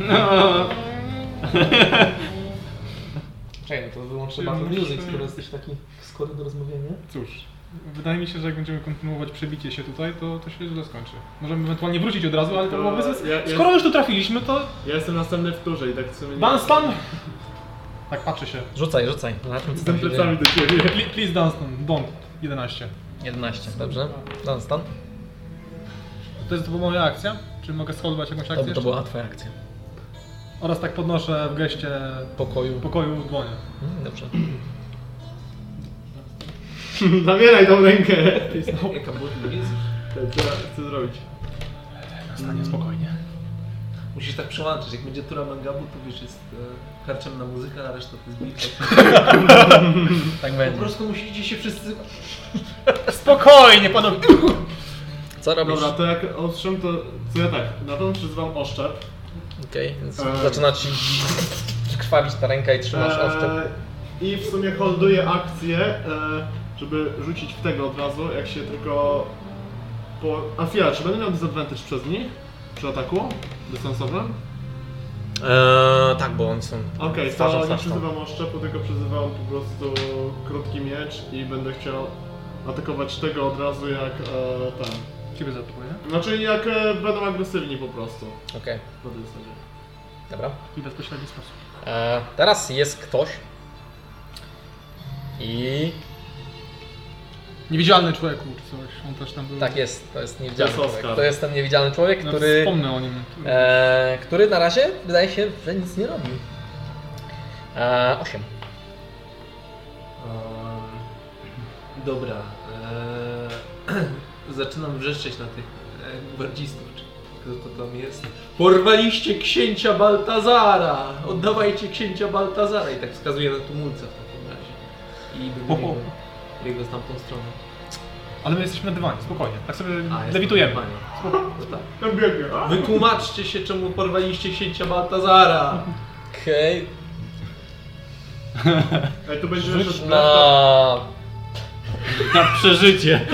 No. Czekaj, no to wyłączę battle music, skoro jesteś taki skory do rozmawiania. Cóż, wydaje mi się, że jak będziemy kontynuować przebicie się tutaj, to to się źle skończy. Możemy ewentualnie wrócić od razu, ale to To byłoby bez... ja- ja- Skoro już tu trafiliśmy, to Ja jestem następny w turze i tak w sumie nie... Dunstan... Tak, patrzy się. Rzucaj, rzucaj. Zobaczmy, co Jestem tam się dzieje. plecami do ciebie. Please, please Dunstan, don't. 11. 11, dobrze. Dunstan? Tak, To jest to była moja akcja? Czy mogę schodować jakąś To, akcję to jeszcze? była twoja akcja. Oraz tak podnoszę w geście Pokoju. pokoju dłonie. Mm, Dobrze. Zabieraj tą rękę. Jaka błotna jest? Co ja chcę zrobić? Stanie spokojnie. Musisz tak przełączyć. Jak będzie tura mangabu, to wiesz, jest e, karczem na muzykę, a reszta to jest bitwa. Tak Po będzie. prostu musicie się wszyscy... Spokojnie, panowie! Co robisz? Dobra, to jak ostrzem, to co ja tak, na tą przyzwam oszczep. Okej, więc Eee. zaczyna ci krwawić ta ręka i trzymasz oszczep. Eee, I w sumie holduję akcję, eee, żeby rzucić w tego od razu, jak się tylko... Po... A chwila, czy będę miał disadvantage przez nich? Przy ataku? Dystansowym? Eee, tak, bo oni są. Okej, twarzą to nie w twarz są. przyzywam oszczepu, tylko przyzywam po prostu krótki miecz i będę chciał atakować tego od razu jak e, ten. Ciebie zaatakuję. Znaczy jak e, będą agresywni po prostu. Okej, Na tej zasadzie. dobra. I w bezpośredni sposób. E, teraz jest ktoś. I Niewidzialny człowiek czy coś, on też tam był. tak jest, to jest niewidzialny To jest człowiek. Oskar. No, To jest ten niewidzialny człowiek, Nawet który, Wspomnę o nim. e, który na razie wydaje się, że nic nie robi. E, 8. Ehm, dobra. eee, zaczynam wrzeszczeć na tych e, gwardzistów, czy kto to tam jest. Porwaliście księcia Baltazara! Oddawajcie księcia Baltazara! I tak wskazuje na tumulca w takim razie. I wybiegłem jego z tamtą stroną. Ale my jesteśmy na dywanie, spokojnie. Tak sobie A, jest lewitujemy. panie. No tak. Ja biegnie, a? Wytłumaczcie się, czemu porwaliście księcia Baltazara! Okej, Ej, to będzie rzuć jeszcze na Na przeżycie.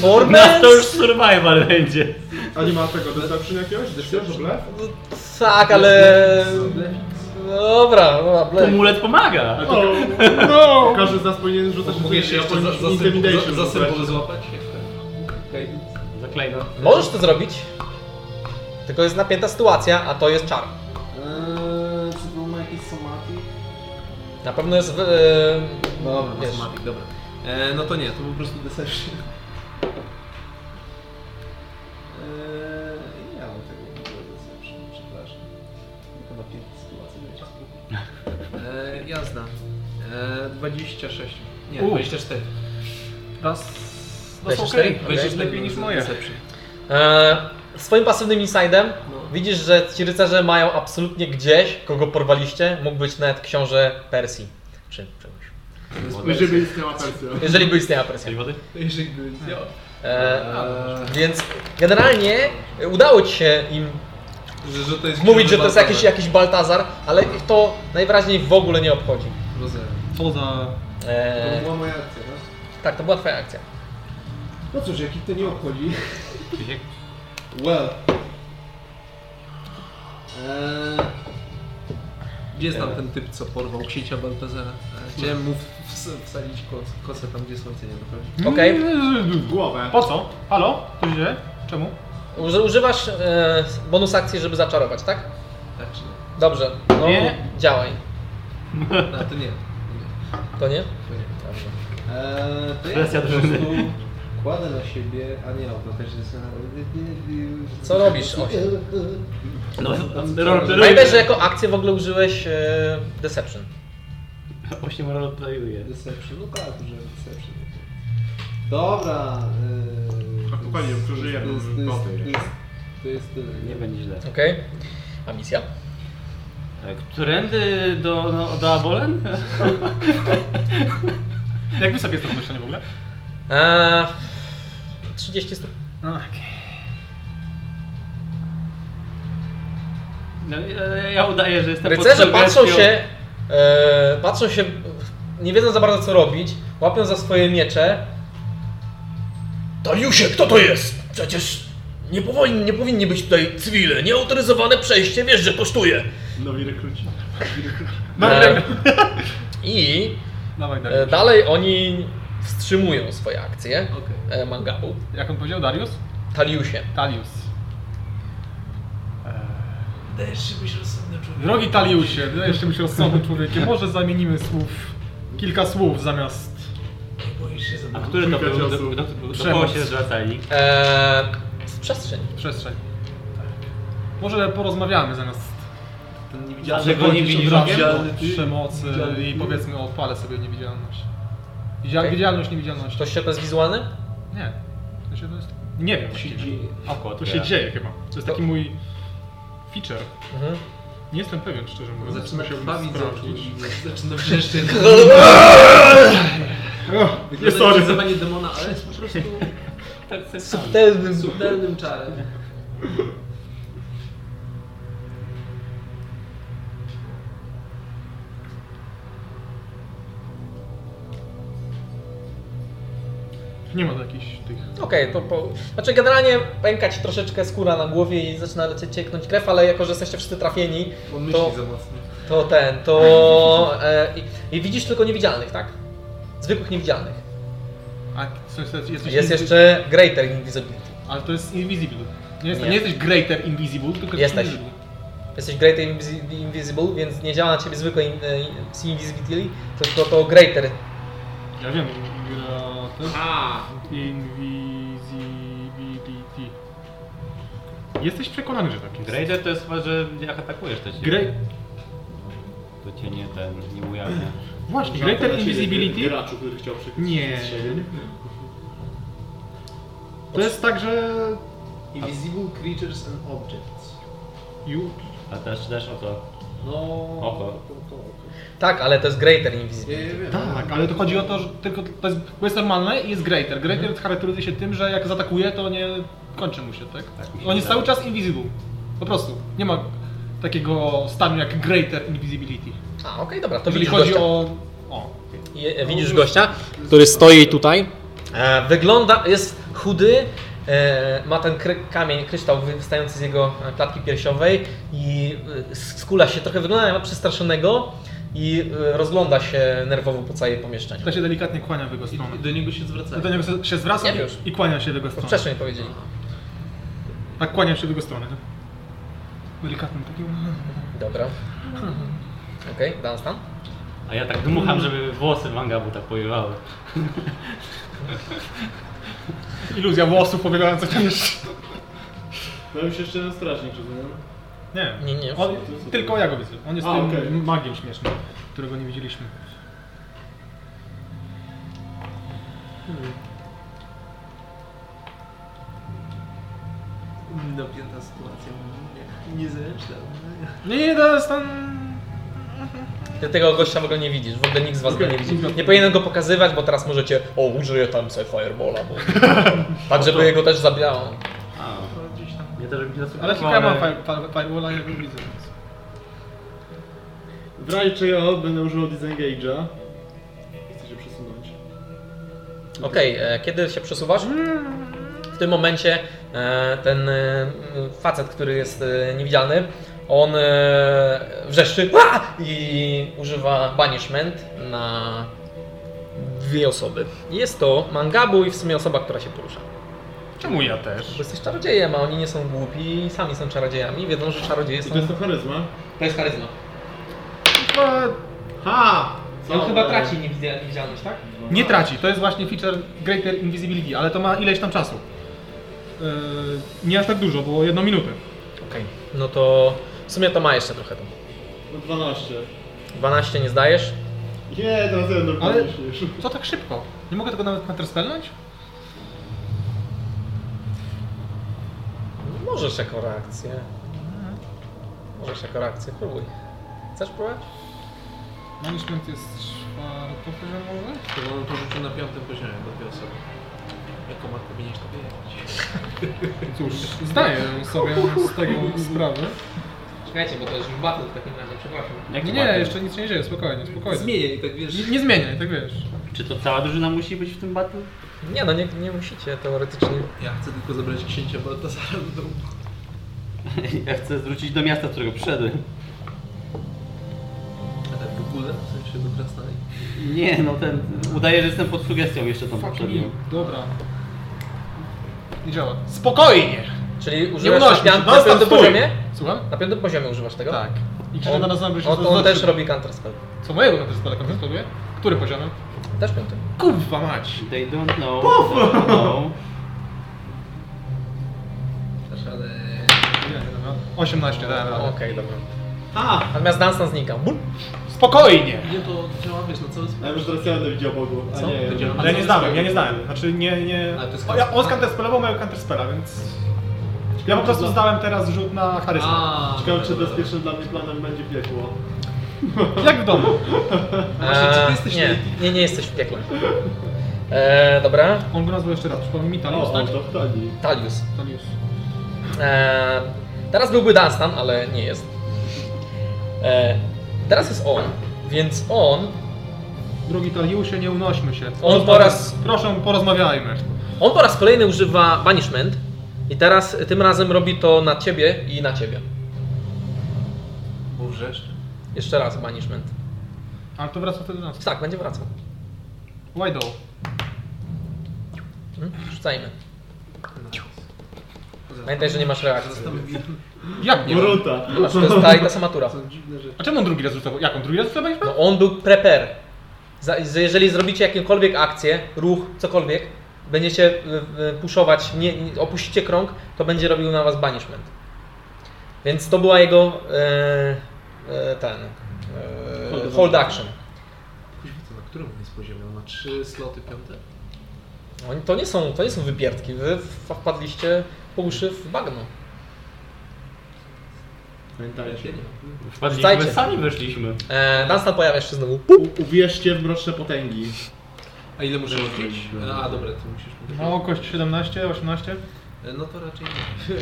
formę. To już survival będzie. A nie ma tego deception jakiegoś? Deception? Blef? Tak, ale... Dobra, no, dobra, blef. Amulet pomaga. O, no! Każdy z nas powinien rzucać Mogę się jeszcze za, za, intimidation. symbol, za, za rzucać. symbol złapać? Jak tak? Okej. Zaklejno. Możesz to zrobić. Tylko jest napięta sytuacja, a to jest czar. Eee, czy to ma jakiś somatik? Na pewno jest. w- e, Dobra, ma wiesz, somatik, dobra. Eee, no to nie, to po prostu deception. Eee, nie mam E, tego w ogóle deception, przepraszam. Chyba pięć sytuacji będzie spokój. Eee, jazda. Eee, 26. Nie, U. 24. Raz. No są 24? okej, Okej, będziesz to lepiej niż jest moje. deception. e, swoim pasywnym insidem No. widzisz, że ci rycerze mają absolutnie gdzieś, kogo porwaliście. Mógł być nawet książę Persji. Czy czegoś. Żeby istniała Persja. Jeżeli by istniała Persja. Coś wody? Jeżeli by działa. E, Eee, więc generalnie udało ci się im że, że to jest mówić, że to jest jakiś, Baltazar. jakiś Baltazar, ale ich to najwyraźniej w ogóle nie obchodzi. Rozumiem. Co za... E, To była moja akcja, tak? tak, to była twoja akcja. No cóż, jak ich to nie obchodzi. Krzysiek? Well. Eee, Gdzie jest tam ten typ, co porwał księcia Baltazara? E, Chciałem mu w- ws- wsadzić kos, kosę tam, gdzie słońce nie dochodzi. Okej. Mm, głowę. Po co? Halo? To źle? Czemu? Uży- Używasz e, bonus akcji, żeby zaczarować, tak? Tak czy nie? Dobrze. No, Nie. działaj. No, to nie. To nie? To nie. Dobrze. Eee, to Presja drużyny. kładę na siebie, a nie, to też jest... Co robisz, Osiem? No, Pamiętaj, że jako akcję w ogóle użyłeś e, Deception. Osiem roleplayuje. Deception, no tak, że deception. Dobra. A kupali ją, którzy jadą To jest tyle. Nie będzie źle. Okej. A misja? E, Którędy do, no, do Abolen? Jak wysokie jest to pomieszczenie w ogóle? E, 30 stóp. No, e, ja udaję, że jestem Rycerze pod patrzą sugestią. się, e, patrzą się, nie wiedzą za bardzo co robić, łapią za swoje miecze. Dariusie, kto to jest? Przecież nie, powinni, nie powinni być tutaj cywile, nieautoryzowane przejście, wiesz, że kosztuje. Nowi rekruci. E, I Dawaj, e, Dariusz. dalej oni wstrzymują swoje akcje Okej. e, mangabu. Jak on powiedział? Darius? Taliusie, Talius. E, Dajesz się być rozsądny człowiek. Drogi Taliusie, ty jeszcze być rozsądnym człowiekiem. Może zamienimy słów. Kilka słów zamiast... Boisz się za A który to był? Do, do, do, do kogo Przemoc. się zwracali? e, w przestrzeń. Przestrzeń. Tak. Może porozmawiamy zamiast Ten nie widziałem. Dlaczego nie Chodzisz widzi od razu rokiem? do Widzialny ty. przemocy Widzialny i ty. powiedzmy odpalę sobie niewidzialność. Widzial, Okej. Widzialność, niewidzialność. Ktoś się bezwizualny? Nie. To się to jest... Nie wiem. właściwie. Oko To się dzieje chyba. To jest taki To- mój feature. Mhm. Nie jestem pewien, szczerze mówiąc. Zaczyna Musiałbym krwawić z oczu sprawdzić. i zaczyna wrzeszczeć. Jest Wygląda sorry. jak zawanie demona, ale jest po prostu Subtelny. subtelnym czarem. Nie ma jakichś tych... Okej, to po... Znaczy generalnie pęka ci troszeczkę skóra na głowie i zaczyna lecieć cieknąć krew, ale jako, że jesteście wszyscy trafieni, On myśli to, za mocno. to ten, to... E, i, I widzisz tylko niewidzialnych, tak? Zwykłych niewidzialnych. A co jest, jest, coś Jest inwi- jeszcze Greater Invisibility. Ale to jest invisible. Nie, jest, Nie. nie. jesteś greater invisible, tylko Jesteś. invisible. Jesteś Greater Invis- Invisible, więc nie działa na ciebie zwykłe in, e, Invisibility, tylko to Greater. Ja wiem. Greater invisibility. Jesteś przekonany, że tak jest. Grader to jest chyba, że jak atakujesz to cię. Grey... To cię nie ten, nie ujawnia. Właśnie, Greater Invisibility? Graczu, który chciał przykryć Nie. strzelbę. To jest tak, że... Invisible creatures and objects. You... A też, też o to. No... Oko. To, to, to. Tak, ale to jest Greater Ja, ja Invisibility. wiem. Tak, ale to chodzi o to, że tylko to jest, bo jest normalne i jest Greater. Greater Mhm. charakteryzuje się tym, że jak zaatakuje, to nie kończy mu się, tak? Tak mi się On jest wydaje. cały czas invisible. Po prostu. Nie ma takiego stanu jak Greater Invisibility. A, okej, dobra, to Jeżeli widzisz chodzi gościa. o... O. Je- e, Widzisz gościa, który stoi tutaj. E, Wygląda, jest chudy, e, ma ten kry, kamień, kryształ wystający z jego e, klatki piersiowej i e, skula się, trochę wygląda jak przestraszonego i e, rozgląda się nerwowo po całej pomieszczeniu. To się delikatnie kłania w jego stronę. I Do niego się zwracają. Do niego się zwraca Nie wiesz. i kłania się w jego stronę. Wcześniej powiedzieli. Tak, kłania się w jego stronę. Delikatnym takim. Dobra. Okej, okay, Dunstan. A ja tak dmucham, żeby włosy tak mangabuta powiewały. Iluzja włosów pobiegających tam jeszcze. Miałem się No jeszcze jeden strażnik, rozumiem? Nie, Nie, nie. On, tylko ja go widzę. On jest A, tym okej. magiem śmiesznym, którego nie widzieliśmy. Napięta sytuacja, no nie- no niezręczna. Nie, nie, to jest tam... Ty tego gościa w ogóle nie widzisz, w ogóle nikt z was go Okej, nie widzi. dobra. Nie powinienem go pokazywać, bo teraz możecie, o użyję tam sobie firebola, bo... tak żeby jego też zabijało. A, ja też bym nie zasłuchał. Ale tylko ja mam fire- fire- firewalla, ja go widzę. więc- W razie czego będę używał disengage'a. Chcę się przesunąć. Okej, e, kiedy się przesuwasz? W tym momencie e, ten e, facet, który jest e, niewidzialny, on e, wrzeszczy "Ua!" i używa banishment na dwie osoby. Jest to Mangabu i w sumie osoba, która się porusza. Czemu ja też? Bo jesteś czarodziejem, a oni nie są głupi, sami są czarodziejami, wiedzą, że czarodzieje I są... to jest to charyzma? To jest charyzma. No, Ha! On chyba Dobra. traci niewidzia- niewidzialność, tak? nie traci, to jest właśnie feature Greater Invisibility, ale to ma ileś tam czasu. Yy, nie aż tak dużo, było jedną minutę. Okej. No to w sumie to ma jeszcze trochę tam. No 12. 12 nie zdajesz? Nie, teraz jeden Ale- normalnie śmiesz. Co tak szybko? Nie mogę tego nawet counterspellnąć? Możesz jako reakcję. Możesz jako reakcję, próbuj. Chcesz próbować? Management jest czwarty poziomowy? Chyba on to rzucił na piątym poziomie do dwie osoby. Jako ma powinieneś to wiedzieć. Cóż, zdaję sobie z tego sprawę. Czekajcie, bo to jest już battle w takim razie, przepraszam. Jak Nie, to nie, battle? jeszcze nic się nie dzieje, spokojnie, spokojnie. Zmienię i tak wiesz. Nie, nie zmieniaj, tak wiesz. Czy to cała drużyna musi być w tym battle? Nie no, nie, nie musicie teoretycznie. Ja chcę tylko zabrać księcia Baltazara do domu. Ja chcę wrócić do miasta, z którego przyszedłem. A tak w ogóle? W sensie do krasnali. Nie, no ten... Udaje, że jestem pod sugestią jeszcze tą Fuck poprzednią. me. Dobra. Nie działa. Spokojnie! Czyli Nie używasz na, unośmy się, piąt, na dostaw, piątym stój! poziomie? Słucham? Na piątym poziomie używasz tego? Tak. I krzyczy On, na nas na wyższy, on, to on też znaczy- robi counterspell. Co mojego counterspella counterspelluje? Który poziomem? Też piątym. Kurwa mać! They don't know. Puf! They don't know. Też, ale... Nie, dobra. 18, dałem Okej, radę. dobra. A! Natomiast Dunstan znika. Bum! Spokojnie! Nie, to działa, wiesz, na cały A sposób. ja już teraz ja będę widział Bogu. A Co? nie, ja To działa. Ale ja nie znałem, ja nie znałem. Znaczy nie, nie... Ale to O, jest ja, on counterspell. counterspellował mojego counterspella, więc... Ja po prostu zdałem teraz rzut na charyzmę. A, Ciekawe, czy dobra, dobra. bezpiecznym dla mnie planem będzie piekło. Jak w domu. Właśnie, czy ty Eee, jesteś nie, nie, nie jesteś w piekle. Eee, dobra. On go nazwał jeszcze raz, przypomnij mi Talius, O, tak? o, to w tani. Talius. Talius. Eee, teraz byłby Dunstan, ale nie jest. Eee, teraz jest on, więc on. Drogi Taliusie, nie unośmy się. On Rozmawiaj- po raz- Proszę, porozmawiajmy. On po raz kolejny używa banishment. I teraz tym razem robi to na ciebie i na ciebie. Bo wrzeszczy. Jeszcze raz banishment. Ale to wraca wtedy do nas. Tak, będzie wracał. Wajdo. Hmm? Rzucajmy. Nice. Pamiętaj, że nie masz reakcji. Zastanowiłem, Jak nie? mam? Moruta! Masz, to jest ta i ta sama tura. są dziwne rzeczy. A czemu on drugi raz rzucał? Jak on drugi raz rzucał banishment? No, on był prepper. Za, z- jeżeli zrobicie jakąkolwiek akcję, ruch, cokolwiek, będziecie y, y, puszować, nie, nie- opuścicie krąg, to będzie robił na was banishment. Więc to była jego e, e, ten e, Hold hold on. action. Kurwa, na którym on jest poziomie? On ma trzy sloty piąte? Oni, to, nie są, to nie są wypierdki, wy wpadliście po uszy w bagno. Pamiętajcie. Wpadliśmy, Wstajcie. sami weszliśmy. E, Dunstan pojawia się znowu. U- Uwierzcie w mroczne potęgi. A ile muszę rzucić? zrobiliśmy. A, dobra, ty musisz mówić. No, kość 17, 18. E, No to raczej nie.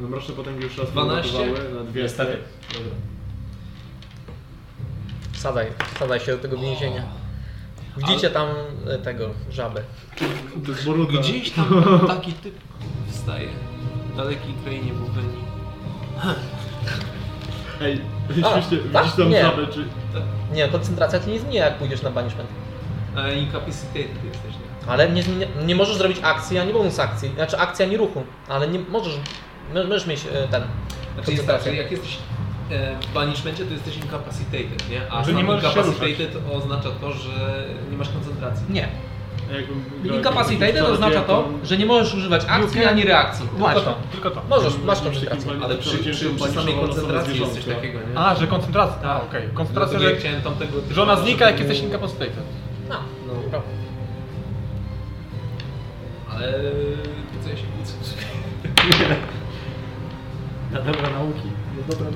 No mroczne potęgi już raz 12? wylądowały na dwie Niestety. Dobra. Wsadzaj, wsadzaj się do tego więzienia. Widzicie tam e, tego, żabę. To jest Boruta. Tak. Gdzieś tam taki typ wstaje. W dalekiej krainie Bucheni. Ej, A, rzeczywiście, tak? widzisz tam Nie. żabę, czy... Nie, koncentracja ci nie zmienia, jak pójdziesz na banishment. A incapacitated jesteś, nie? Ale nie, zmienia, nie możesz zrobić akcji ani bonus akcji, znaczy akcji ani ruchu, ale nie możesz, możesz mieć e, ten Znaczy, jest tak, koncentrację. że jak jesteś e, w banishmencie, to jesteś incapacitated, nie? A Że sam nie możesz się incapacitated oznacza to, że nie masz koncentracji. Nie. A jakbym grał Incapacitated jakimś oznacza to, wczoraj, że nie możesz używać akcji ani reakcji. Tylko Właśnie, to. tylko to. Możesz, masz jakimś takim koncentrację. walnym Ale przy, przy, przecięciu przy samej paniczowałem koncentracji sobie jest coś zwierzątka. takiego, nie? No A, że koncentracja. A, Tak. okej. Dlatego Koncentracja, ja że chciałem tamtego... typa, żona znika, jak żeby- jesteś incapacitated. No, No, ale... Co ja się kłócę? Na dobra nauki.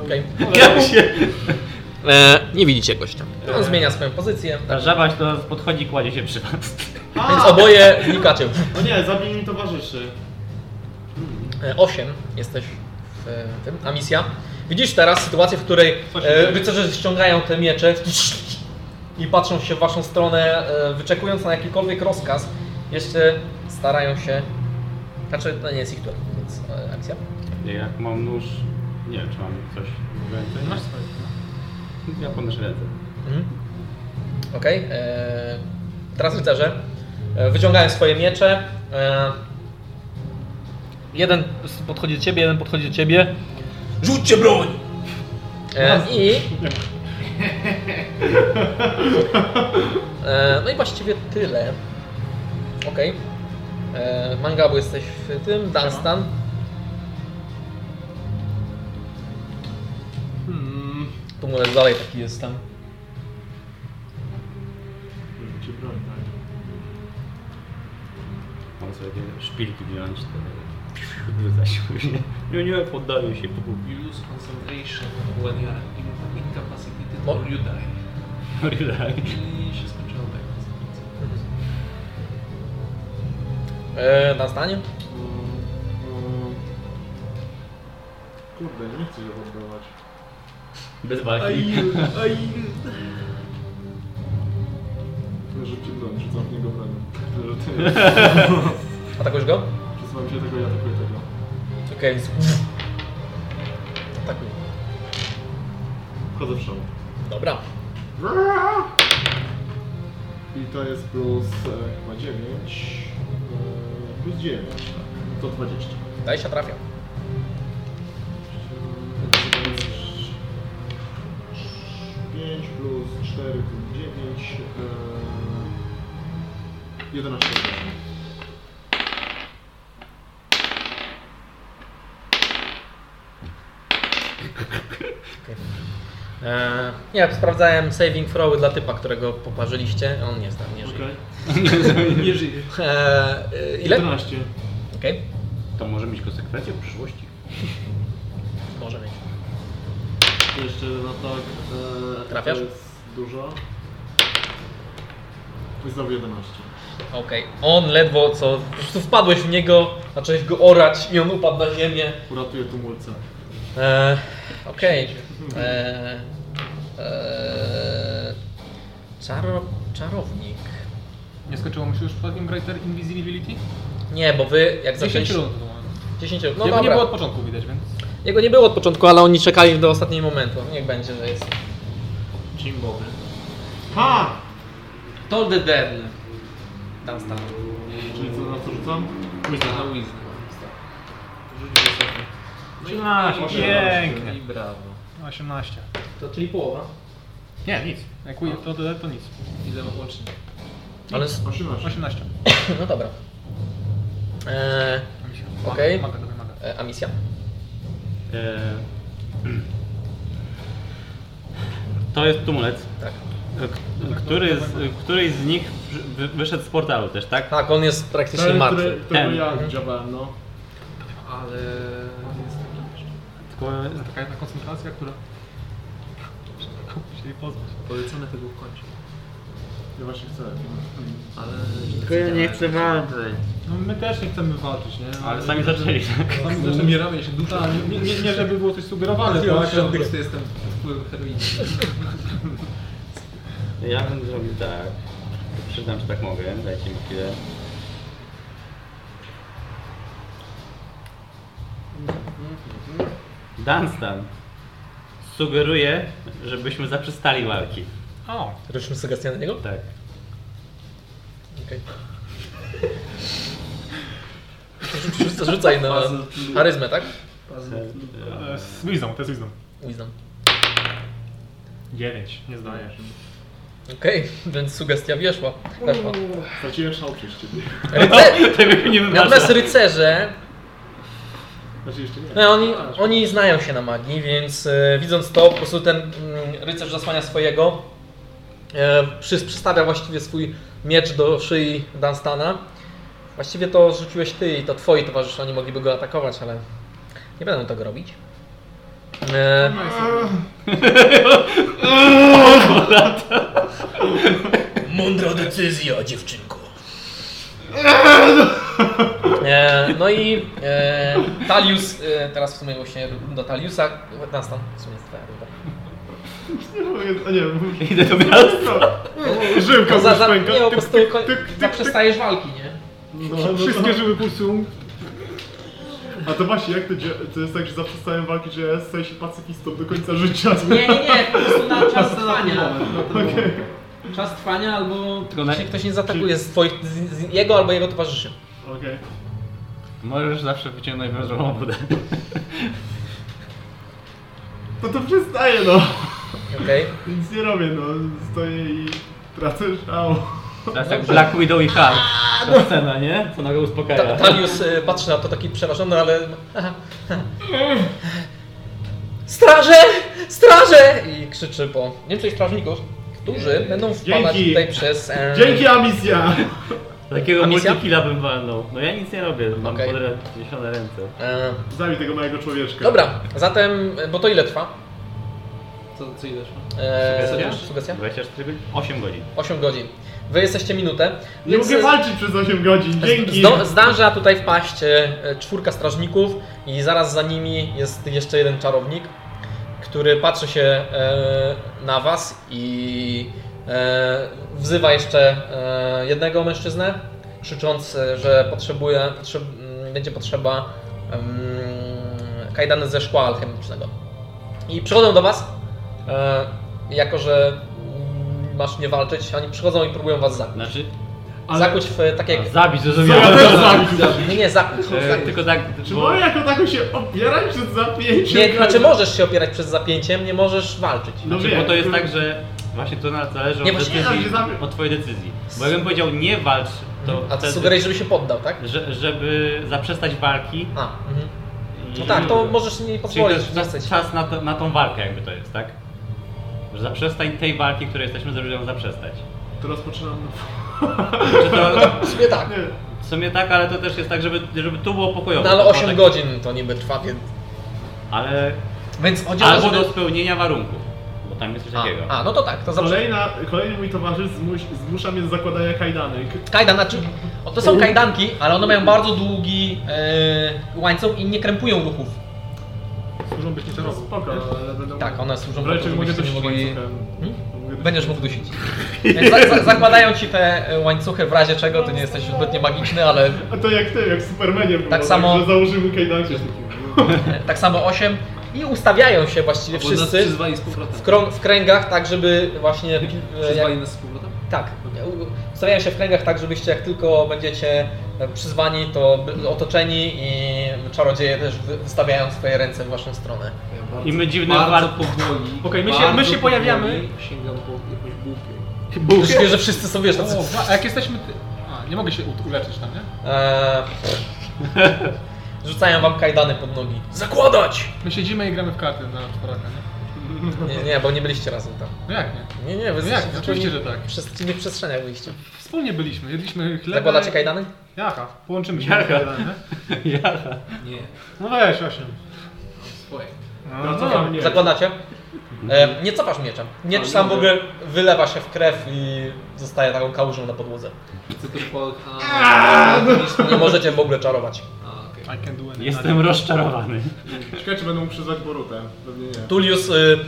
okej. Ja się... E, Nie widzicie gościa. On zmienia swoją pozycję, Tak. Ta żaba się do nas podchodzi, kładzie się przy nas. więc oboje znikacie. No nie, zabij mi towarzyszy. 8 E, jesteś w e, tym, a misja. Widzisz teraz sytuację, w której e, rycerze ściągają te miecze i patrzą się w waszą stronę, e, wyczekując na jakikolwiek rozkaz. Jeszcze starają się. Znaczy, to nie jest ich turn, więc e, akcja. Nie, jak mam nóż... Nie wiem, czy mam coś w ręce. Masz swoje. no. Ja podnoszę ręce. Mhm. Okej. e, Teraz rycerze e, wyciągają swoje miecze. e, Jeden podchodzi do ciebie, jeden podchodzi do ciebie. Rzućcie broń! E, I. E, No i właściwie tyle. Okej. Okay. Mangabu jesteś w tym, Dunstan. Hmm. Tumulec dalej taki jest tam. Czy broń, tak? Mam sobie takie szpilki wziąć, to wrzucać później. Nie, nie, poddaję się. You lose concentration when you are in- incapacitated Mo- or you die. Relax. I się skończyło tak. koncentracja. E, Dunstanie? Mm, mm. Kurde, nie chcę się poddawać. Bez walki. aj. Rzućcie broń, rzucam w niego broń. Atakujesz go? Przesuwam się tego i atakuję tego. Okej, więc. Atakuj. Wchodzę w szał. Dobra. I to jest plus e, chyba 9. E, plus 9, tak. To 20. Daj się trafia. Pięć plus 4 plus 9 e, 11 obrażeń. Eee, ja sprawdzałem saving throwy dla typa, którego poparzyliście. On nie znam, nie żyje. Nie żyje. Eee, e, ile? 11. Okej, To może mieć konsekwencje w przyszłości. może mieć. To Jeszcze na tak. E, Trafiasz? To jest dużo. To jest znowu 11. Okej, on ledwo co. Po prostu wpadłeś w niego, zacząłeś go orać i on upadł na ziemię. Uratuję tumulca. Eee, Okej. Eee, eee, czaro, czarownik. Nie skończyło mu się już przypadkiem Greater Invisibility? Nie, bo wy jak 10 zaczęliście. rund. 10 No No, dobra. nie było od początku widać, więc... Jego nie było od początku, ale oni czekali do ostatniego momentu. Niech będzie, że jest. Jimbowy. Ha! Toll the dead. Tam stan. Czyli co na co rzucam? Na Wisdom. Rzuć wysoki. Masz, pięknie. No I brawo. 18. To czyli połowa. Nie, nic. Jak Will to, to, to nic. Ile łącznie? Ale s- 18. 18. No dobra. Eee, To mi się Okej. Maga, maga, maga. e, a misja? E, To jest tumulec. e, Tak. K- Który z, któryś z nich wy- wyszedł z portalu też, tak? Tak, on jest praktycznie martwy. Tego Ten. ja widziałem, no. Ale... jest taki jeszcze. Tylko Taka jedna koncentracja, która... Musieli pozwać. Polecamy tego w końcu. Ja właśnie chcę. Ale... walczyć. No my też nie chcemy walczyć, nie? Ale sami zaczęli. tak? Sami zresztą umieramy się dużo. Nie, nie, nie żeby było coś sugerowane, Ale tak? ja po prostu jestem pod wpływem heroiny. Ja bym zrobił tak. Przyznam, że tak mogę. Dajcie mi chwilę. Dunstan sugeruje, żebyśmy zaprzestali walki. O, Rzućmy sugestię na niego? Tak. Okej. Rzucaj na charyzmę, tak? E, Z Luizą, to jest Luizą. Wisdom. 9, nie zdajesz. Okej, więc sugestia weszła. weszła. Straciłem szał przez ciebie. No. Rycer... Tego nie Natomiast rycerze, Znaczy jeszcze nie. no, oni, oni znają się na magii, więc e, widząc to, po prostu ten mm, rycerz zasłania swojego, e, przy, przystawia właściwie swój miecz do szyi Dunstana. Właściwie to rzuciłeś ty i to twoi towarzysze, oni mogliby go atakować, ale nie będą tego robić. E, Mądra decyzja, dziewczynko. E, no i e, Talius, e, teraz w sumie właśnie do Taliusa, Dunstan, w sumie jest twoja runda. A nie, bo- Idę do miasta. żyłka Za, za, za, pęka. nie, po prostu koń- tyk, tyk, zaprzestajesz walki, nie? No, Wszystkie żyły pulsują. A to właśnie, jak to, dzia- to jest tak, że zaprzestałem walki, że staję się pacyfistą do końca życia. Nie, nie, nie, po prostu na czas trwania. Okej. Czas trwania albo... Tylko na- Jeśli ktoś nie zaatakuje z, twoich, z, z jego albo jego towarzyszy. Okej. Możesz zawsze wyciągnąć wężową wodę. No to przestaję no. Okej? Nic nie robię no. Stoję i tracę szał. Teraz tak Black Widow i Hulk. Ta scena, nie? Co nagle uspokaja. no. Ta, Talius e, patrzy na to taki przerażony, ale... Aha. Straże! Straże! I krzyczy po więcej strażników, którzy będą wpadać Dzięki. tutaj przez... e, Dzięki Amisja! Takiego A misja? multikilla bym walnął. No ja nic nie robię, mam Okej. podre- podniesione ręce. E, Zabij tego mojego człowieczka. No, dobra, zatem, e, bo to ile trwa? Co, co ile szło? E, Sugestia? Sugestia? 24 godzin? 8 godzin. 8 godzin. Wy jesteście minutę. Nie więc- e, mogę walczyć przez 8 godzin, dzięki! Zdo- zdąża tutaj wpaść e, e, czwórka strażników i zaraz za nimi jest jeszcze jeden czarownik, który patrzy się e, na was i e, wzywa jeszcze e, jednego mężczyznę, krzycząc, e, że potrzebuje, potrze- m, będzie potrzeba mm, kajdany ze szkła alchemicznego. I przychodzą do was, e, jako że mm, masz nie walczyć, oni przychodzą i próbują was zakuć. Znaczy, Zakuć w e, takie... a, zabić, Ja też zrozumiałem. zabić. No Nie, nie, zakuć. E, Tylko tak, Czy bo- mogę jako taką się opierać przed zapięciem? Nie, znaczy możesz się opierać przed zapięciem, nie możesz walczyć. No Znaczy, wiem. bo to jest tak, że właśnie to na- zależy Nie, od, bo się nie decyzji, zamie- od twojej decyzji. Bo jakbym powiedział nie walcz, to A ty wtedy, sugerujesz, żeby się poddał, tak? że, żeby zaprzestać walki. A, mhm. i- No tak, to możesz nie Czyli to pozwolić, jest nie czas, chceć. czas na, to, na tą walkę jakby to jest, tak? Że zaprzestań tej walki, której jesteśmy, żeby ją zaprzestać. To rozpoczynam. Czy to W sumie tak. Nie. w sumie tak, ale to też jest tak, żeby, żeby tu było pokojowo. No ale To 8 tak- godzin to niby trwa, więc... Ale Więc chodzi o to, albo żeby... do spełnienia warunków, bo tam jest coś A, takiego. a, no to tak, to zawsze... Kolejna, kolejny mój towarzysz zmuś, zmusza mnie do zakładania kajdanek. Kajdan, znaczy... O, to są kajdanki, ale one mają bardzo długi e, łańcuch i nie krępują ruchów. Służą być To nieczarowo. spoko, ale będę Tak, one służą Wreszcie po to, mogę żebyście też nie mogli... Hmm? mogli... Będziesz mógł dusić. Więc za, za, zakładają ci te e, łańcuchy, w razie czego ty nie jesteś zbytnie magiczny, ale A to jak ty, jak w Supermanie było, Tak samo- No, że założył mu kajdanki. Tak samo 8 i ustawiają się właściwie Bo nas wszyscy przyzwali z powrotem. w, krą- w kręgach, tak żeby właśnie. e, Jak, Przyzwali nas z powrotem? tak. u- Ustawiają się w kręgach tak, żebyście jak tylko będziecie e, przyzwani, to by- otoczeni i czarodzieje też wy- wystawiają swoje ręce w waszą stronę. Ja bardzo- I my dziwne bardzo war... powoli. Okej, my się- bardzo my się pojawiamy. powoli Sięgam po jakąś bułkę. Już czuję, że wszyscy są wiesz, tacy. O, a jak jesteśmy... ty- A, nie mogę się u- uleczyć tam, nie? E, rzucają wam kajdany pod nogi. Zakładać! My siedzimy i gramy w karty na czworaka, nie? Nie, nie, bo nie byliście razem tam. No jak nie? Nie, nie, wy No jesteście jak, w oczywiście, że tak. W przeciwnych przestrzeniach byliście. Wspólnie byliśmy, jedliśmy chleb. Zakładacie kajdany? Jaka? Połączymy się. Jaka? na kajdany, nie? Jara. Nie, No weź, osiem. swoje. No, No co tam nie? Zakładacie? E, nie cofasz mieczem. Miecz sam w ogóle wylewa się w krew i zostaje taką kałużą na podłodze. Chcę to po... A, Nie możecie w ogóle czarować. a, okej. I can do anything. Jestem rozczarowany. Ciekawe, czy będą mu przyzwać Borutę. Pewnie nie. Tulius y,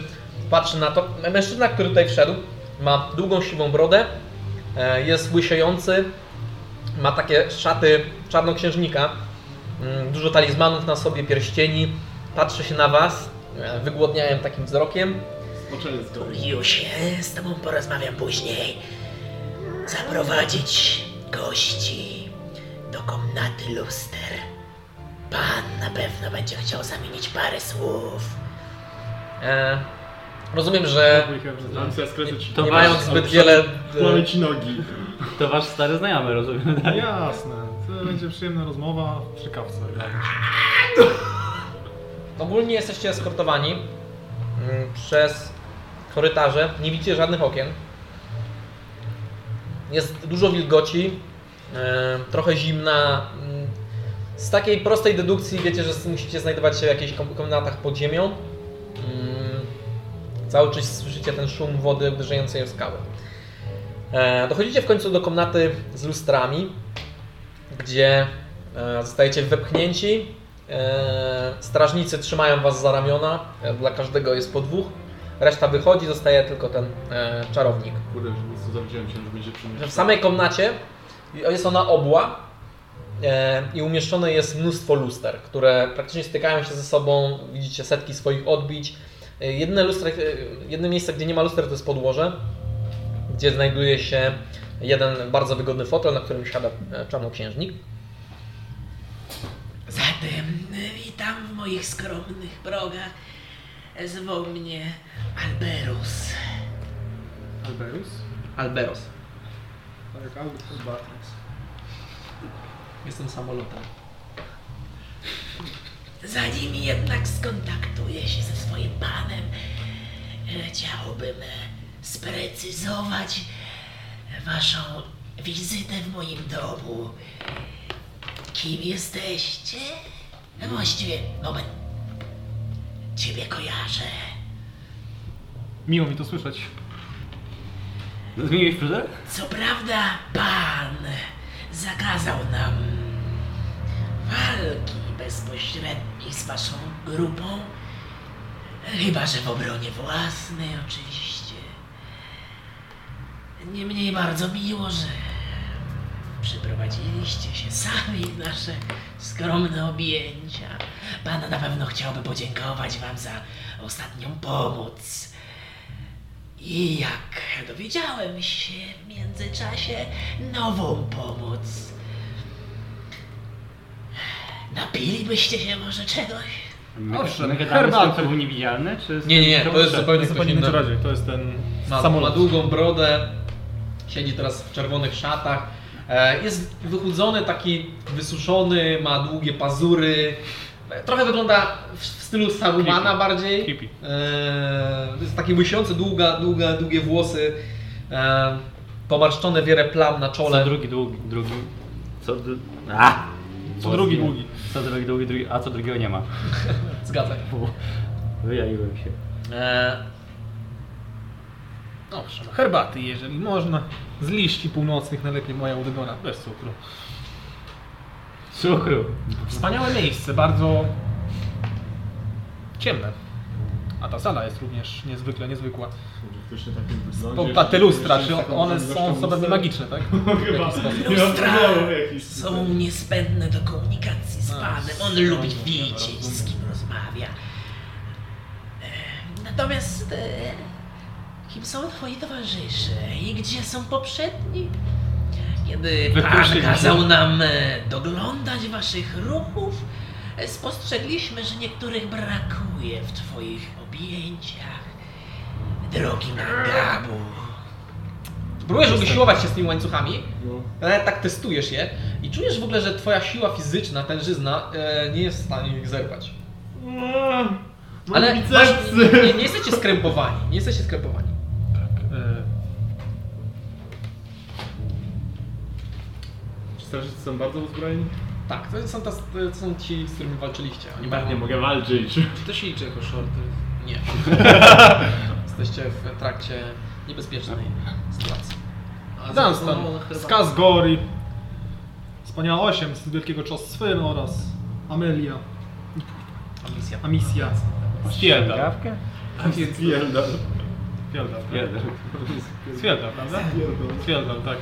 patrzy na to. Mężczyzna, który tutaj wszedł, ma długą siwą brodę, e, jest łysiejący, ma takie szaty czarnoksiężnika, mm, dużo talizmanów na sobie, pierścieni, patrzy się na was, e, wygłodniałem takim wzrokiem. Zboczenie z kolei. Już e, z tobą porozmawiam później. Zaprowadzić gości do komnaty luster. Pan na pewno będzie chciał zamienić parę słów. E, rozumiem, że Lancja skreśla ci. To nie wasz- mając zbyt wiele... e, Kłamie No, ci nogi. To wasz stary znajomy, rozumiem, tak? Jasne, to będzie przyjemna rozmowa tak. przy kawce. Ogólnie jesteście eskortowani mm, przez korytarze. Nie widzicie żadnych okien. Jest dużo wilgoci, e, trochę zimna. Mm, Z takiej prostej dedukcji wiecie, że musicie znajdować się w jakichś kom- komnatach pod ziemią. Mm, Cały czas słyszycie ten szum wody uderzającej w skałę. E, Dochodzicie w końcu do komnaty z lustrami, gdzie e, zostajecie wepchnięci E, strażnicy trzymają was za ramiona, e, dla każdego jest po dwóch. Reszta wychodzi, zostaje tylko ten e, czarownik. Kurde, że nic nie zawiedziałem się, że będzie przy mnie. W samej komnacie jest ona obła e, i umieszczone jest mnóstwo luster, które praktycznie stykają się ze sobą. Widzicie setki swoich odbić. E, Jedne, lustre, e, jedne miejsce, gdzie nie ma luster, to jest podłoże, gdzie znajduje się jeden bardzo wygodny fotel, na którym siada e, czarnoksiężnik. Zatem y, witam w moich skromnych progach. Zwą mnie Alberus. Alberus? Alberos. Tak, Alberus. Jestem samolotem. Zanim jednak skontaktuję się ze swoim panem, e, chciałbym e, sprecyzować e, waszą wizytę w moim domu. Kim jesteście? No Właściwie, moment. Ciebie kojarzę. Miło mi to słyszeć. Zmieniłeś fryzurę? Co prawda, pan zakazał nam walki bezpośredniej z waszą grupą. Chyba, że w obronie własnej, oczywiście. Niemniej bardzo miło, że przyprowadziliście się sami w nasze skromne objęcia. Pan na pewno chciałby podziękować wam za ostatnią pomoc. I jak dowiedziałem się w międzyczasie nową pomoc. Napilibyście się może czegoś? My, Owszem, my gadamy z tym, herbaty. co był niewidzialny, czy... z Nie, nie, nie, tym, co to jest zupełnie był To coś nie innego. czarodziej, to jest ten Ma, ma samolot. długą brodę, siedzi teraz w czerwonych szatach. E, Jest wychudzony, taki wysuszony, ma długie pazury. E, Trochę wygląda w, w stylu Sarumana Creepy. bardziej. Hippie. E, Jest taki łysiejący, długa, długa, długie włosy. E, Pomarszczone wiele plam na Co czole. drugi długi, drugi... Co... dru- A! Co Bo drugi zginę. długi. Co drugi długi, drugi... A co drugiego nie ma. Zgadza się. Bo Wyjaliłem się. E, Owszem. Herbaty, jeżeli można. Z liści północnych najlepiej moja ulubiona, bez cukru. Cukru. Wspaniałe miejsce, bardzo ciemne. A ta sala jest również niezwykle niezwykła. Faktycznie takim wyglądzie, Po, tak że pa, te lustra, jeszcze czy z taką one zresztą są sobie lustrem. magiczne, tak? Chyba. Nie mam Lustra problemu jakiś. No, są niezbędne do komunikacji z A, panem. z On panem, lubi dobra, wiedzieć, z kim rozmawia. E, Natomiast e, kim są twoi towarzysze i gdzie są poprzedni? Kiedy pan Wyprosili się. kazał nam e, doglądać waszych ruchów, e, spostrzegliśmy, że niektórych brakuje w twoich objęciach. Drogi Nangabu. Próbujesz usiłować się z tymi łańcuchami, No. ale tak testujesz je i czujesz w ogóle, że twoja siła fizyczna, tężyzna, e, nie jest w stanie ich zerwać. Eee, mam Ale masz, bicepsy. nie, nie, nie jesteście skrępowani, nie jesteście skrępowani. E, Czy strażnicy są bardzo uzbrojeni? Tak, to są, ta, to są ci, z którymi walczyliście. Oni mają- nie mogę walczyć. Czy to się liczy jako shorty? Nie. Jesteście w trakcie niebezpiecznej sytuacji. A Dunstan, zaproponowana herbata. z Kazgori, wspaniała 8 z wielkiego Czosfyn oraz Amelia, A misja. Amisja, Stwielda. Gawkę? A więc Pierdol. Stwielda, tak? Jeden. Stwielda, prawda? Pierdol. Stwielda, tak.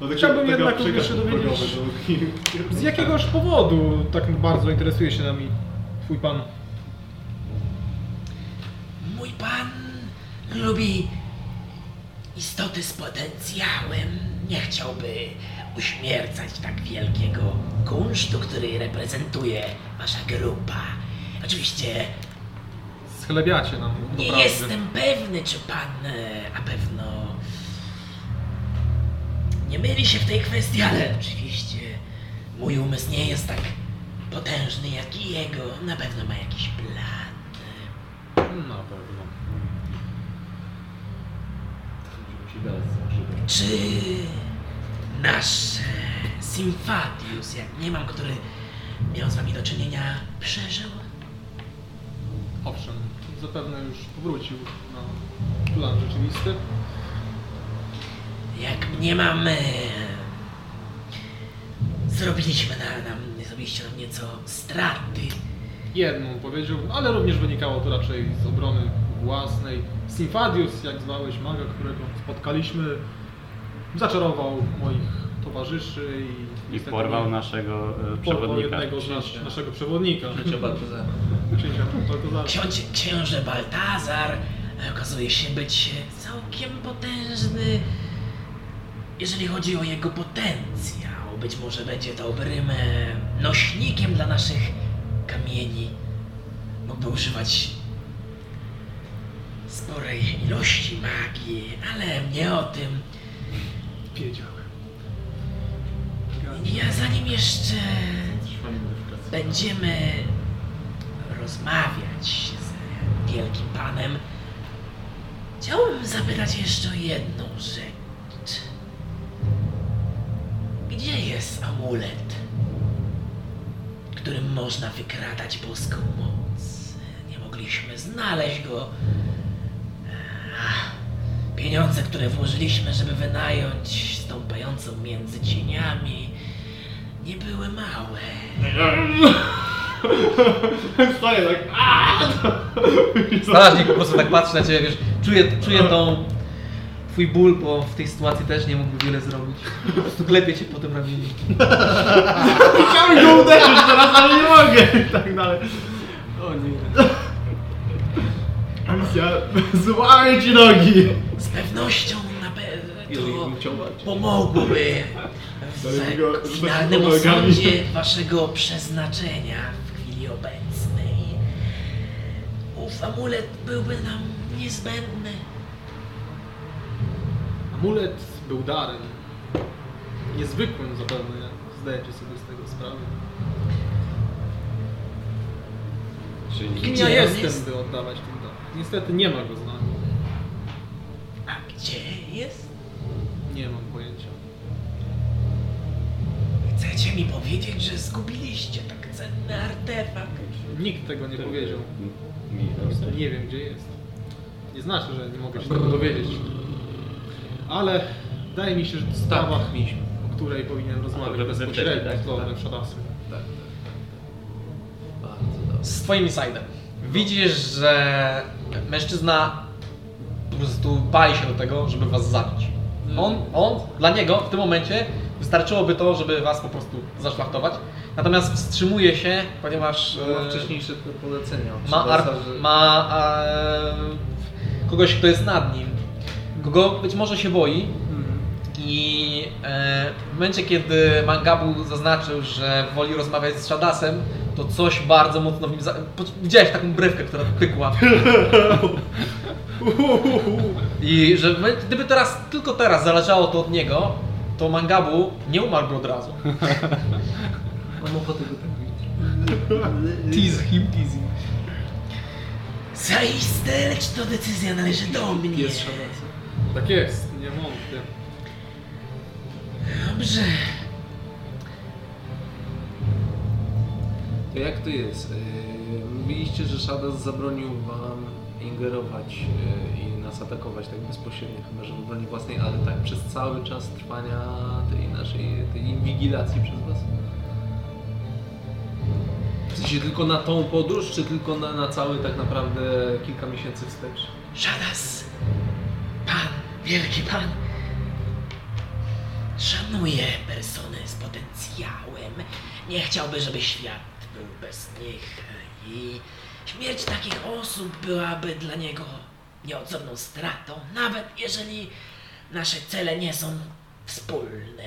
No, tak- Chciałbym taka jednak przekaz również się dowiedzieć- drogowy, no. Z jakiegoś powodu tak bardzo interesuje się nami twój pan? Mój pan lubi istoty z potencjałem nie chciałby uśmiercać tak wielkiego kunsztu, który reprezentuje wasza grupa. Oczywiście Schlebiacie nam. nie naprawdę. jestem pewny, czy pan e, na pewno nie myli się w tej kwestii, ale oczywiście mój umysł nie jest tak potężny jak i jego. Na pewno ma jakiś plan. Na No, pewno. Czy nasz e, Symfatius, jak nie mam, który miał z wami do czynienia, przeżył? Owszem, zapewne już powrócił na plan rzeczywisty. Jak nie mam. e, Zrobiliśmy na, nam, zrobiliście nam nieco straty. Jedną powiedział, ale również wynikało to raczej z obrony własnej. Simfadius, jak zwałeś maga, którego spotkaliśmy, zaczarował moich towarzyszy i, I niestety porwał naszego e, porwał przewodnika. jednego z nas, naszego przewodnika. Księcia Baltazara. Księcia Baltazara. Ksiądzie, książę Baltazar e, okazuje się być e, całkiem potężny, jeżeli chodzi o jego potencjał. Być może będzie dobrym e, nośnikiem dla naszych kamieni. Mógłby używać sporej ilości magii, ale nie o tym. Wiedziałem. Ja zanim jeszcze Trwa identyfikacja. Będziemy rozmawiać z Wielkim Panem. Chciałbym zapytać jeszcze o jedną rzecz. Gdzie jest amulet, którym można wykradać boską moc? Nie mogliśmy znaleźć go. Ach, Pieniądze, które włożyliśmy, żeby wynająć stąpającą między cieniami, nie były małe. Staję tak. aaa! Strażnik po prostu tak patrzy na ciebie, wiesz, czuje, czuje tą... Twój ból, bo w tej sytuacji też nie mógłby wiele zrobić. Po prostu klepie cię po tym ramieniu. Chciałem go uderzyć teraz, ale nie mogę i tak dalej. O nie. Misja, złamie ci nogi! Z pewnością na Jeżeli bym pewno chciał walczyć. pomogłoby Dlatego, żeby w finalnym pomagać. osądzie waszego przeznaczenia w chwili obecnej. Ów amulet byłby nam niezbędny. Amulet był darem. Niezwykłym zapewne, zdajecie sobie z tego sprawę. Kim Gdzie ja on jestem, jest? by oddawać ten dar? Niestety nie ma go z nami. A gdzie jest? Nie mam pojęcia. Chcecie mi powiedzieć, że zgubiliście tak cenny artefakt? Nikt tego nie powiedział. Nie wiem gdzie jest. Nie znaczy, że nie mogę się tego dowiedzieć. Ale wydaje mi się, że to sprawa, o której powinienem rozmawiać bezpośrednio tak, z Lordem Shadowsem. Bardzo dobrze. Z twoim insidem. Widzisz, że mężczyzna po prostu pali się do tego, żeby was zabić. On, on, dla niego No, w tym momencie wystarczyłoby to, żeby was po prostu zaszlachtować. Natomiast wstrzymuje się, ponieważ Ma e, wcześniejsze polecenia. ma, ar, ma e, kogoś, kto jest nad nim, kogo być może się boi. I e, w momencie, kiedy Mangabu zaznaczył, że woli rozmawiać z Shadasem, to coś bardzo mocno w nim. Za... po- Widziałeś taką brewkę, która pykła. I że my- gdyby teraz, tylko teraz zależało to od niego, to Mangabu nie umarłby od razu. Mam ochotę go tak widzieć. Tease him, tease him. Zaiste, lecz to decyzja należy do mnie. Jest szansa. Tak jest, nie wątpię. Dobrze. To jak to jest? Yy, Mówiliście, że Shadas zabronił wam ingerować yy, i nas atakować tak bezpośrednio, chyba że w obronie własnej, ale tak przez cały czas trwania tej naszej tej inwigilacji przez was? W sensie tylko na tą podróż, czy tylko na, na cały tak naprawdę kilka miesięcy wstecz? Szadas, pan, wielki pan, szanuje persony z potencjałem. Nie chciałby, żeby świat był bez nich i śmierć takich osób byłaby dla niego nieodzowną stratą, nawet jeżeli nasze cele nie są wspólne.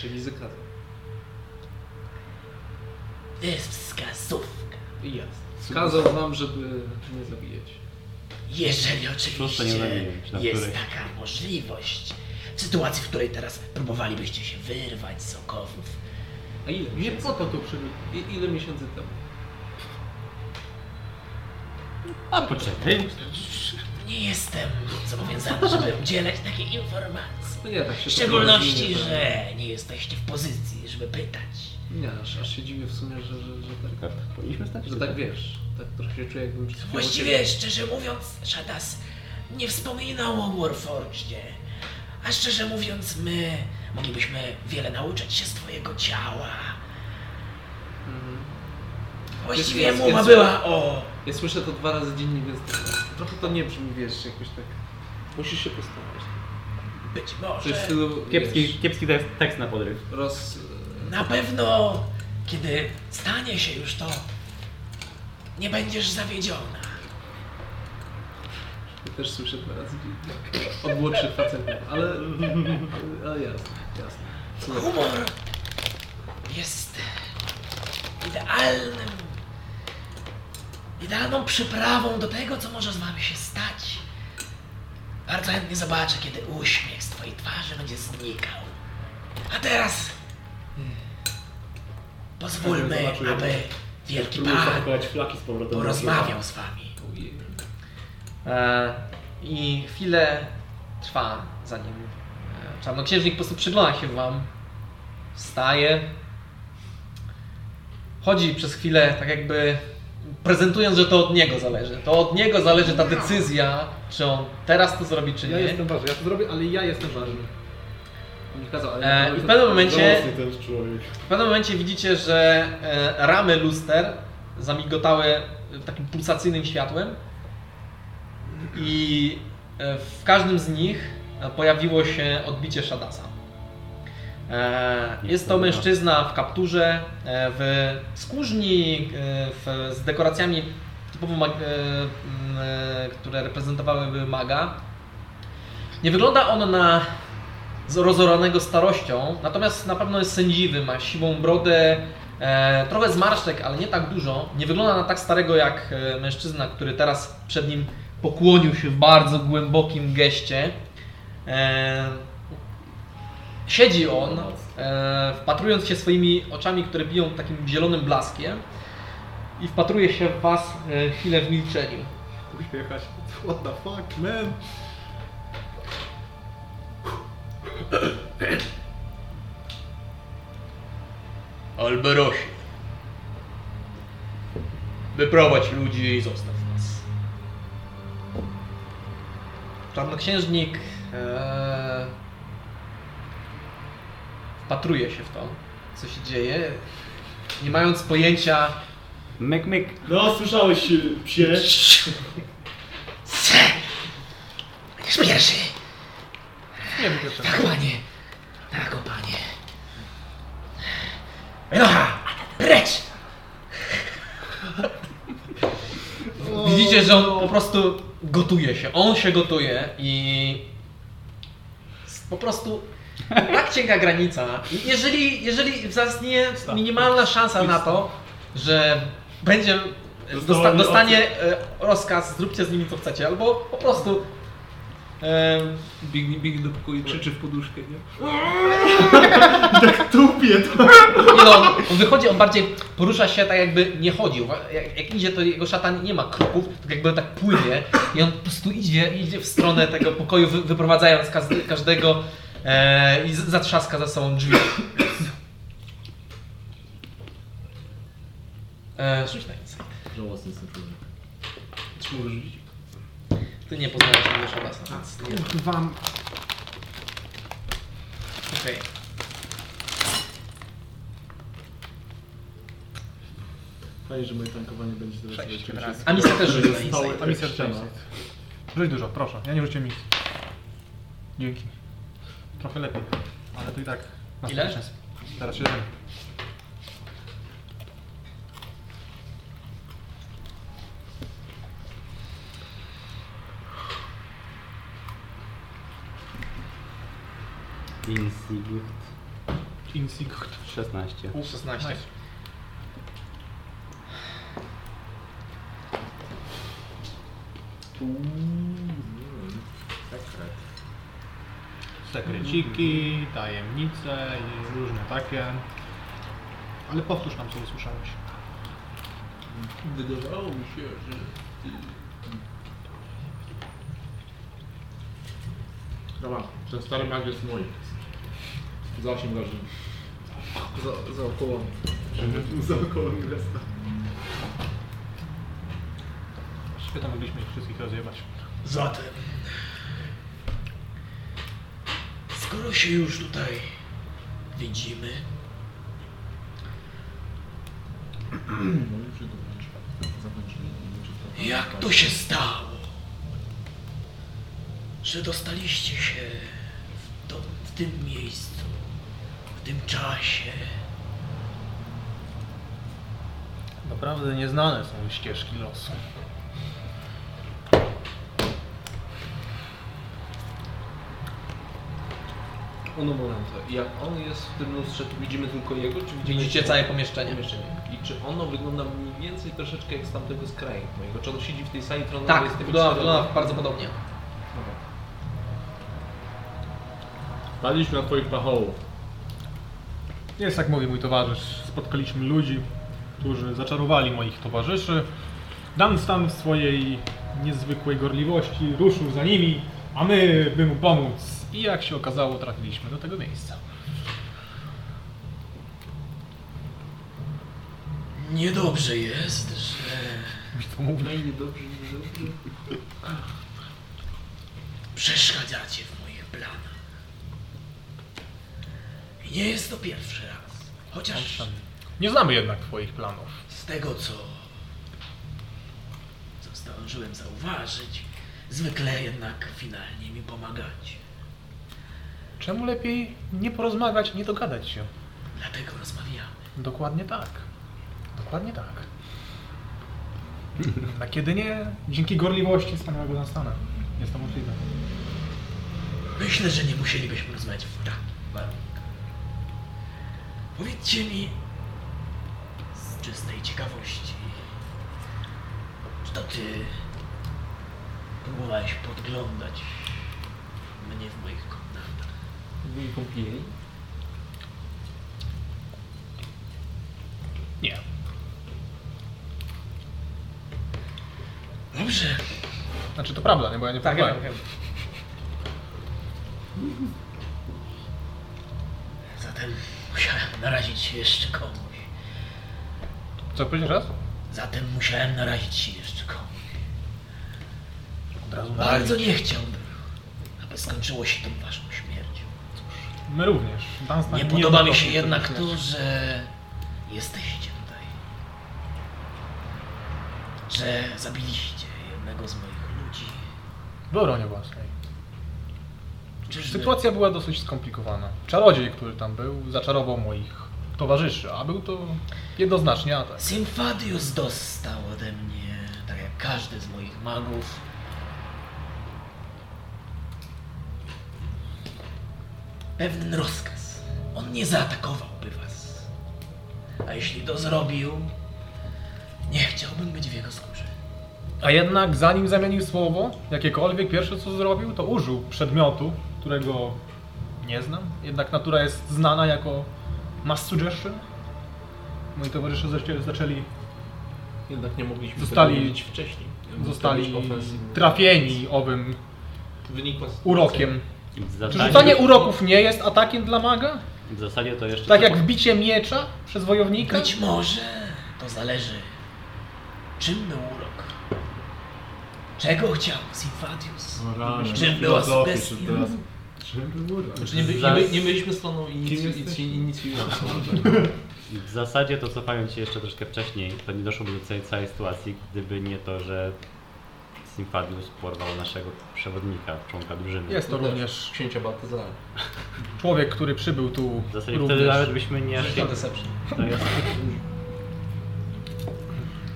Czyli zakradł. To jest wskazówka. Jasne. Wskazał wam, żeby nie zabijać. Jeżeli Szósta nie oczywiście zamieniłem się na jest której. taka możliwość. W sytuacji, w której teraz próbowalibyście się wyrwać z okowów. A ile Nie miesięcy? po to tu przybył. I, ile miesięcy temu? A poczekaj. Nie jestem zobowiązany, żeby udzielać takiej informacji. No nie, tak się W szczególności, tak- że nie jesteście w pozycji, żeby pytać. Nie, aż, aż się dziwię w sumie, że, że, że tak... Powinniśmy stać Że tak wiesz, tak trochę się czuję jakbym przed chwilą Właściwie, szczerze mówiąc, Shadas nie wspominał o Warforgedzie. A szczerze mówiąc, my moglibyśmy wiele nauczyć się z twojego ciała. Mhm. Właściwie Jest- jest- mowa jest- była o... Ja słyszę to dwa razy dziennie, więc to- trochę to nie brzmi, wiesz, jakoś tak... Musisz się postanowić. Być Coś w może... stylu, Kiepski, wiesz, kiepski tekst, tekst na podryw. roz... Na pewno, kiedy stanie się już to, nie będziesz zawiedziona. Ja e, też słyszę dwa razy dziennie. tak. Od młodszych facetów, ale... Ale, ale jasne, jasne. Słuchaj. Humor jest idealnym, idealną przyprawą do tego, co może z wami się stać. Bardzo chętnie zobaczę, kiedy uśmiech z twojej twarzy będzie znikał. A teraz hmm, pozwólmy, Zobaczyłem. aby wielki Próbuję pan zapakować flaki z powrotem. porozmawiał z wami. E, I chwilę trwa, zanim e, czarnoksiężnik po prostu przygląda się wam, wstaje, chodzi przez chwilę tak jakby prezentując, że to od niego zależy. To od niego zależy ta decyzja, czy on teraz to zrobi, czy Ja nie. jestem ważny, ja to zrobię, ale ja jestem ważny. On mi kazał, ale... E, I w pewnym momencie Mocny ten człowiek. W pewnym momencie widzicie, że e, ramy luster zamigotały e, takim pulsacyjnym światłem i e, w każdym z nich e, pojawiło się odbicie Shadasa. E, Jest to mężczyzna w kapturze, e, w skórzni, e, w, z dekoracjami typowo, mag, e, m, e, które reprezentowałyby maga. Nie wygląda on na z- rozoranego starością, natomiast na pewno jest sędziwy, ma siwą brodę, e, trochę zmarszczek, ale nie tak dużo. Nie wygląda na tak starego jak e, mężczyzna, który teraz przed nim pokłonił się w bardzo głębokim geście. E, siedzi on, e, wpatrując się swoimi oczami, które biją takim zielonym blaskiem i wpatruje się w Was e, chwilę w milczeniu. Uśmiechać. What the fuck, man? Alberosie. Wyprowadź ludzi i zostaw nas. Czarnoksiężnik e, wpatruje się w to, co się dzieje, nie mając pojęcia, Myk, myk. No, słyszałeś y, psie. Se! Będziesz pierwszy! Nie Tak, panie! Tak, o panie! Enocha! Precz! Widzicie, że on po prostu gotuje się. On się gotuje i po prostu tak cienka granica. Jeżeli, jeżeli zastanie minimalna szansa na to, że będzie dosta, Dostałem dostanie e, rozkaz, zróbcie z nimi co chcecie, albo po prostu e, Biegnie, biegnie do pokoju i krzyczy w poduszkę, nie? Tupie to. nie no, on wychodzi, on bardziej porusza się tak jakby nie chodził. Jak, jak idzie, to jego szatan nie ma kroków, tak jakby tak płynie i on po prostu idzie, idzie w stronę tego pokoju, wy, wyprowadzając każdy, każdego e, i z- zatrzaska za sobą drzwi. E, rzuć na nic. Żałosny sytuacja. Czy mogę rzucić? Ty nie poznajesz tego szatasa, więc nie. Wam. Okej. Fajnie, że moje tankowanie będzie teraz Sześć lecieć. razy. A misja też rzuciła Stały insight. A misja ściana. rzuciła Rzuć dużo, proszę. Ja nie rzuciłem nic. Dzięki. Trochę lepiej. Ale to i tak. Ile? następny czas. Teraz 7. Insigit Insight. 16. 16. Sekreciki, tajemnice i różne takie. Ale powtórz nam, co usłyszałeś. Wydawało mi się, że... Dobra, No ten stary mag jest mój. Za 8 godzin. Za, za około... Zaokoło miasta. Świetnie mogliśmy ich wszystkich rozjebać. Zatem, skoro się już tutaj widzimy, jak to się stało, że dostaliście się w, to, w tym miejscu, w tym czasie? Naprawdę nieznane są ścieżki losu. Ono Moranta. Jak on jest w tym lustrze, to widzimy tylko jego, czy widzimy... Widzicie całe pomieszczenie. pomieszczenie? I czy ono wygląda mniej więcej troszeczkę jak z tamtego z kraju mojego? Czy ono siedzi w tej sali tronowej? Tak, z tymi wygląda, czterema? wygląda bardzo podobnie. Dobra. Padliśmy na twoich pachołów. Jest jak mówi mój towarzysz. Spotkaliśmy ludzi, którzy zaczarowali moich towarzyszy. Dunstan w swojej niezwykłej gorliwości ruszył za nimi, a my, by mu pomóc. I jak się okazało, trafiliśmy do tego miejsca. Niedobrze jest, że Mi to mówi. No i niedobrze, niedobrze. Przeszkadzacie w moich planach. I nie jest to pierwszy raz. Chociaż Nie znamy jednak twoich planów. z tego, co co zdążyłem zauważyć, zwykle jednak finalnie mi pomagacie. Czemu lepiej nie porozmawiać, nie dogadać się? Dlatego rozmawiamy. Dokładnie tak. Dokładnie tak. A kiedy nie? Dzięki gorliwości wspaniałego Dunstana. Jest to możliwe. Myślę, że nie musielibyśmy rozmawiać w takich warunkach. Powiedzcie mi z czystej ciekawości, czy to ty próbowałeś podglądać mnie w moich komnatach? W mojej kąpieli? Nie. Dobrze, Znaczy to prawda, nie? Bo ja nie próbowałem. zatem musiałem narazić się jeszcze komuś. Co powiedzieć raz? Zatem musiałem narazić się jeszcze komuś. Od razu Bardzo nie chciałbym, aby skończyło się tą waszą śmiercią. My również. Dunstan Nie podoba mi się odnosi jednak tego to, śmierci. że jesteście tutaj. Że zabiliście jednego z moich ludzi. W obronie własnej. Czyżby... Sytuacja była dosyć skomplikowana. Czarodziej, który tam był, zaczarował moich towarzyszy, a był to jednoznacznie atak. Symfadius dostał ode mnie, tak jak każdy z moich magów, pewien rozkaz. On nie zaatakowałby was. A jeśli to zrobił, nie chciałbym być w jego skórze. A jednak zanim zamienił słowo, jakiekolwiek pierwsze co zrobił, to użył przedmiotu, którego nie znam. Jednak natura jest znana jako mass suggestion. Moi towarzysze zaczę- zaczęli, Jednak nie mogliśmy Zostali- tego wiedzieć wcześniej. zostali Musiał być ofensywny. trafieni owym Wynikła z- urokiem. W Tak. Czy zasadzie, rzucanie uroków nie jest atakiem dla maga? w zasadzie to jeszcze. Tak jak wbicie miecza przez wojownika? Być może to zależy, czym był urok. Czego chciał Symfadius? Czym była sugestia? Czym było? Znaczy nie, by, nie, by, nie byliśmy stroną inicjującą. W zasadzie to cofając się jeszcze troszkę wcześniej, to nie doszłoby do tej całej sytuacji, gdyby nie to, że Symfadius porwał naszego przewodnika, członka drużyny. Jest to również Księcia Baltazara. człowiek, który przybył tu W zasadzie wtedy nawet również. byśmy nie szli. To jest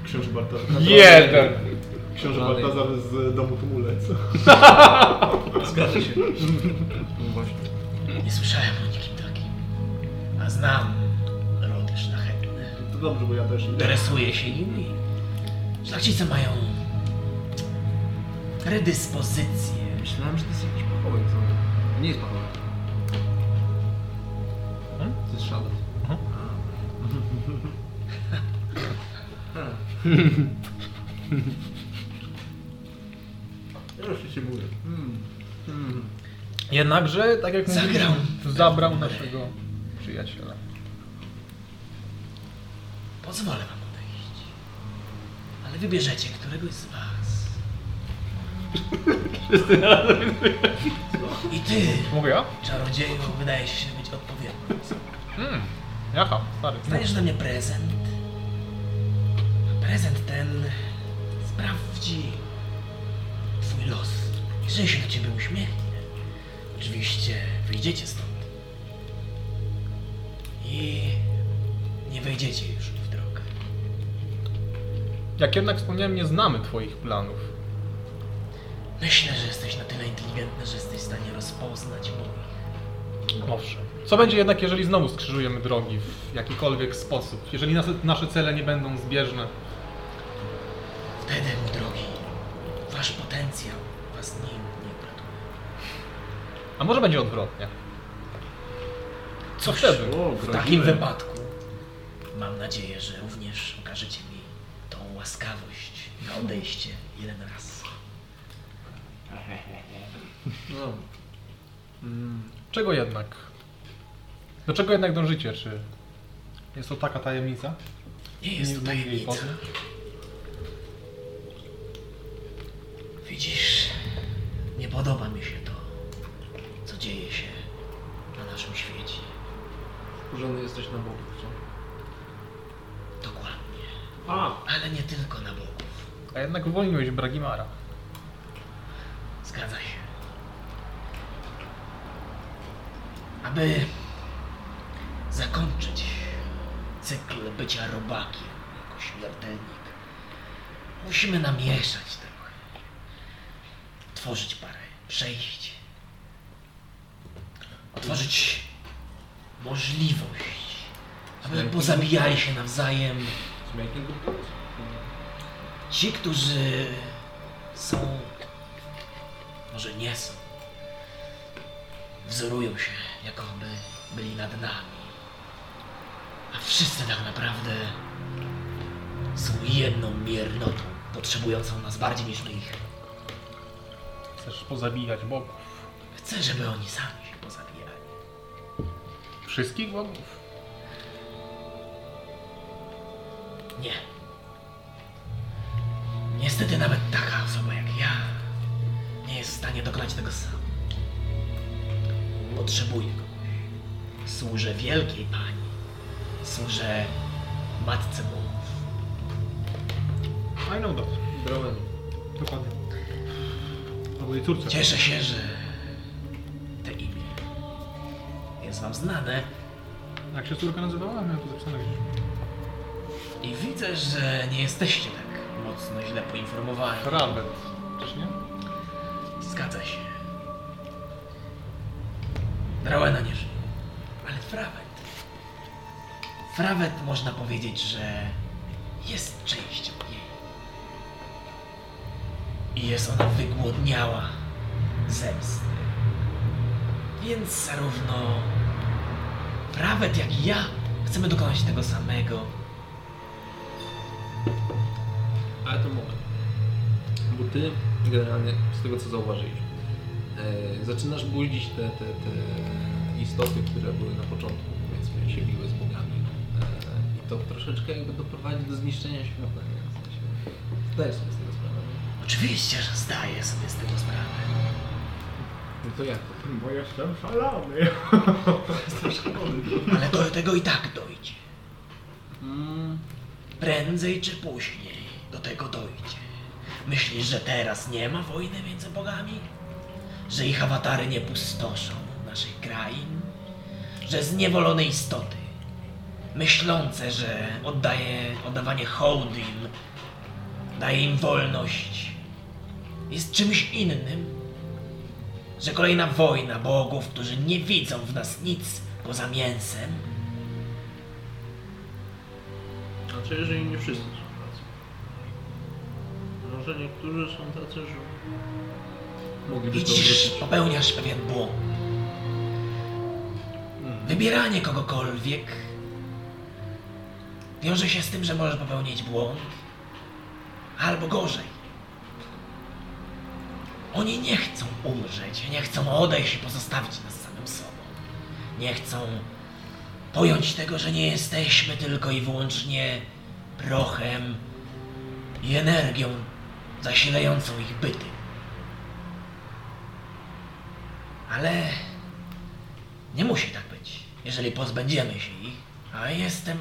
Książę Jeden! Książę Baltazar z domu Tumulec. Zgadza się. Właśnie. Nie słyszałem o nikim takim. A znam rody szlachetne. To dobrze, bo ja też idę. Interesuję się nimi. Szlachcice mają predyspozycje. Myślałem, że to jest jakiś pachołek. co- Nie jest pachołek. To jest szalot. Proszę cię mówię. Mm. Mm. Jednakże, tak jak mówiłem, Zagrał. zabrał naszego przyjaciela. Pozwolę wam odejść. Ale wybierzecie któregoś z was. I ty, Mówię ja? czarodzieju, wydajesz się być odpowiedni. Hmm. Jaka? Stary. Znajdziesz dla mnie prezent. Prezent ten sprawdzi twój los. Jeżeli się do ciebie uśmiechnie, oczywiście wyjdziecie stąd. I nie wejdziecie już w drogę. Jak jednak wspomniałem, nie znamy twoich planów. Myślę, że jesteś na tyle inteligentny, że jesteś w stanie rozpoznać moich. Owszem. Co będzie jednak, jeżeli znowu skrzyżujemy drogi w jakikolwiek sposób? Jeżeli nas, nasze cele nie będą zbieżne? Wtedy, mój drogi, wasz potencjał was nim nie uratuje. A może będzie odwrotnie? Co wtedy? O, W groziłem. takim wypadku mam nadzieję, że również okażecie mi tą łaskawość na odejście jeden raz. No. Mm. Czego jednak? Do czego jednak dążycie? Czy jest to taka tajemnica? Nie jest Nie to mogę jej tajemnica. poznać. Widzisz, nie podoba mi się to, co dzieje się na naszym świecie. Wkurzony jesteś na Bogu, co? Dokładnie. A, Ale nie tylko na Bogu. A jednak uwolniłeś Bragimara. Zgadza się. Aby zakończyć cykl bycia robakiem jako śmiertelnik, musimy namieszać trochę. Tworzyć parę przejść. Otworzyć możliwość, aby pozabijali się nawzajem Smaking good boys? ci, którzy są, może nie są, wzorują się, jakoby byli nad nami. A wszyscy tak naprawdę są jedną miernotą, potrzebującą nas bardziej niż my ich. Chcesz pozabijać bogów. Chcę, żeby oni sami się pozabijali. Wszystkich bogów? Nie. Niestety nawet taka osoba jak ja nie jest w stanie dokonać tego sam. Potrzebuję kogoś. Służę wielkiej pani. Służę matce bogów. I know that. Bromen. Dokładnie. Albo jej córce. Cieszę się, że te imię jest wam znane Jak się córka nazywała? Miałem to zapisane gdzieś. i widzę, że nie jesteście tak mocno źle poinformowani. Rabet. Też nie? Zgadza się. Drałena nie żyje, ale Frawet. Frawet można powiedzieć, że jest częścią jej. I jest ona wygłodniała zemsty. Więc zarówno Frawet, jak i ja chcemy dokonać tego samego. Ale to moment. Bo ty generalnie z tego co zauważyłeś, e, zaczynasz budzić te, te, te istoty, które były na początku, powiedzmy, się biły z bogami. E, I to troszeczkę jakby doprowadzi do zniszczenia świata. nie? W sensie, Zdajesz sobie z tego sprawę. nie? Oczywiście, że zdaję sobie z tego sprawę. No to jak to? bo jestem szalony. Jestem szalony. Ale do tego i tak dojdzie. Mm, Prędzej czy później do tego dojdzie. Myślisz, że teraz nie ma wojny między bogami? Że ich awatary nie pustoszą naszych krain? Że zniewolone istoty, myślące, że oddaje, oddawanie hołdu im, daje im wolność, jest czymś innym, że kolejna wojna bogów, którzy nie widzą w nas nic poza mięsem, Znaczy, jeżeli nie wszyscy są tacy. Może niektórzy są tacy, że mogliby to widzisz, wrócić. popełniasz pewien błąd. Wybieranie kogokolwiek wiąże się z tym, że możesz popełnić błąd, albo gorzej. Oni nie chcą umrzeć, nie chcą odejść i pozostawić nas samym sobą. Nie chcą pojąć tego, że nie jesteśmy tylko i wyłącznie prochem i energią zasilającą ich byty. Ale nie musi tak być, jeżeli pozbędziemy się ich, a jestem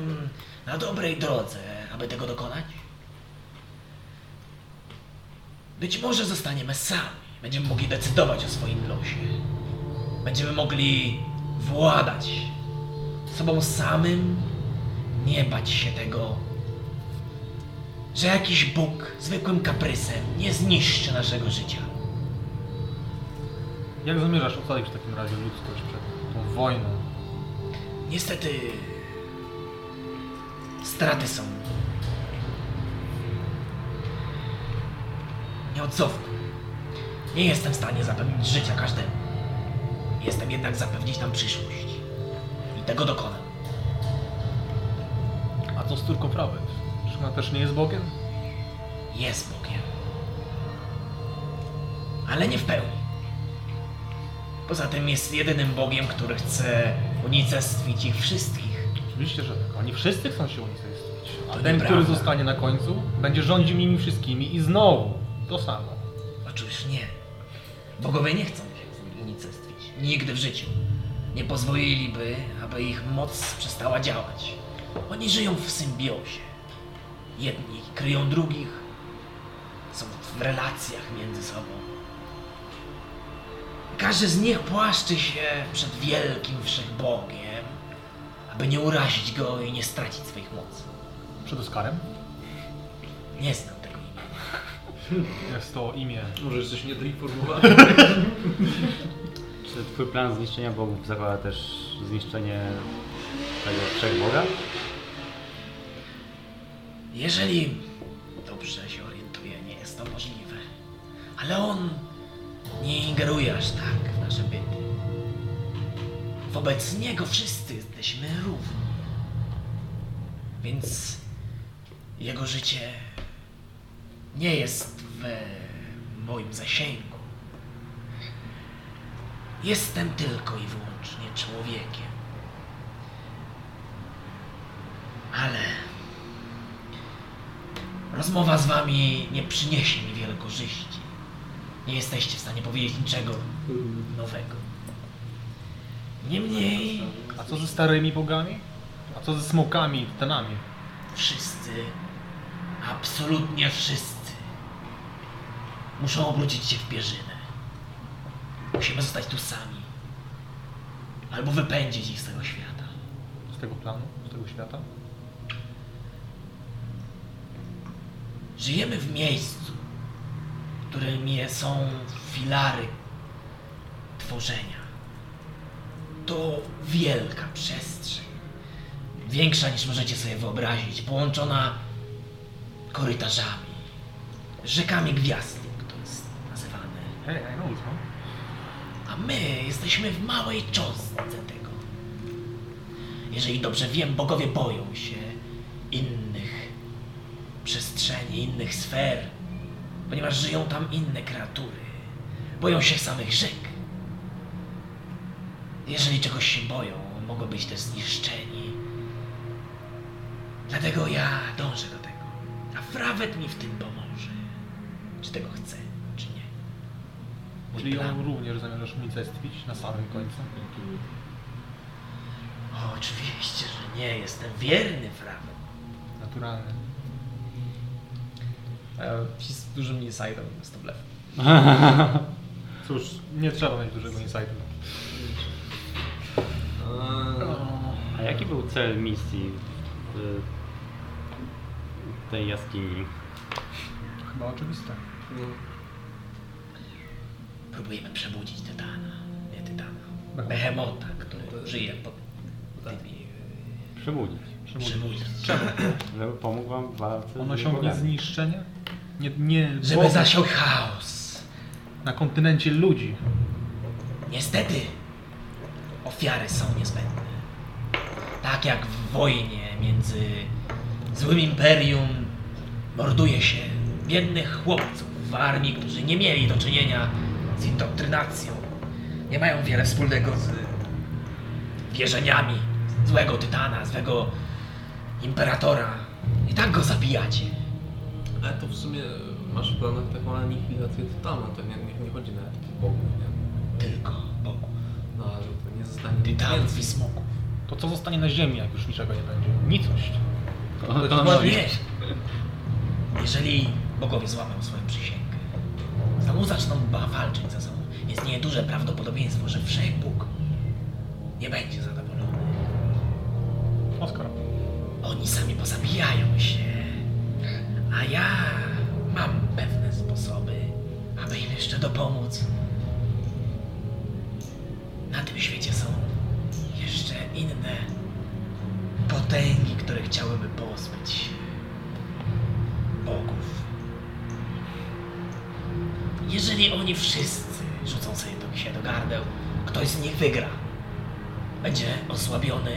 na dobrej drodze, aby tego dokonać. Być może zostaniemy sami, będziemy mogli decydować o swoim losie. Będziemy mogli władać sobą samym, nie bać się tego, że jakiś Bóg zwykłym kaprysem nie zniszczy naszego życia. Jak zamierzasz ocalić w takim razie ludzkość przed tą wojną? Niestety straty są nieodzowne. Nie jestem w stanie zapewnić życia każdemu. Jestem jednak zapewnić nam przyszłość. I tego dokonam. A co z córką prawej? Czy ona też nie jest Bogiem? Jest Bogiem. Ale nie w pełni. Poza tym jest jedynym Bogiem, który chce unicestwić ich wszystkich. Oczywiście, że tak. Oni wszyscy chcą się unicestwić. A To ten, który nieprawda. zostanie na końcu, będzie rządził nimi wszystkimi i znowu to samo. Oczywiście nie. Bogowie nie chcą się unicestwić. Nigdy w życiu. Nie pozwoliliby, aby ich moc przestała działać. Oni żyją w symbiozie. Jedni kryją drugich. Są w relacjach między sobą. Każdy z nich płaszczy się przed wielkim wszechbogiem, aby nie urazić go i nie stracić swoich mocy. Przed Oskarem? Nie znam tego imienia. Jest to imię. Może jesteś niedoinformowany. Czy twój plan zniszczenia bogów zakłada też zniszczenie tego wszechboga? Jeżeli dobrze się orientuję, nie jest to możliwe. Ale on nie ingeruje aż tak w nasze byty. Wobec niego wszyscy jesteśmy równi. Więc jego życie nie jest w moim zasięgu. Jestem tylko i wyłącznie człowiekiem. Ale Rozmowa z wami nie przyniesie mi wiele korzyści. Nie jesteście w stanie powiedzieć niczego nowego. Niemniej A co ze starymi bogami? A co ze smokami i tenami? wszyscy, absolutnie wszyscy, muszą obrócić się w pierzynę. Musimy zostać tu sami. Albo wypędzić ich z tego świata. Z tego planu? Z tego świata? Żyjemy w miejscu, którym są filary tworzenia. To wielka przestrzeń. Większa niż możecie sobie wyobrazić, połączona korytarzami, rzekami gwiazd, jak to jest nazywane. Hej, I know it, no. A my jesteśmy w małej cząstce tego. Jeżeli dobrze wiem, bogowie boją się innych przestrzeni, innych sfer, ponieważ żyją tam inne kreatury. Boją się samych rzek. Jeżeli czegoś się boją, mogą być też zniszczeni. Dlatego ja dążę do tego. A Frawet mi w tym pomoże. Czy tego chce, czy nie. Mój Czyli plan. ją również zamierzasz unicestwić na samym końcu? O, Oczywiście, że nie. Jestem wierny prawu. Naturalny. E, z dużym insightem jest to blef. Cóż, nie trzeba mieć dużego insightu. A jaki był cel misji w w tej jaskini? Chyba oczywiste. Próbujemy przebudzić tytana. Nie tytana. Behemota, który żyje pod No tak. tymi... Przebudzić. Przebudzić. Żeby pomógł wam w walce On z osiągnie bogami. zniszczenie? Nie, nie Żeby Boga. zasiał chaos. na kontynencie ludzi. Niestety, ofiary są niezbędne. Tak jak w wojnie między złym imperium morduje się biednych chłopców w armii, którzy nie mieli do czynienia z indoktrynacją. Nie mają wiele wspólnego z wierzeniami złego tytana, złego imperatora. I tak go zabijacie. Ale to w sumie masz w planach taką anihilację tytana, to nie, nie, nie chodzi nawet o bogów, nie? Tylko Bogu. No ale to nie zostanie Tytanów i smoków. To co zostanie na ziemi, jak już niczego nie będzie? Nicość. To, to nam Dokładnie. Jeżeli bogowie złamią swoją przysięgę, znowu zaczną ba- walczyć ze sobą, istnieje duże prawdopodobieństwo, że Wszechbóg nie będzie zadowolony. Oskar. Oni sami pozabijają się, a ja mam pewne sposoby, aby im jeszcze dopomóc. Na tym świecie są jeszcze inne potęgi, które chciałyby pozbyć się bogów. Jeżeli oni wszyscy rzucą sobie do, się do gardeł, ktoś z nich wygra. Będzie osłabiony,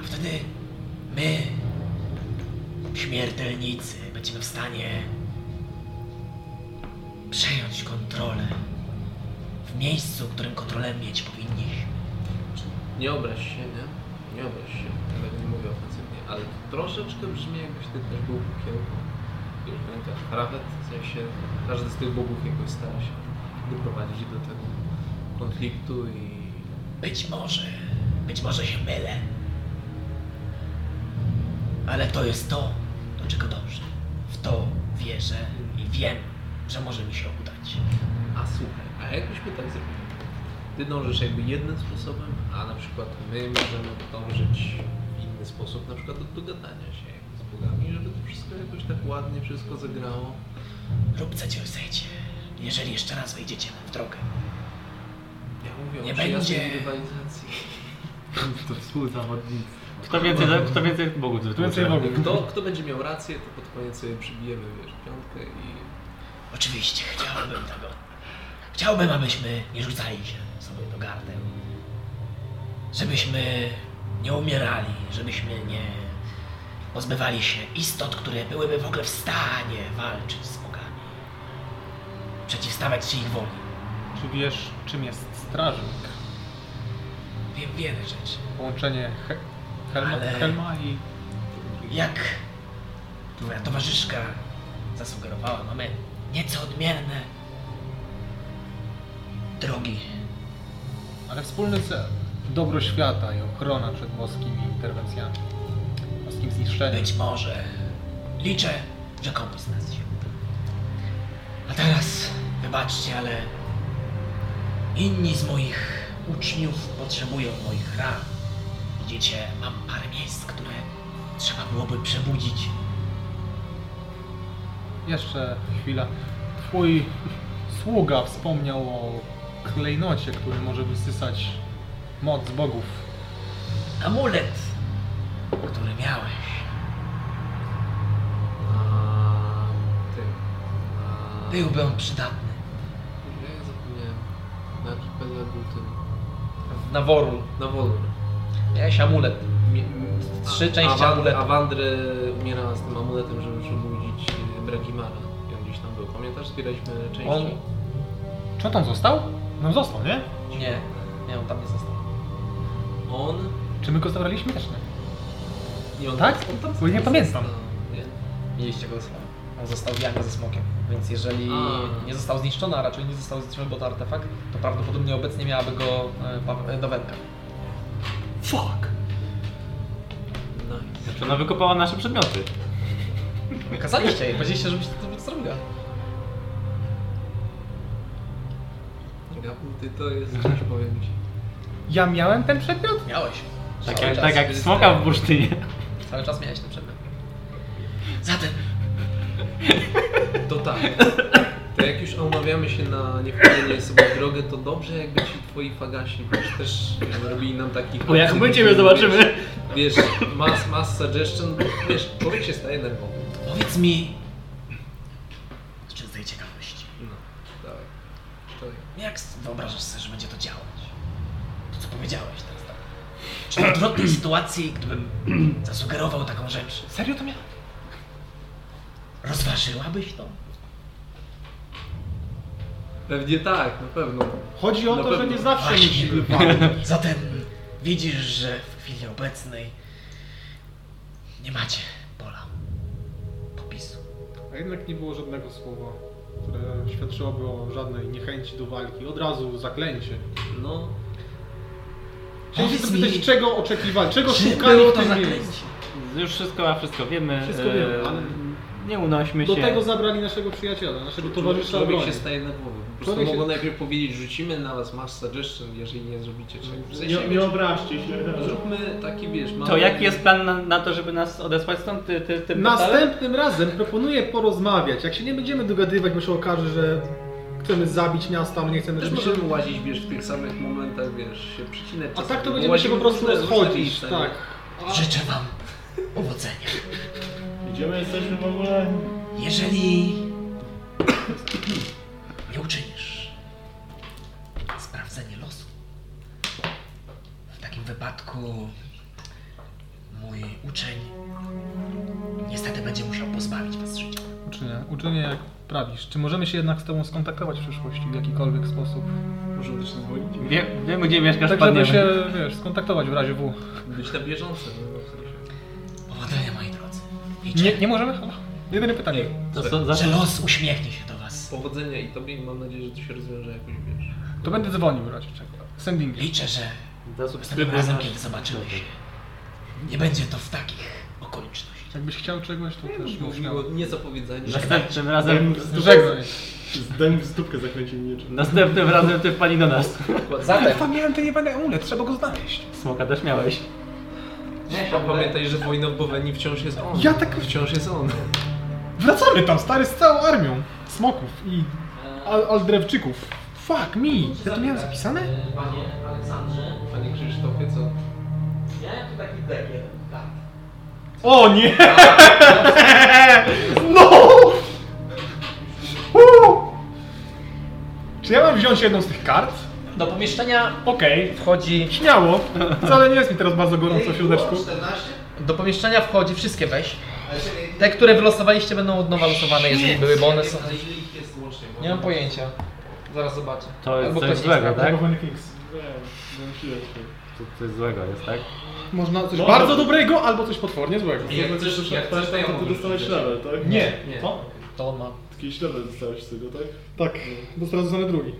a wtedy my, śmiertelnicy, będziemy w stanie przejąć kontrolę w miejscu, w którym kontrolę mieć powinniśmy. Nie obraź się, nie? Nie obraź się. Nawet nie mówię ofensywnie, ale to troszeczkę brzmi jakbyś ty też był kiełką. Wiesz, pamiętasz, Rafet, w sensie każdy z tych bogów jakoś stara się doprowadzić do tego konfliktu i Być może, być może się mylę. Ale to jest to, do czego dążę. W to wierzę i wiem, że może mi się udać. A słuchaj, a jakbyśmy tak zrobili? Ty dążysz jakby jednym sposobem, a na przykład my możemy dążyć w inny sposób, na przykład do dogadania się jakby z bogami, żeby to wszystko jakoś tak ładnie wszystko zagrało. Róbcie co chcecie, jeżeli jeszcze raz wejdziecie w drogę. Ja mówię Nie o przyjaznej będzie. rywalizacji. To współzawodnicy. Kto więcej, kto więcej bogów Kto więcej bogów. Kto, kto będzie miał rację, to pod koniec sobie przybijemy, wiesz, piątkę i... Oczywiście chciałbym tego. Chciałbym, abyśmy nie rzucali się sobie do gardeł. Żebyśmy nie umierali, żebyśmy nie pozbywali się istot, które byłyby w ogóle w stanie walczyć z bogami. Przeciwstawiać się ich woli. Czy wiesz, czym jest strażnik? Wiem wiele rzeczy. Połączenie he Helma, Ale- Helma i... Jak twoja towarzyszka zasugerowała, mamy nieco odmienne drogi Ale wspólny cel. Dobro świata i ochrona przed boskimi interwencjami. Boskim zniszczeniem. Być może. Liczę, że komuś z nas się uda. A teraz, wybaczcie, ale inni z moich uczniów potrzebują moich ran. Widzicie, mam parę miejsc, które trzeba byłoby przebudzić. Jeszcze chwila. Twój sługa wspomniał o klejnocie, który może wysysać moc z bogów. Amulet, który miałeś. A... Ty... A... Byłby on przydatny. Kurde, Ja zapomniałem. Na archipelagu ten... Na woru. Na Wolur. Miałeś amulet. Mi- Trzy a- części a Wand- amuletu. A Wandrę umierała z tym amuletem, żeby przebudzić e, Bragimara. I on gdzieś tam był. Pamiętasz? Zbieraliśmy części. On- Czy on tam został? No został, nie? Nie. Nie, on tam nie został. On... Czy my go zabraliśmy też, nie? Nie, on Tak? On tam Bo nie pamiętam. Nie? Mieliście go ze sobą. On został w jamie ze smokiem. Więc jeżeli A. nie został zniszczony, a raczej nie został zniszczony, bo to artefakt, to prawdopodobnie obecnie miałaby go e, pa- e, dowenka. Fuck! Nice. Czy Znaczy ona wykopała nasze przedmioty? Kazaliście jej, powiedzieliście, żebyś to zrobiła. Gapu, ty to jest coś, powiem ci. Ja miałem ten przedmiot? Miałeś. Tak Cały jak, czas. tak jak smoka w bursztynie. Cały czas miałeś ten przedmiot. Zatem To tak. Ty jak już omawiamy się na niewchodzenie sobie w drogę, to dobrze jakby ci twoi fagasi wiesz, też jakby robili nam takich... Bo jak my ciebie zobaczymy. Wiesz, mass, mass suggestion, bo wiesz, człowiek się staje nerwowy. Powiedz mi... Z czystej ciekawości. No, dawaj. Dawaj. No Jak s- wyobrażasz sobie, że będzie to działać? To, co powiedziałeś teraz tak. Czy w odwrotnej sytuacji, gdybym zasugerował taką rzecz, Serio to mnie? rozważyłabyś to? Pewnie tak, na pewno. Chodzi o Na to, że pewno. nie zawsze musi Właśnie. wypadać. Zatem widzisz, że w chwili obecnej nie macie pola popisu. A jednak nie było żadnego słowa, które świadczyłoby o żadnej niechęci do walki. Od razu zaklęcie. No, Chciałem się Powiedz mi, zapytać, czego oczekiwali, czego czy szukali było w to tym miejscu. zaklęcie? Już wszystko, a wszystko wiemy. e, Wszystko wiemy, ale- Nie unośmy Do się. tego zabrali naszego przyjaciela, naszego towarzysza Człowiek obrony. się staje nerwowy. Po prostu Człowiek się- mogą najpierw powiedzieć, rzucimy na was mass suggestion, jeżeli nie zrobicie czegoś. W sensie, Nie, nie wiesz, obraźcie się. zróbmy taki, wiesz, mały... To jaki jest plan na, na to, żeby nas odesłać stąd ty, ty, tym portalem? Następnym razem proponuję porozmawiać. Jak się nie będziemy dogadywać, bo się okaże, że chcemy zabić miasto, ale nie chcemy, Też żeby się... możemy łazić, wiesz, w tych samych momentach, wiesz, się przycinać. A czasami, tak to bo będziemy się łazimy po prostu różne- różne rozchodzić. miejsca, nie? Tak. Życzę wam powodzenia. Idziemy, jesteśmy w ogóle... Jeżeli nie uczynisz sprawdzenie losu, w takim wypadku mój uczeń niestety będzie musiał pozbawić was życia. Uczynię, uczynię jak prawisz. Czy możemy się jednak z tobą skontaktować w przyszłości w jakikolwiek sposób? Możemy też dzwonić. Wie, wiemy gdzie mieszkasz, Tak, żeby padniemy. się, wiesz, skontaktować w razie W. Być na bieżąco. no, w sensie. Powodzenia moi drodzy. Wiecie, Nie, nie możemy? Halo? Jedyne pytanie. To są za... że los uśmiechnie się do was. Powodzenia i tobie i mam nadzieję, że to się rozwiąże jakoś, wiesz. To będę dzwonił w razie czego. Sending. Liczę, że następnym Zasubskrybuj razem, nasz... kiedy zobaczymy się, nie będzie to w takich okolicznościach. Jakbyś chciał czegoś, to też mów Mówiło śmiało. niezapowiedzenie. Następnym razem... Żegnaj. Zdem w stópkę zakręcił mieczem. Następnym razem ty wpadnij do nas. Zatem, Pamiętaj, nie będę amulet, trzeba go znaleźć. Smoka też miałeś. A pamiętaj, że wojna w Bowenii wciąż jest on. Ja tak- Wciąż jest on. Wracamy tam, stary, z całą armią smoków i al aldrewczyków. Fuck me! Ja to miałem zapisane? Panie Aleksandrze, Panie Krzysztofie, co? miałem tu taki dekiel. Tak. O nie! No! Uuu! Czy ja mam wziąć jedną z tych kart? do pomieszczenia Okej. wchodzi... Śmiało. Wcale nie jest mi teraz bardzo gorąco w środeczku. Do pomieszczenia wchodzi, wszystkie weź. Te, które wylosowaliście będą od nowa losowane, jeżeli były, bo one są... Ale ile ich jest łącznie? Bo Nie mam pojęcia. Zaraz zobaczę. To jest Albo coś ktoś złego, nie tak? Nie, To coś złego jest, tak? Można coś No. bardzo dobrego albo coś potwornie złego. Jak chcesz, jak chcesz, to ja Ty mogę No dostałeś rzucić. level, tak? Nie. Nie. To? To on ma. Taki level dostałeś z tego, tak? Tak, dostałem zostanę drugi.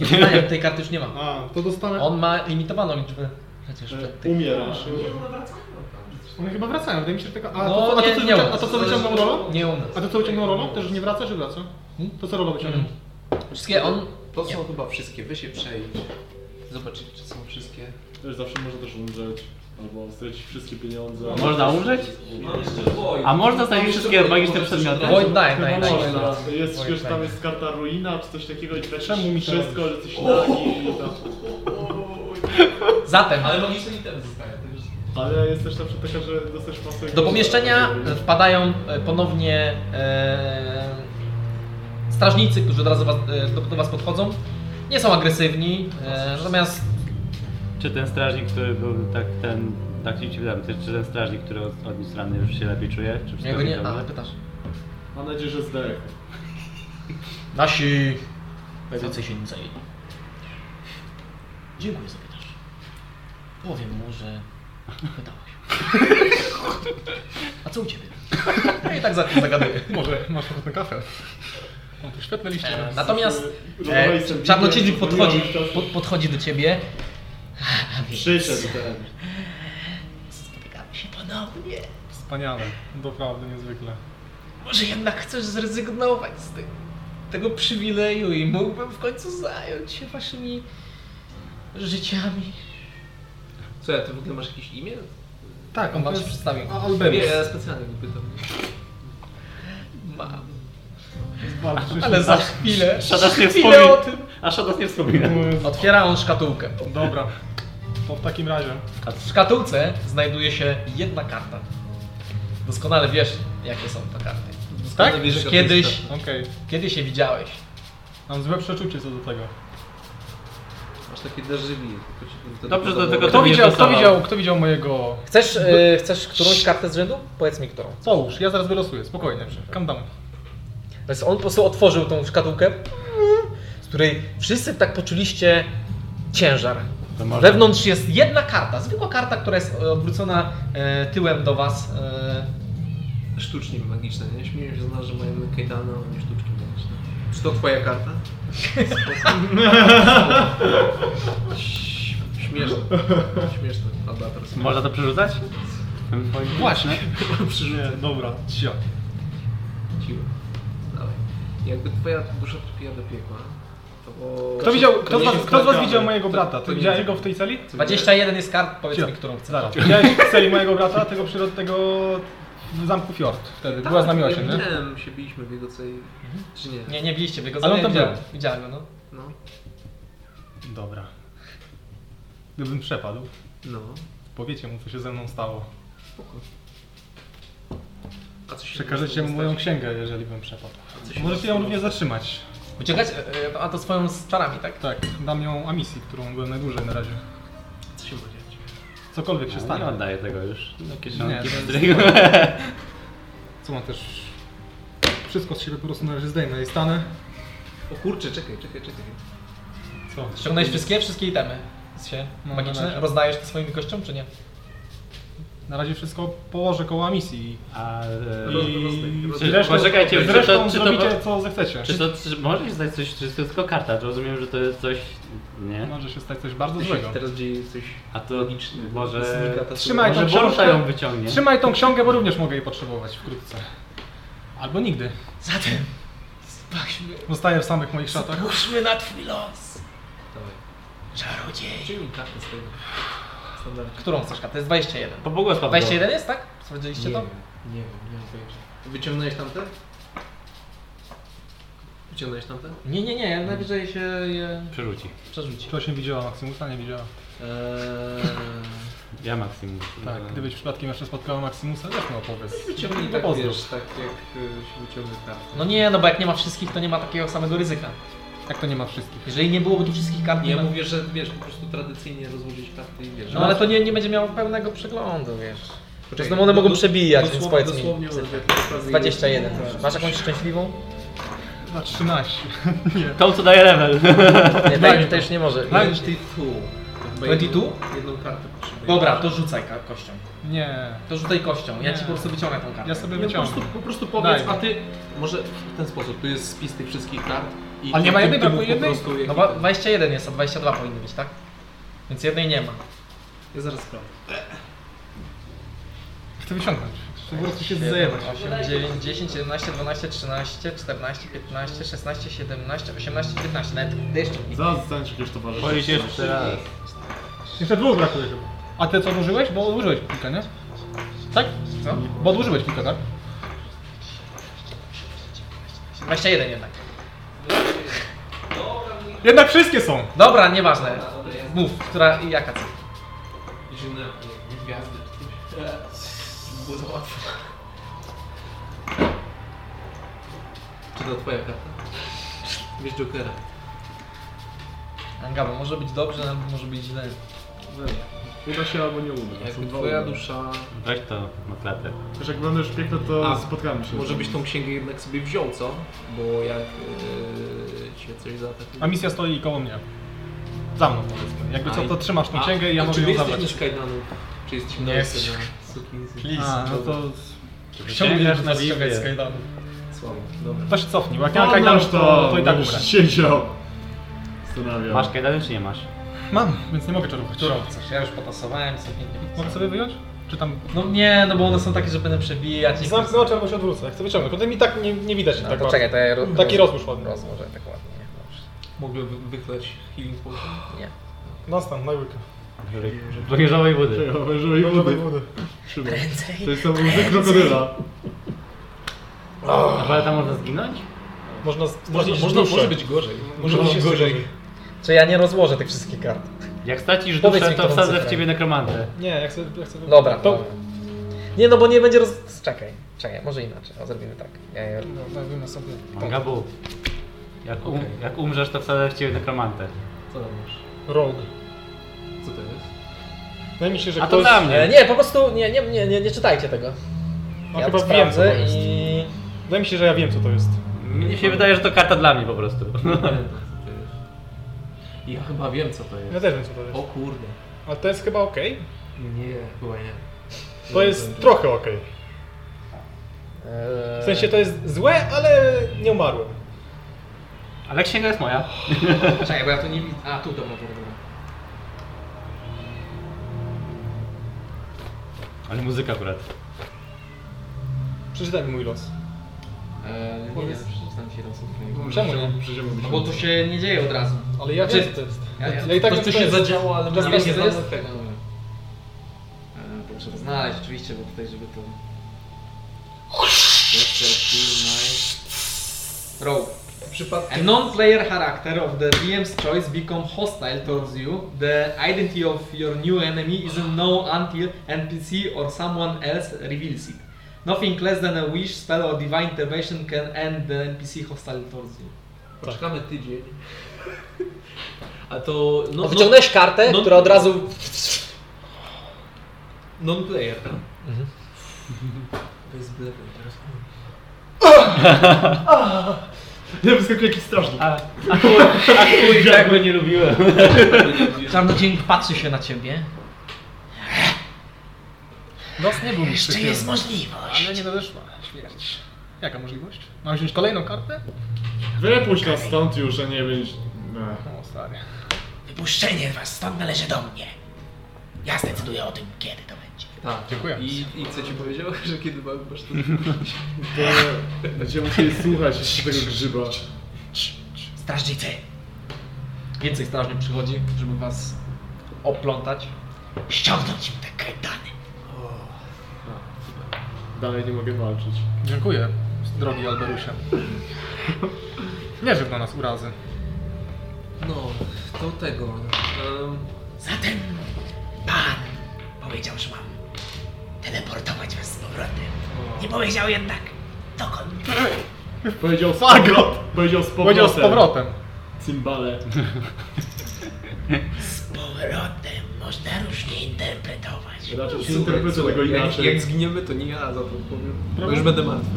Nie pytania, tej karty już nie ma. A, to dostanę... On ma limitowaną liczbę. E, Przecież Tak, przed tym. Umierasz. One chyba wracają, wydaje mi się, że tego... A, No, to, co- a, to, nie, co, nie wycią... ma. a to co wyciągnął Rolo? Nie u nas. A to co wyciągnął Rolo? Też nie wraca, czy wraca? To co Rolo wyciągnął? Mm. Wszystkie on... To są chyba wszystkie, wy się przejdź. Zobaczyć, czy są wszystkie. Wiesz, zawsze można też umrzeć. Albo stracić wszystkie pieniądze. Można umrzeć? A można znaleźć wszystkie magiczne przedmioty? Void Nine, Nine, Chyba Nine. no- można. Jest, Moim wiesz, tam zdaniem. jest karta ruina, czy coś takiego i tracisz Czemu mi to wszystko, że coś nagi. Zatem, no- magiczne itemy zostają. Ale jest też na przykład taka, że dostajesz masę... do pomieszczenia wpadają e, ponownie e, strażnicy, którzy od razu was, e, do, do was podchodzą. Nie są agresywni, e, natomiast Czy ten strażnik, który był tak ten... Tak ci ci wydałem, ty- czy ten strażnik, który od- odniósł rany już się lepiej czuje? Czy wszystko jego nie... dobrze? A, pytasz. Mam nadzieję, że zdech. Nasi... Tacy się nim zajęli. Dziękuję za pytasz. Powiem mu, że pytałeś. A co u ciebie? No i tak za tym zagaduję. Może masz trochę ten kafel? Mam tu świetne liście. E, Natomiast Rozmawiaj e, sobie, czarnoksiężnik nie, podchodzi, nie mam czasu. pod, podchodzi do ciebie. Przyszedł ten. Spotykamy się ponownie. Wspaniale, doprawdy niezwykle. Może jednak chcesz zrezygnować z tych, tego przywileju i mógłbym w końcu zająć się waszymi życiami. Co, ja, ty w ogóle masz jakieś imię? Tak, On wam się przedstawił. A Nie, Alberius. ja specjalnie go pytam. Mam. Walczysz. Ale za chwilę, Szadas nie chwilę o wspomina. tym. A Szadas nie wspomina. Otwiera on szkatułkę. Dobra, to w takim razie. W szkatułce znajduje się jedna karta. Doskonale wiesz, jakie są to karty. Tak? Wiesz, że kiedyś, Okej, kiedyś je widziałeś. mam złe przeczucie co do tego. Masz takie derzywi. tylko ci wtedy Dobrze, do podobało. tego Kto to nie widział, kto dostała. widział, kto widział mojego... Chcesz, e, chcesz którąś kartę z rzędu? Powiedz mi którą. Połóż, ja zaraz wylosuję, spokojnie. Calm down. Więc on po prostu otworzył tą szkatułkę, z której wszyscy tak poczuliście ciężar. To może- Wewnątrz jest jedna karta, zwykła karta, która jest e, odwrócona e, tyłem do was. E, Sztucznie magiczne, nie? Śmieję się z nas, że mają kajdany, a nie sztuczki magiczne. Czy to twoja karta? Ś- Śmieszne. Śmieszne. Albator. Można to przerzucać? właśnie. Nie, E, dobra. Cia. Siły. Dalej. Jakby twoja dusza trafiła do piekła, to... Kto, widział, kto, z nie was, jest kto z was kradzione. widział mojego To- brata? to Ty nie widziałeś jest- go w tej celi? 21 jest kart, powiedz Cio. mi którą chcesz. Zaraz. Widziałeś w celi mojego brata, tego przyrod, tego w zamku Fjord wtedy. Była z nami ja osiem, nie? widziałem, się biliśmy w jego celi. Czy nie? Nie, nie biliście wy go, Ale on ja tam widziałem, był. widziałem go, no. No. Dobra. Gdybym przepadł, No. powiecie mu, co się ze mną stało. Spoko. A co się Przekażecie mu może moją stać? księgę, jeżeli bym przepadł. Co No, się Możecie może ją również zatrzymać. Uciekać, e, e, a to swoją z czarami, tak? Tak, dam ją Amisji, którą byłem najdłużej na razie. Co się ma dziać? Cokolwiek się Nie stanie. oddaję tego już. Do Nie, kieszonki. to jest- Co ma też... Wszystko z siebie po prostu na razie zdejmę i stanę. O kurczę, czekaj, czekaj, czekaj. Co? Ściągnąłeś wszystkie, wszystkie itemy z się No, na magiczne. razie. Rozdajesz to swoim gościom, czy nie? Na razie wszystko położę koło Amisji. A, e, I... roz- zresztą- poczekajcie, czy to- zresztą czy to- zrobicie co zechcecie. Czy to czy możesz zdać coś, czy to jest tylko karta? Czy rozumiem, że to jest coś. Nie? Może się stać coś bardzo Tu złego. się teraz dzieje coś... A to może. znika ta- Trzymaj tą Może Borsza książkę. ją wyciągnie. Trzymaj tą książkę, bo również mogę jej potrzebować wkrótce. Albo nigdy. Zatem spójrzmy, Zostaję w samych moich szatach. spójrzmy na twój los. Dawaj. Czarodziej. Przyjmij kartę z tego. Standard. Którą chcesz kartę? Jest 21. Po błogosław. go. 21 jest, tak? Sprawdziliście to? Nie wiem, nie mam pojęcia. Wyciągnąłeś tamte? Wyciągnąłeś tamte? Nie, nie, nie, najwyżej się je Przerzuci. przerzuci. Czy 8 widziała Maksymusa? Nie widziała. Eee... Ja Maksim. Tak, gdybyś przypadkiem jeszcze spotkała Maksymusa, też mi opowiedz. Wyciągnij To tak, pozdrów. wiesz, tak jak y, się wyciągnie kartę. No nie, no bo jak nie ma wszystkich, to nie ma takiego samego ryzyka. Jak to nie ma wszystkich? Jeżeli nie byłoby tu wszystkich kart, Nie, nie ja ma... mówię, że wiesz, po prostu tradycyjnie rozłożyć karty i wiesz. Tak. No ale to nie, nie będzie miało pełnego przeglądu, wiesz. Zresztą one mogą przebijać, więc Dosłownie- powiedz mi. tak. dosłownie odwrotnie. 21. Tak. Masz jakąś szczęśliwą? Na 13. Tą co daje level. Nie, tej, tej już nie może. 22. To chyba 22? jedną- Jedną kartę potrzebuję. Dobra, to rzucaj ka- kością. Nie. To rzucaj kością, ja ci Nie. po prostu wyciągnę tą kartę. Ja sobie Nie, No, po, prostu, wyciągnę. po prostu powiedz, Daj. a ty może w ten sposób, tu jest spis tych wszystkich kart i Ale nie ty- ma ty- jednej, ty brakuje po jednej? prostu jaki No bo ten- 21 jest, a 22 powinny być, tak? Więc jednej nie ma. Ja zaraz sprawdzę. Chcę wyciągnąć. Chcę po prostu się 7, zajebać. 8, 9, 10, 11, 12, 13, 14, 15, 16, 17, 18, 19. Nawet jeszcze nie. Zaraz zostaniesz jakiegoś towarzysza. Boję się jeszcze raz. Jeszcze dwóch brakuje chyba. A ty co odłożyłeś? Bo odłożyłeś kilka, nie? Tak? Co? Bo odłożyłeś kilka, tak? 21 jednak. Jednak wszystkie są! Dobra, nieważne. Mów, która i jaka co? Zimne gwiazdy czy coś. Było za łatwo. Czy to twoja karta? Wiesz Jokera. Gabo, może być dobrze, albo może być źle. Uda się albo nie uda. Jakby Są dwa twoja udane. dusza... Weź to na klatę. Wiesz, jak będę już piękny, to A, spotkamy się. Może byś tą księgę jednak sobie wziął, co? Bo jak yy, cię coś zaatakuje... A misja stoi koło mnie. Za mną powiedzmy. Jakby co, A, to trzymasz tą A- księgę i ja a mogę czy ją wy zabrać. jesteśmy z Kajdanu? Czy jesteśmy Nie na jesteś. scenie? Sukinsy. A, no to... Sięgasz na ściągać z Biblię. kajdanu. Słabo, dobra. To się cofnij, bo No, jak nie ma kajdanów, to, to i tak umrę. Będziesz siedział. Zastanawiam. Masz kajdany czy nie masz? Mam, więc nie mogę czarować. Którą chcesz? Ja już potasowałem sobie. nie- No Mogę sobie wyjąć? Czy tam... No nie, no bo one są takie, że będę przebijać. nie- oczy albo się odwrócę. Jak chcę wyciągnąć. Potem mi tak nie, nie widać. No, to czekaj, to ja ro... Taki rozłóż ładny. Rozłożę tak ładnie. Dobrze. Mogę wy- wychlać healing potion? Nie. No, Dostan, na łyka. Wężowej wody. Czekaj, obejrzyj wody. Trzymaj. To jest tam łzy krokodyla. Ale tam można zginąć? Można, z- można, Stracić można duszę. może być gorzej. Może Można być się gorzej. Czy ja nie rozłożę tych wszystkich kart? Jak stracisz Powiedz duszę, mi, to którą wsadzę w cyfrę. ciebie nekromantę. Nie, jak chcę. Jak chcę Dobra, to. dobra. Nie, no bo nie będzie roz... Czekaj, czekaj, może inaczej. O, zrobimy tak. Ja je... No, dajmy sobie. Gabu. Jak, um, jak umrzesz, to wsadzę w ciebie nekromantę. Co tam masz? Rogue. Co to jest? Wydaje mi się, że A to ktoś... dla E, mnie. nie, po prostu nie, nie, nie, nie, nie czytajcie tego. No, ja chyba to wiem, co to sprawdzę jest. i... Wydaje mi się, że ja wiem co to jest. Mnie się wydaje, że to karta dla mnie po prostu. Pamiętam, co to jest. Ja chyba wiem co to jest. Ja też wiem co to jest. O kurde. Ale to jest chyba okej. Nie, chyba nie. To jest trochę okej. e, W sensie to jest złe, ale nie umarłem. Ale księga jest moja. Czekaj, bo ja tu nie widzę. A, tu dobra, dobra, dobra. Ale muzyka akurat. Przeczytaj mi mój los. Eee, nie, nie, przeczytam ci losów. Czemu nie? No bo to się nie dzieje od razu. Ale ja Znaczy, wiem co to jest. Ja, ja, Ja i tak to, wiem, to co się jest. zadziało, ale Just my nie Dance znamy Dance. efektu. Eee, to muszę to znaleźć oczywiście, bo tutaj, żeby to... Chapter two, nice. Row. Przypadkiem. A non-player character of the DM's choice become hostile towards you. The identity of your new enemy isn't known until NPC or someone else reveals it. Nothing less than a wish, spell or divine intervention can end the NPC hostile towards you. Tak. Poczekamy tydzień. A to... No, wyciągnąłeś kartę, no- która od razu... Non-player. Bez blewy teraz. Nie wyskakuje jakiś strażnik. Tak by nie lubiłem. Czarnodziejnik patrzy się na ciebie. Los nie był mi Jeszcze przychylny, jest możliwość. Ale nie nadeszła śmierć. Jaka możliwość? Mam wziąć kolejną kartę? Wypuść nas stąd już, a nie być... Ne. O stary. Wypuszczenie was stąd należy do mnie. Ja zdecyduję o tym, kiedy to będzie. Tak. Dziękuję. I, I co ci powiedział, że kiedy masz tu... To będziemy musieli Tak. słuchać jeszcze tego grzyba. Strażnicy, Więcej strażników przychodzi, żeby was oplątać. ściągnąć im te kretany. Dalej nie mogę walczyć. Dziękuję, drogi Alberusie. Nie żyw na nas urazy. No, to tego. Um, Zatem pan powiedział, że mam teleportować was z powrotem. Nie powiedział jednak dokąd. Powiedział Fagot! Powiedział z powrotem. Powiedział z powrotem. Cymbale. Z powrotem można różnie interpretować. Raczej Znaczy, się interpretuje tego inaczej. no, Jak, jak zginiemy, to nie ja za to powiem. Bo już będę martwy.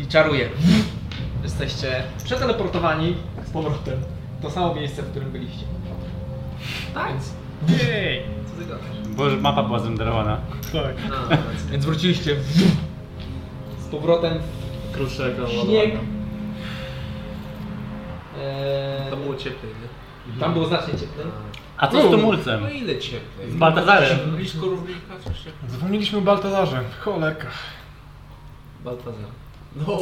I czaruje. Jesteście przeteleportowani z powrotem. w To samo miejsce, w którym byliście. Tak? Jej. Co ty gadasz? Bo już mapa była zrenderowana. Tak. A, racja. Więc wróciliście z powrotem Kruszeka, w śnieg. ładowania. Eee, Tam było cieplej, nie? tam było znacznie cieplej. A co z No tumulcem? ile cieplej? Z Baltazarem. Blisko równika, coś się... Zapomnieliśmy o Baltazarze. Cholerka. Baltazar. No,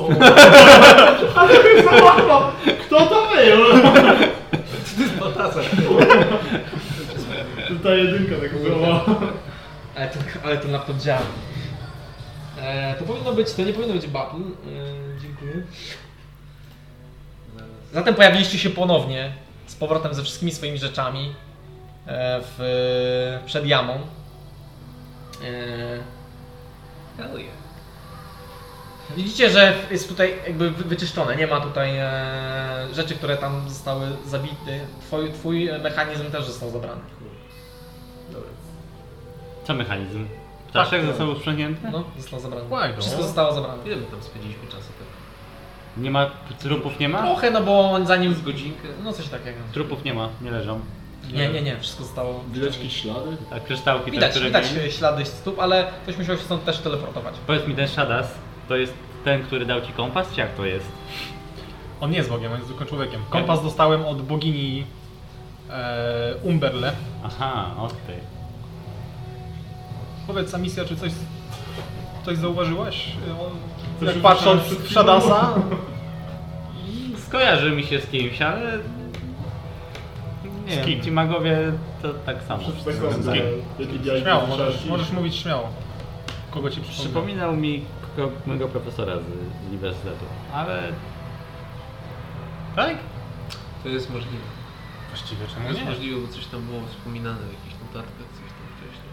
Kto to był? to jest Baltazar. To Ta jedynka tak była. Ale ten, ale ten laptop działa. Eee, to powinno być, to nie powinno być battle. Eee, dziękuję. Zatem pojawiliście się ponownie z powrotem ze wszystkimi swoimi rzeczami eee, w, przed jamą. Eee, Hell yeah. Widzicie, że jest tutaj jakby wy- wyczyszczone, nie ma tutaj e, rzeczy, które tam zostały zabite. Twój, twój mechanizm też został zabrany. Dobra. Co mechanizm? Ptaszek Tak, został usprzęgnięty? No, został zabrany. Fajno. Wszystko zostało zabrane. Ile my tam spędziliśmy czasu tak? Nie ma, trupów nie ma? Trochę, no bo zanim... Z godzinkę? No coś takiego. Trupów nie ma, nie leżą. Nie, nie, nie, wszystko zostało... Widać jakieś ślady? A kryształki te, Widać, które... widać mieli? ślady stóp, ale ktoś musiał się stąd też teleportować. Powiedz mi, ten Shadas, to jest ten, który dał ci kompas, czy jak to jest? On nie jest Bogiem, on jest zwykłym człowiekiem. Kompas dostałem od bogini e, Umberle. Aha, od tej. Powiedz, misja, czy coś, coś zauważyłaś? E, On, Coś jak już patrząc myślałem przed w Shadasa, Skojarzy mi się z kimś, ale... Nie Z kim? wiem, ci magowie to tak samo. Tak samo. wyglądają. Jakie białe śmiało, czaszki. możesz, możesz mówić śmiało. Kogo ci przypomina? Przypominał mi tylko mojego profesora z, z uniwersytetu. Ale Tak? To jest możliwe. Właściwie To czemu jest nie? możliwe, bo coś tam było wspominane w jakichś notatkach, coś tam wcześniej.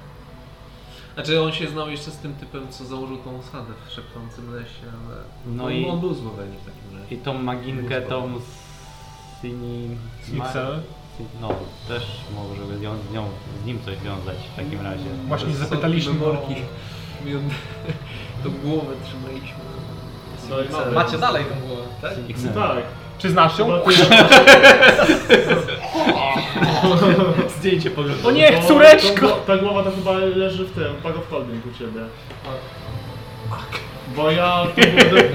Znaczy on się znał jeszcze z tym typem, co założył tą osadę w szepczącym lesie, ale No on, i- on był z Moweni w takim razie. i tą maginkę, tą Sini... XL? No, też może by ją, z, nią, z nim coś wiązać w takim razie. Właśnie To są zapytaliśmy niby o- worki. Mi on- Tą no, głowę trzymaliśmy. No i mamy. Macie dalej tą głowę. Tak? XL. Tak. Czy znasz ją? Chyba ty- Zdjęcie pogląd. To- O nie, to- córeczko! to- Ta głowa to chyba leży w tym, pagowkolnym u ciebie. Tak. Bo ja,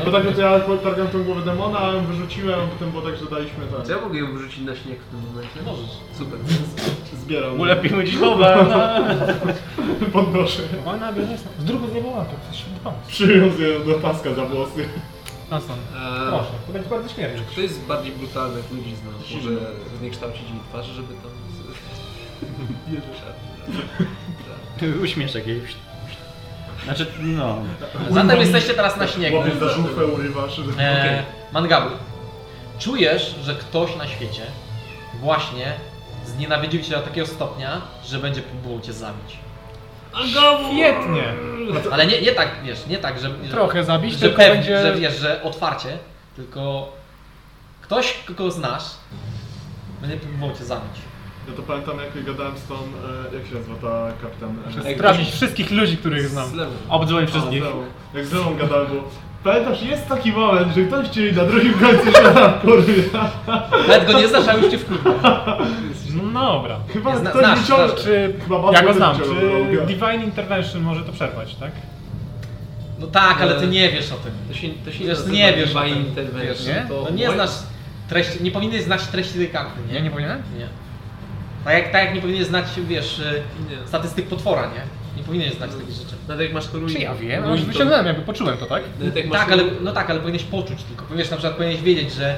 bo tak, to ja targam tą głowę demona, a ją wyrzuciłem, a potem było tak, że daliśmy Czy ja tak, mogę ją wrzucić na śnieg w tym momencie? Możesz. Super. zbieram. Ulepimy dziś nowe. Podnoszę. Ona by nie Z drugą nie była, to coś się dbało. Przywiązuję do paska za włosy. No Nastąd. Eee, Proszę, to będzie bardzo śmierć. kto jest bardziej brutalny jak ludzi zna? Może zniekształcić jej twarz, żeby tam... z- Nie, że żart. Uśmieszek jej. Znaczy, no. Zatem jesteście teraz na śniegu. Łapiesz za żuchwę, urywasz. E, Mangabu, czujesz, że ktoś na świecie właśnie znienawidził cię do takiego stopnia, że będzie próbował cię zabić. Świetnie! Ale nie, nie tak, wiesz, nie tak, że, że, Trochę zabić, że, tylko pewnie, będzie... że wiesz, że otwarcie, tylko ktoś, kogo znasz, będzie próbował cię zabić. Ja to pamiętam, jak gadałem z tą, e, jak się nazywa ta kapitan? e, Muszę sprawdzić wszystkich ludzi, których znam. Z lewym. Obdzwoń A, wszystkich. Zeon. Jak z Zeon gadałem, bo pamiętasz, jest taki moment, że ktoś ci na drugim końcu świata kurwa. Nawet go nie znasz, a już cię wkurwa. No dobra. Chyba Nie, zna- ktoś znasz, wyciągnął. znasz. Czy... Chyba bardzo Ja go dobrze znam. Czy wyciągnął Roga. Divine Intervention może to przerwać, tak? No tak, ale E, ty nie wiesz o tym. To się, to się Wiesz, nazywa nie wiesz o divine tym. intervention, Wiesz, nie? To No nie znasz treści, nie powinieneś znać treści tej karty, nie? powinienem? Nie. Tak jak, tak jak nie powinieneś znać, wiesz, y, Nie. statystyk potwora, nie? Nie powinieneś znać takich rzeczy. Nawet jak masz ruin. Czy ja wiem? ruin Już to- wyciągnąłem, jakby poczułem to, tak? Nawet jak masz Tak, ale, ruin- no tak, ale powinieneś poczuć tylko. Powinieneś na przykład powinieneś wiedzieć, że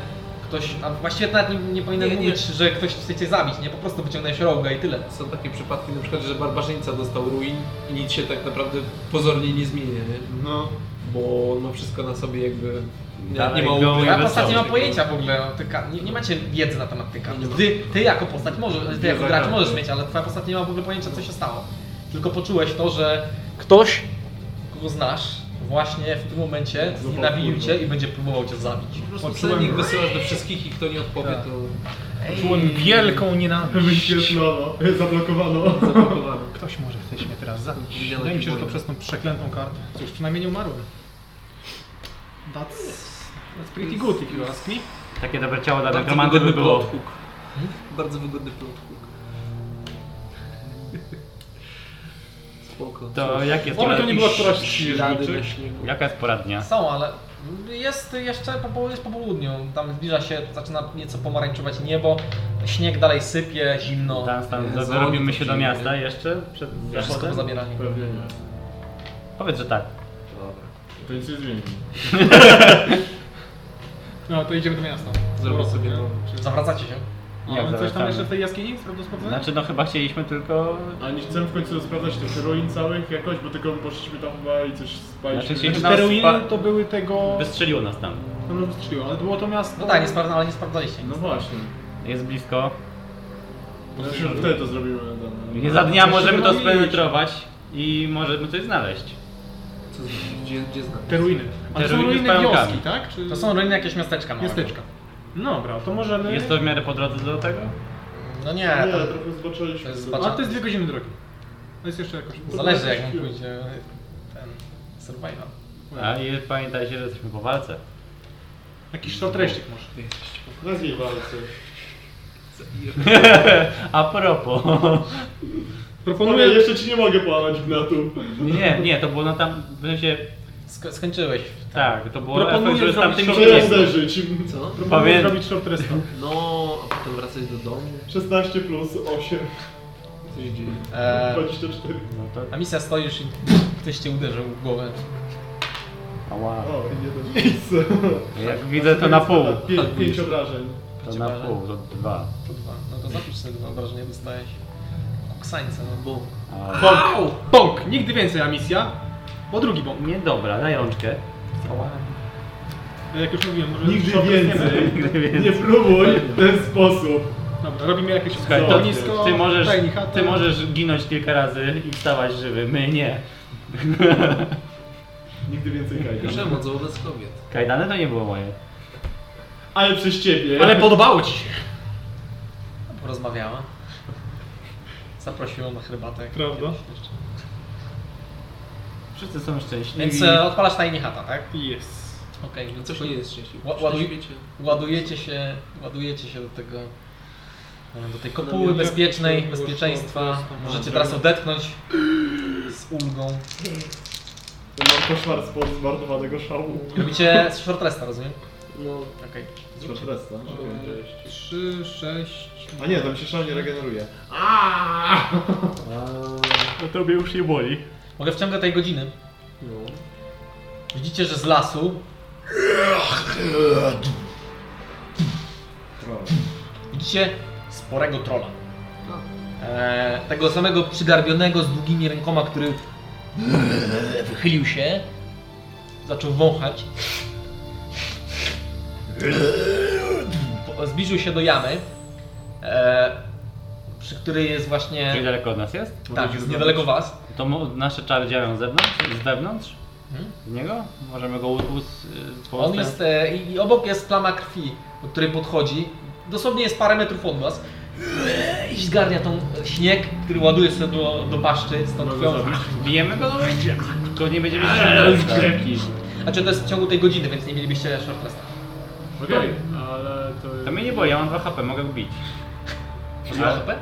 ktoś, a właściwie to nawet nie, nie powinien Nie, nie. mówić, że ktoś chce cię zabić, nie? Po prostu wyciągnąłeś roga i tyle. Są takie przypadki na przykład, że barbarzyńca dostał ruin i nic się tak naprawdę pozornie nie zmienia, nie? No, Bo on ma wszystko na sobie jakby... Nie, Dalej nie ma go upływu. Nie Ja wesoło. postać nie mam pojęcia w ogóle, o tych kar- nie, nie macie wiedzy na temat tych kart. Nie ma. Ty, ty jako postać możesz, ty Nie jako gracz zagadnę. możesz mieć, ale twoja postać nie ma w ogóle pojęcia co się stało. Tylko poczułeś to, że ktoś, kogo znasz, właśnie w tym momencie Złapał znienawidził kurwa. cię i będzie próbował cię zabić. Po prostu Poczułem- celnik wysyłasz do wszystkich i kto nie odpowie, Tak. to Czułem wielką nienawiść. wyświetlono, zablokowano. zablokowano. Ktoś może chce mnie teraz zabić. Widziane Wydaje mi się, że to figury. przez tą przeklętą kartę. Cóż, przynajmniej nie umarłem. That's, that's pretty good, if you ask me. Takie dobre ciało dla Bardzo nekromanty by wygodny było. plot hook. Hmm? Bardzo wygodny plot hook. Spoko. To jak jest Oby pora... to nie była któraś Ślady na śnieżniczy. śniegu. Jaka jest pora dnia? Są, ale jest jeszcze po, południu- jest po południu. Tam zbliża się, zaczyna nieco pomarańczować niebo, śnieg dalej sypie, zimno. Tak. Tam, tam, Jezu, dorobimy się do dziękuję. miasta jeszcze? Przed Wszystko zachodem? po zabieraniu. Pewnie nie. Powiedz, że tak. To nic nie zmieni. No, to idziemy do miasta. Zrobię sobie Nie? to. Zawracacie się. A, Jak ale No, coś tam zawracamy? jeszcze w tej jaskini? Sprawdzę, sprawdzę? Znaczy, no chyba chcieliśmy tylko... A nie chcemy w końcu sprawdzać tych ruin całych jakoś, bo tylko poszliśmy tam chyba i coś spaliśmy. No, Znaczy, się- Te ruiny spa- to były tego... Wystrzeliło nas tam. No, no, wystrzeliło, ale było to miasto... No tak, nie sprawdza, ale nie sprawdzaliście. No właśnie. Jest blisko. Znaczy, że wtedy to zrobimy. no, no. Nie za dnia Jeszcze możemy to robić. spenetrować i możemy coś znaleźć. Co, z- gdzie, gdzie znam? Te ruiny. Ale Te to są ruiny z ruiny pająkami. wioski, tak? Czy... To są ruiny jakieś miasteczka małego. Miasteczka. No dobra, to możemy... Jest to w miarę po drodze do tego? No nie, Nie, to trochę zboczyliśmy. to jest sobie. zbaczone. A to jest dwie godziny drogi. To jest jeszcze jakoś... zależy jak mu pójdzie ten survival. A i pamiętajcie, że jesteśmy po walce. Jakiś short resztik może. Nazwij walce. A propos. Panowie, Proponuję... jeszcze ci nie mogę połamać gnatu. Nie, nie, to było na tam. W sensie. Sko- skończyłeś. Tak, to było Proponuję efekt, że z zrobić tamtymi szok- Czy ja śniegu. zderzyć? Co? Proponuję Powiem- zrobić short resta. No, a potem wracać do domu. 16 plus 8. Coś dzieje. E, 24. No to. a misja stoisz i ktoś cię uderzył w głowę. Ała. O, jeden. Nic. Jak widzę to na pół. Tak, 5 obrażeń. To na pół, to dwa. To dwa. No to zapisz sobie dwa obrażenia, dostałeś. Koksańca, no bo. A, Bąk! Bąk! Nigdy więcej, a misja? Bo drugi bok. Nie dobra, daj rączkę. Jak już mówiłem, może... Nigdy to więcej. Nigdy Nie więcej. próbuj w ten sposób. Dobra, robimy jakieś Słuchaj, to ognisko, Ty możesz, tajni chata. ty możesz ginąć kilka razy i wstawać żywy, my nie. Nigdy więcej kajdan. Przemoc wobec kobiet. Kajdany to nie było moje. Ale przez ciebie. Ale podobało ci się. Porozmawiała. Zaprosiła na herbatę. jak Prawda. kiedyś jeszcze. Wszyscy są szczęśliwi. Więc e, odpalasz tajnie chata, tak? Yes. Okej, No więc coś nie jest szczęśliwy. Ła- ładuj- Szczęśliwie cię- ładujecie się, ładujecie się do tego, e, do tej kopuły bezpiecznej, bezpieczeństwa. Możecie teraz odetchnąć z ulgą. Mam koszmar z zmarnowanego szału. Robicie z short resta, rozumiem? No. Okej. Zrób resta. no. 3, 6... A nie, tam się szał nie regeneruje. To tobie już nie boli. Mogę w ciągu tej godziny. No. Widzicie, że z lasu, widzicie sporego trola. E, tego samego przygarbionego z długimi rękoma, który wychylił się, zaczął wąchać. Po- Zbliżył się do jamy, e, przy której jest właśnie. Czyli daleko od nas jest? Tak, jest niedaleko was. To mo- nasze czary działają z zewnątrz? Z wewnątrz? Mhm. Z niego? Możemy go us... On jest, e, i i obok jest plama krwi, do której podchodzi. Dosłownie jest parę metrów od was. I zgarnia tą śnieg, który ładuje sobie do, do paszczy z tą krwią. Bijemy go? No, Tylko Eee, nie będziemy strzelać. Znaczy to jest w ciągu tej godziny, więc nie mielibyście short resta. Okej, ale to... To mnie nie boli, ja mam 2 HP, mogę go bić. Czyli HP?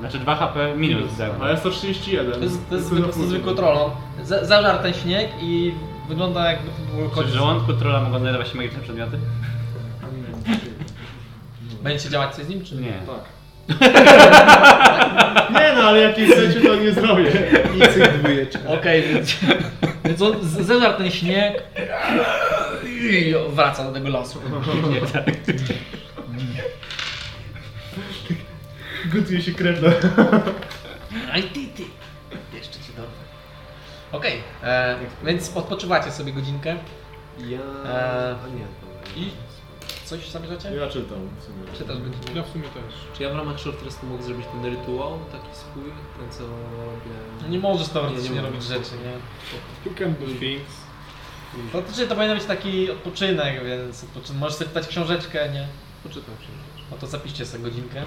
Znaczy 2 HP minus. A ja 131. To jest, to jest Jestem na zwykły, full. zwykły troll. On za- Zażar ten śnieg i wygląda jakby to było Czy w kość. żołądku trolla mogą znajdować się magiczne przedmioty? Będziecie działać coś z nim, czy Nie. Nie no, ale jakiej chcecie to nie zrobię. Nicyk dwójeczka. Okej, więc, więc on z- zeżar ten śnieg i wraca do tego lasu. Nie, tak. Gotuje się krew na... A i ty, ty. Jeszcze ci dorwę. Okej, e, więc odpoczywacie sobie godzinkę. Ja... Eee. A nie. I coś zamierzacie? Ja czytam w sumie. Czytasz godzinkę. Ja w sumie też. Czy ja w ramach short restu mogę zrobić ten rytuał taki swój? Ten co robię... Nie możesz teoretycznie No Nie, nie robić mogę. rzeczy, nie? You can do things. Teoretycznie to powinien być taki odpoczynek, więc odpoczyn- możesz sobie czytać książeczkę, nie? Poczytam książeczkę. No to zapiszcie sobie godzinkę.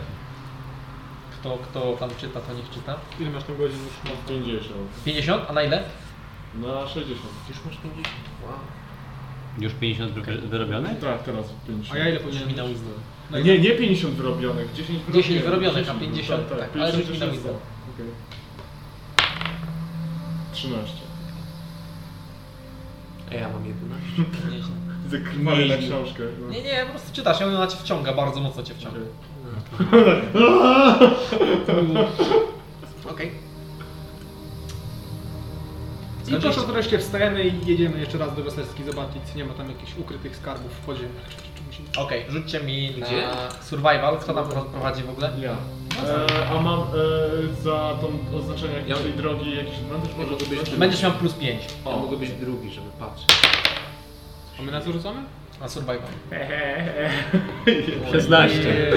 Kto, kto tam czyta, to niech czyta. Ile masz tam godzin już? Na 50. 50, a na ile? Na 60. Już masz 50? Wow. Już 50 wy- wyrobiony? Tak, teraz 50. A ja ile Już powinienem minął. mieć? No Nie, nie 50 wyrobionych, 10 wyrobionych. 10 wyrobionych, a 50, tak, ale już 50 minął jest widzę. za. Okej. 13. A ja mam 11. Nieźle. Zakrwali na książkę. No. Nie, nie, po prostu czytasz, i ona cię wciąga, bardzo mocno cię wciąga. Okej. I proszę wreszcie wstajemy i jedziemy jeszcze raz do Weselski zobaczyć, czy nie ma tam jakichś ukrytych skarbów w podziemiach. Czy, czy, czy musimy... Okej, rzućcie mi Gdzie? na survival. Kto tam prowadzi w ogóle? Ja. E, a mam e, za tą oznaczenie Ja- jakiejś tej drogi jakiś advantage? Może mogę być- znaczy- Będziesz miał plus 5 Ja mogę być drugi, żeby patrzeć. A my na co rzucamy? na survival. 16. Eee.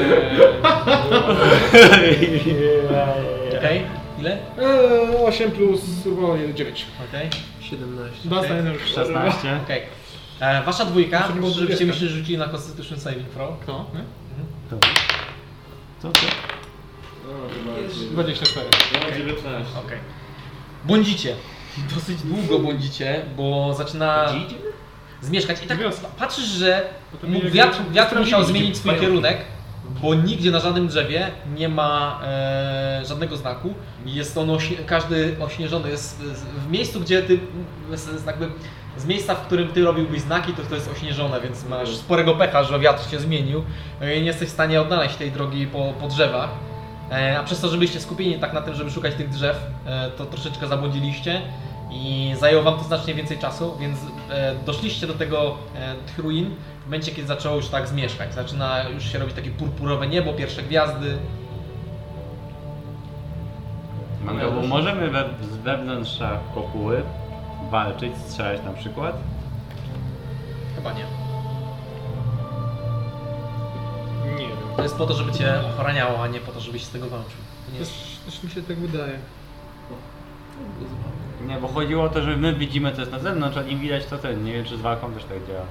Okej, ile? Eee, 8 plus survival 9. Okej, 17. Dwa stajemy już. 16. okej. E, Wasza dwójka, Muszę mi było No. żebyście mi dwudziestka. się rzucili na Constitution Saving Pro. Kto? My? Co ty? No, chyba jest. 24. Ja mam 19. Okej. Błądzicie. Dosyć długo błądzicie, bo zaczyna zmieszkać. I tak Wiosna. patrzysz, że Potem mu- jak- wiatr, wiatr musiał Sprawdzili, zmienić swój pająki. kierunek, bo nigdzie na żadnym drzewie nie ma e, żadnego znaku. Jest on ośnie, każdy ośnieżony jest z- w miejscu, gdzie ty z- jakby z miejsca, w którym ty robiłbyś znaki, to to jest ośnieżone, więc masz sporego pecha, że wiatr się zmienił e, i nie jesteś w stanie odnaleźć tej drogi po, po drzewach. E, A przez to, że byliście skupieni tak na tym, żeby szukać tych drzew, e, to troszeczkę zabłądziliście i zajęło wam to znacznie więcej czasu, więc e, doszliście do tego e, tych ruin w momencie, kiedy zaczęło już tak zmieszkać. Zaczyna już się robić takie purpurowe niebo, pierwsze gwiazdy. Mango, bo możemy we, z wewnątrz kopuły walczyć, strzelać na przykład? Chyba nie. Nie wiem. To jest po to, żeby cię ochraniało, a nie po to, żebyś z tego walczył. To nie jest... Też, też mi się tak wydaje. Nie, bo chodziło o to, że my widzimy co jest na zewnątrz, a nie widać to ten. Nie wiem czy z walką też tak działa.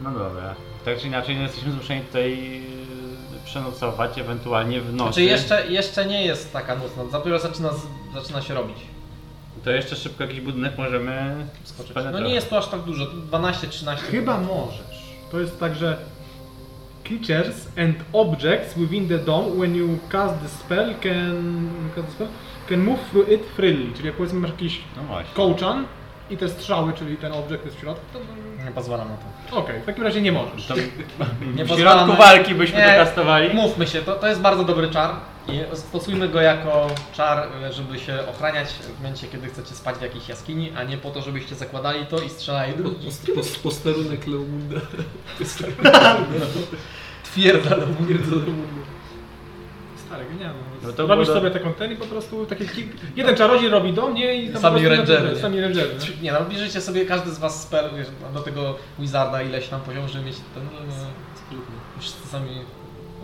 No dobra. Tak czy inaczej no jesteśmy zmuszeni tutaj yy, przenocować, ewentualnie w nocy. Znaczy jeszcze, jeszcze nie jest taka nocna, dopiero zaczyna, z- zaczyna się robić. To jeszcze szybko jakiś budynek możemy Skoczyć. No spenetrować. nie jest to aż tak dużo, 12-13. Chyba możesz. To jest tak, że creatures and objects within the dome when you cast the spell can, cast the spell, can move through it freely. Czyli jak powiedzmy masz jakiś No właśnie. kołczan i te strzały, czyli ten object jest w środku, to Nie pozwalam na to. okej, w takim razie nie możesz. To Nie w środku walki byśmy nie, to kastowali. Mówmy się, to, to jest bardzo dobry czar. I stosujmy go jako czar, e, żeby się ochraniać w momencie, kiedy chcecie spać w jakiejś jaskini, a nie po to, żebyście zakładali to i strzelali Po, drugi. po, po, posterunek Leomunda. Twierdza do Stary, genialne. No No to to Robisz było- sobie taką ten i po prostu taki kilk... Jeden Tak. czarodziej robi do mnie i tam Sami po prostu- rangerzy. Sami rangerzy. nie? Nie no, bierzecie sobie każdy z was spell, wiesz, do tego wizarda ileś tam poziom, żeby mieć ten... e, Już sami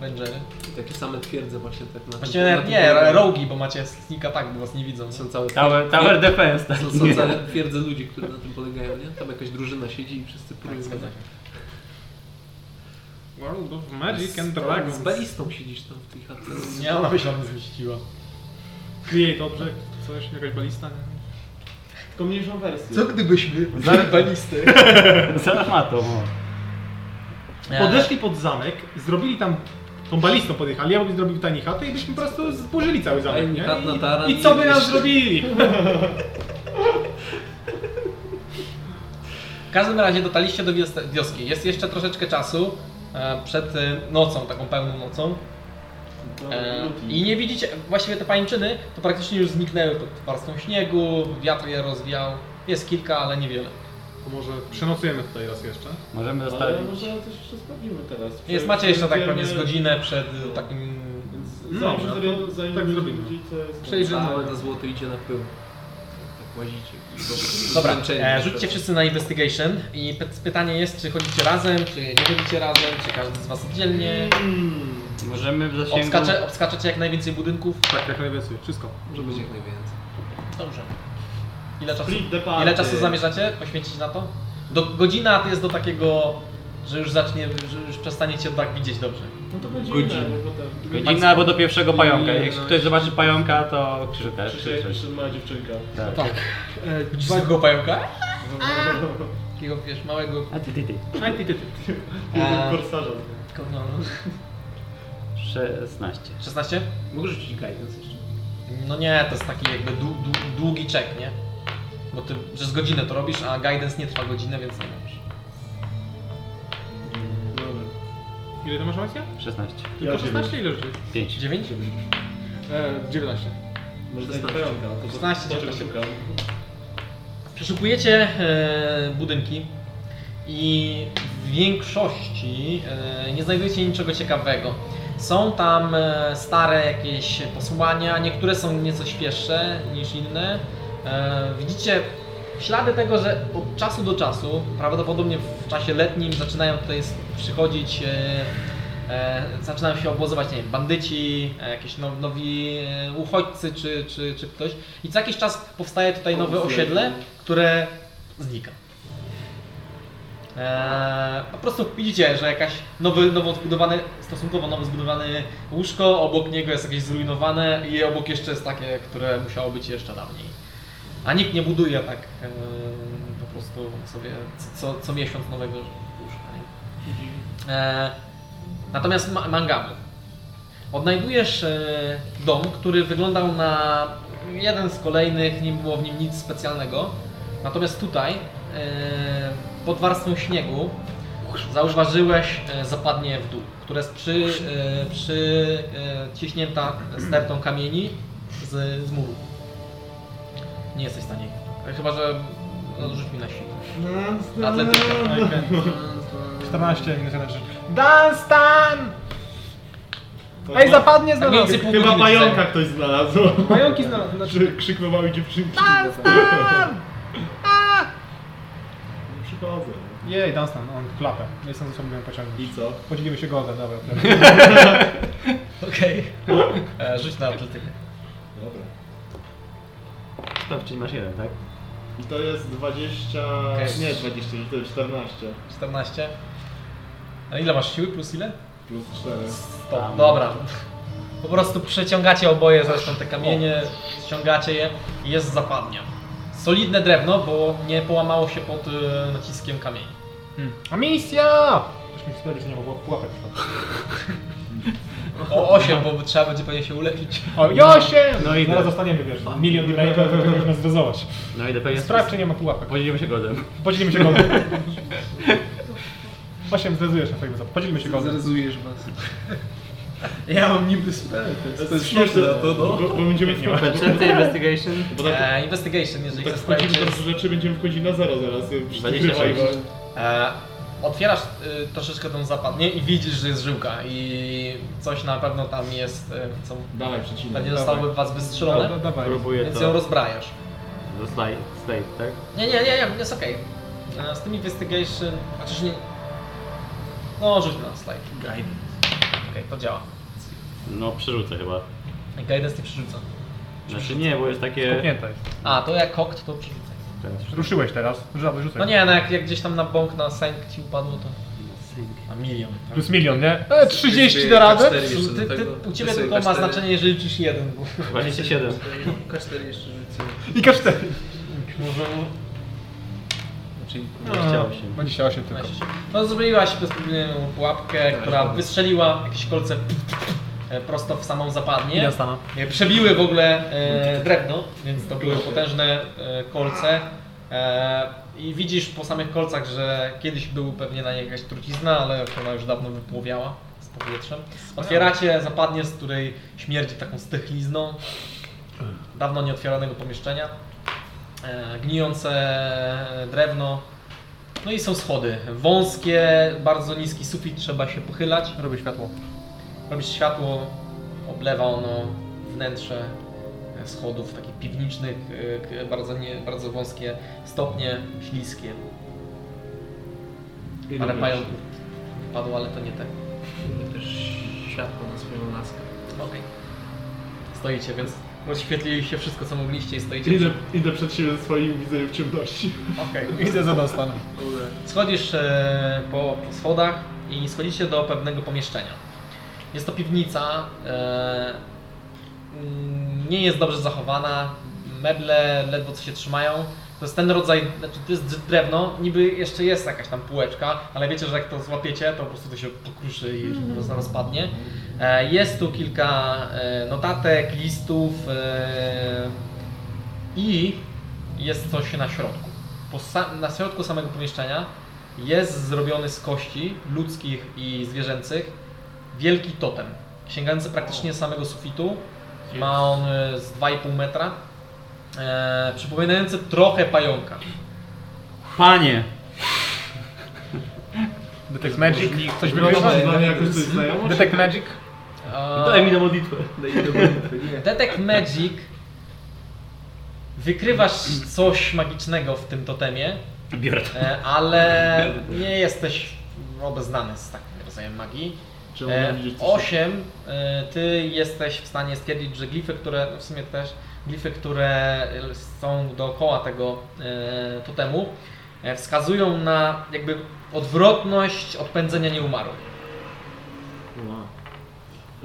rangery. Takie same twierdze właśnie tak na Właściwie na nie, nie, rogi, bo macie sneak attack, bo was nie widzą. Są całe Tower, tower defense, tak. Są, są całe twierdze ludzi, którzy na tym polegają, nie? Tam jakaś drużyna siedzi i wszyscy Tak, próbują. zgadza się. World of Magic and Z Dragons. balistą siedzisz tam w tej chatce. Nie, ona by się tam zmieściła. Create object, coś, jakaś balista. nie? Tylko mniejszą wersję. gdybyśmy Zarbalistę. Za matą. o. E, Podeszli pod zamek, zrobili tam tą balistą podjechali, ja bym zrobił tani chatę i byśmy po prostu zburzyli cały zamek, nie? Kat na taran I, i co by i- nam zrobili? W każdym razie dotarliście do wios- wioski. Jest jeszcze troszeczkę czasu e, przed e, nocą, taką pełną nocą. E, I nie widzicie, właściwie te pańczyny to praktycznie już zniknęły pod warstwą śniegu, wiatr je rozwiał. Jest kilka, ale niewiele. To może przenocujemy tutaj raz jeszcze? Możemy Ale zostawić. może coś jeszcze sprawdzimy teraz. Jest, macie jeszcze tak pewnie z Przejdziemy- godzinę przed e, takim... Więc No, Zanim dobra, się to zorientujemy, zanim tak tak zrobimy. zrobimy. Co jest no?" Całe na złoto idzie na pył. Tak łazicie. Dobra, e, rzućcie wszyscy na investigation i py- pytanie jest, czy chodzicie razem, czy nie chodzicie razem, czy każdy z was oddzielnie. Możemy w zasięgu... Obskacze, obskaczecie jak najwięcej budynków. Tak, jak najwięcej, wszystko. Może być jak najwięcej. Dobrze. Ile czasu, Split the party. ile czasu zamierzacie poświęcić na to? Do, godzina to jest do takiego, że już zacznie, że już przestaniecie tak widzieć dobrze. No to będzie Godzina. inne, bo potem- Godzinę albo do pierwszego pająka. Jak Nie, no. ktoś zobaczy pająka, to krzykasz. Krzysiek, Krzysiek, mała dziewczynka. Tak. E, Widzisz dwa... tego pająka? Takiego wiesz, małego. A ty, ty, ty. Aj, ty, ty, ty. A. Korsarza. No, 16. 16? Mogę rzucić guidance jeszcze. No nie, to jest taki jakby dłu, dłu, długi czek, nie? Bo ty przez godzinę to robisz, a guidance nie trwa godzinę, więc nie możesz. Ile to masz Macja? 16. Tylko Ja 16 ile życzy? 5. 9? E, 19. Może tak do pająka. to- to- 16, to czego 19. szukam? Przeszukujecie e, budynki i w większości e, nie znajdujecie niczego ciekawego. Są tam e, stare jakieś posłania, niektóre są nieco świeższe niż inne. E, widzicie ślady tego, że od czasu do czasu, prawdopodobnie w czasie letnim, zaczynają tutaj s- przychodzić, e, e, zaczynają się obozować, nie wiem, bandyci, e, jakieś now, nowi e, uchodźcy czy, czy, czy ktoś. I co jakiś czas powstaje tutaj nowe osiedle, które znika. Eee, po prostu widzicie, że jakaś nowy, nowo zbudowany, stosunkowo nowo zbudowany łóżko, obok niego jest jakieś zrujnowane i obok jeszcze jest takie, które musiało być jeszcze dawniej. A nikt nie buduje tak eee, po prostu sobie co- co, co miesiąc nowego łóżka. Nie? Eee, natomiast ma mangamy. Odnajdujesz e, dom, który wyglądał na jeden z kolejnych, nie było w nim nic specjalnego. Natomiast tutaj, e, pod warstwą śniegu, zauważyłeś e, zapadnie w dół, która jest przy, e, przy e, ciśnięta stertą kamieni z, z muru. Nie jesteś w stanie. Chyba, że no, rzuć mi na siłę. No, Atletyka. 14 minus 1. Dunstan! Ej, zapadnie znalazł. między pół Chyba godziny pająka pisałem. ktoś znalazł. Pająki znalazł. Krzy, Znaczy, krzyknęwały dziewczynki. Nie Przychodzę. jej, Dunstan, on klapę. Jestem ze sobą miałem pociągnąć. I co? Podzielimy się godę, dobra. Okej. E, Rzuć na atletykę. Dobra. Sprawdź, masz jeden, tak? I to jest 20... Okej. Nie 20, to jest 14. 14. A ile masz siły? Plus ile? Plus 4. To, dobra. Po prostu przeciągacie oboje zresztą te kamienie, ściągacie je i jest zapadnia. Solidne drewno, bo nie połamało się pod e, naciskiem kamieni. A misja! Już mi sprawdzić, nie mogło pułapek wpadł. O 8, bo trzeba będzie pewnie się uleczyć. O, Josie! No i Zaraz do- dostaniemy, wiesz, milion delay, to będziemy zrezować. No i do pewien Sprawdź, czy nie ma pułapek. Podzielimy się godem. Podzielimy się godę. Właśnie zrezujesz na twojego zap- Podzielimy się godę. Zrezujesz was. Ja mam niby spell, to jest, to jest Śmieszne, śmieszne, to no. Bo, bo będziemy mieć Perception investigation? Bo tak, E, investigation, jeżeli tak chcesz sprawdzić. wchodzimy czy teraz jest- rzeczy, będziemy wchodzić na zero zaraz. y, przy tym 26. rywajwal. E, otwierasz y, troszeczkę tą zapadnię i widzisz, że jest żyłka i coś na pewno tam jest, y, co Dawaj przecinaj. będzie Dawaj. zostało w was wystrzelone, Da- Dawaj. Próbuję więc ją to. rozbrajasz. Do slide, slide, tak? Nie, nie, nie, nie jest okej. E, Z tym investigation, chociaż nie... No, rzuć na slajd. Okej, to działa. No przerzucę chyba. Guidance nie przerzuca. Znaczy nie, bo jest takie... Kopnięta jest. A, to jak kokt, to przerzuca. Teraz Ruszyłeś teraz. Rzucaj, rzucaj. No nie, no jak, jak gdzieś tam na bąk, na sęk ci upadło, to... Na milion. tak. Plus milion, nie? E, 30 da K4 radę? jeszcze do Ty, tego. ty, u ciebie Ja sobie tylko ma K4 znaczenie, jeżeli liczysz jeden, bo... 27. K4 jeszcze rzucę. I K4. Czyli chciało się. 28 tylko. No zrobiłaś bez problemu pułapkę, która wystrzeliła jakieś kolce e, prosto w samą zapadnię. stana? E, Przebiły w ogóle e, drewno, więc to były potężne e, kolce. E, I widzisz po samych kolcach, że kiedyś był pewnie na niej jakaś trucizna, ale ona już dawno wypłowiała z powietrzem. Otwieracie zapadnię, z której śmierdzi taką stechlizną dawno nieotwieranego pomieszczenia. E, Gnijące drewno. No i są schody. Wąskie, bardzo niski sufit, trzeba się pochylać. Robię światło. Robisz światło, oblewa ono wnętrze schodów takich piwnicznych, y, k- bardzo, nie, bardzo wąskie stopnie, śliskie. Parę pająków padło, ale to nie te. też światło na swoją laskę. Okej. Stoicie, więc rozświetliliście wszystko co mogliście i stoicie. Idę, idę przed siebie ze swoim widzeniem ciemności. Okej. Idę za dostanem. Dobra. Schodzisz e, po schodach i schodzicie do pewnego pomieszczenia. Jest to piwnica, e, mm, nie jest dobrze zachowana, meble ledwo co się trzymają. To jest ten rodzaj, znaczy to jest drewno, niby jeszcze jest jakaś tam półeczka, ale wiecie, że jak to złapiecie, to po prostu to się pokruszy i po prostu rozpadnie. E, Jest tu kilka e, notatek, listów e, i jest coś na środku. Po sa- na środku samego pomieszczenia jest zrobiony z kości ludzkich i zwierzęcych wielki totem, sięgający praktycznie samego sufitu. Ma on e, z 2,5 metra, e, przypominający trochę pająka. Panie! Detect Magic. Coś Wygląda wygrywa? dla mnie jakoś coś znajomo? czy- Detect Magic. E, Daj mi na modlitwę. Detect Magic wykrywasz coś magicznego w tym totemie, Biorę to. e, ale nie jesteś obeznany z takim rodzajem magii. Czy E, mogę widzieć coś? 8 e, ty jesteś w stanie stwierdzić, że glify, które no w sumie też glify, które są dookoła tego e, totemu e, wskazują na jakby odwrotność odpędzenia nieumarłych. Wow.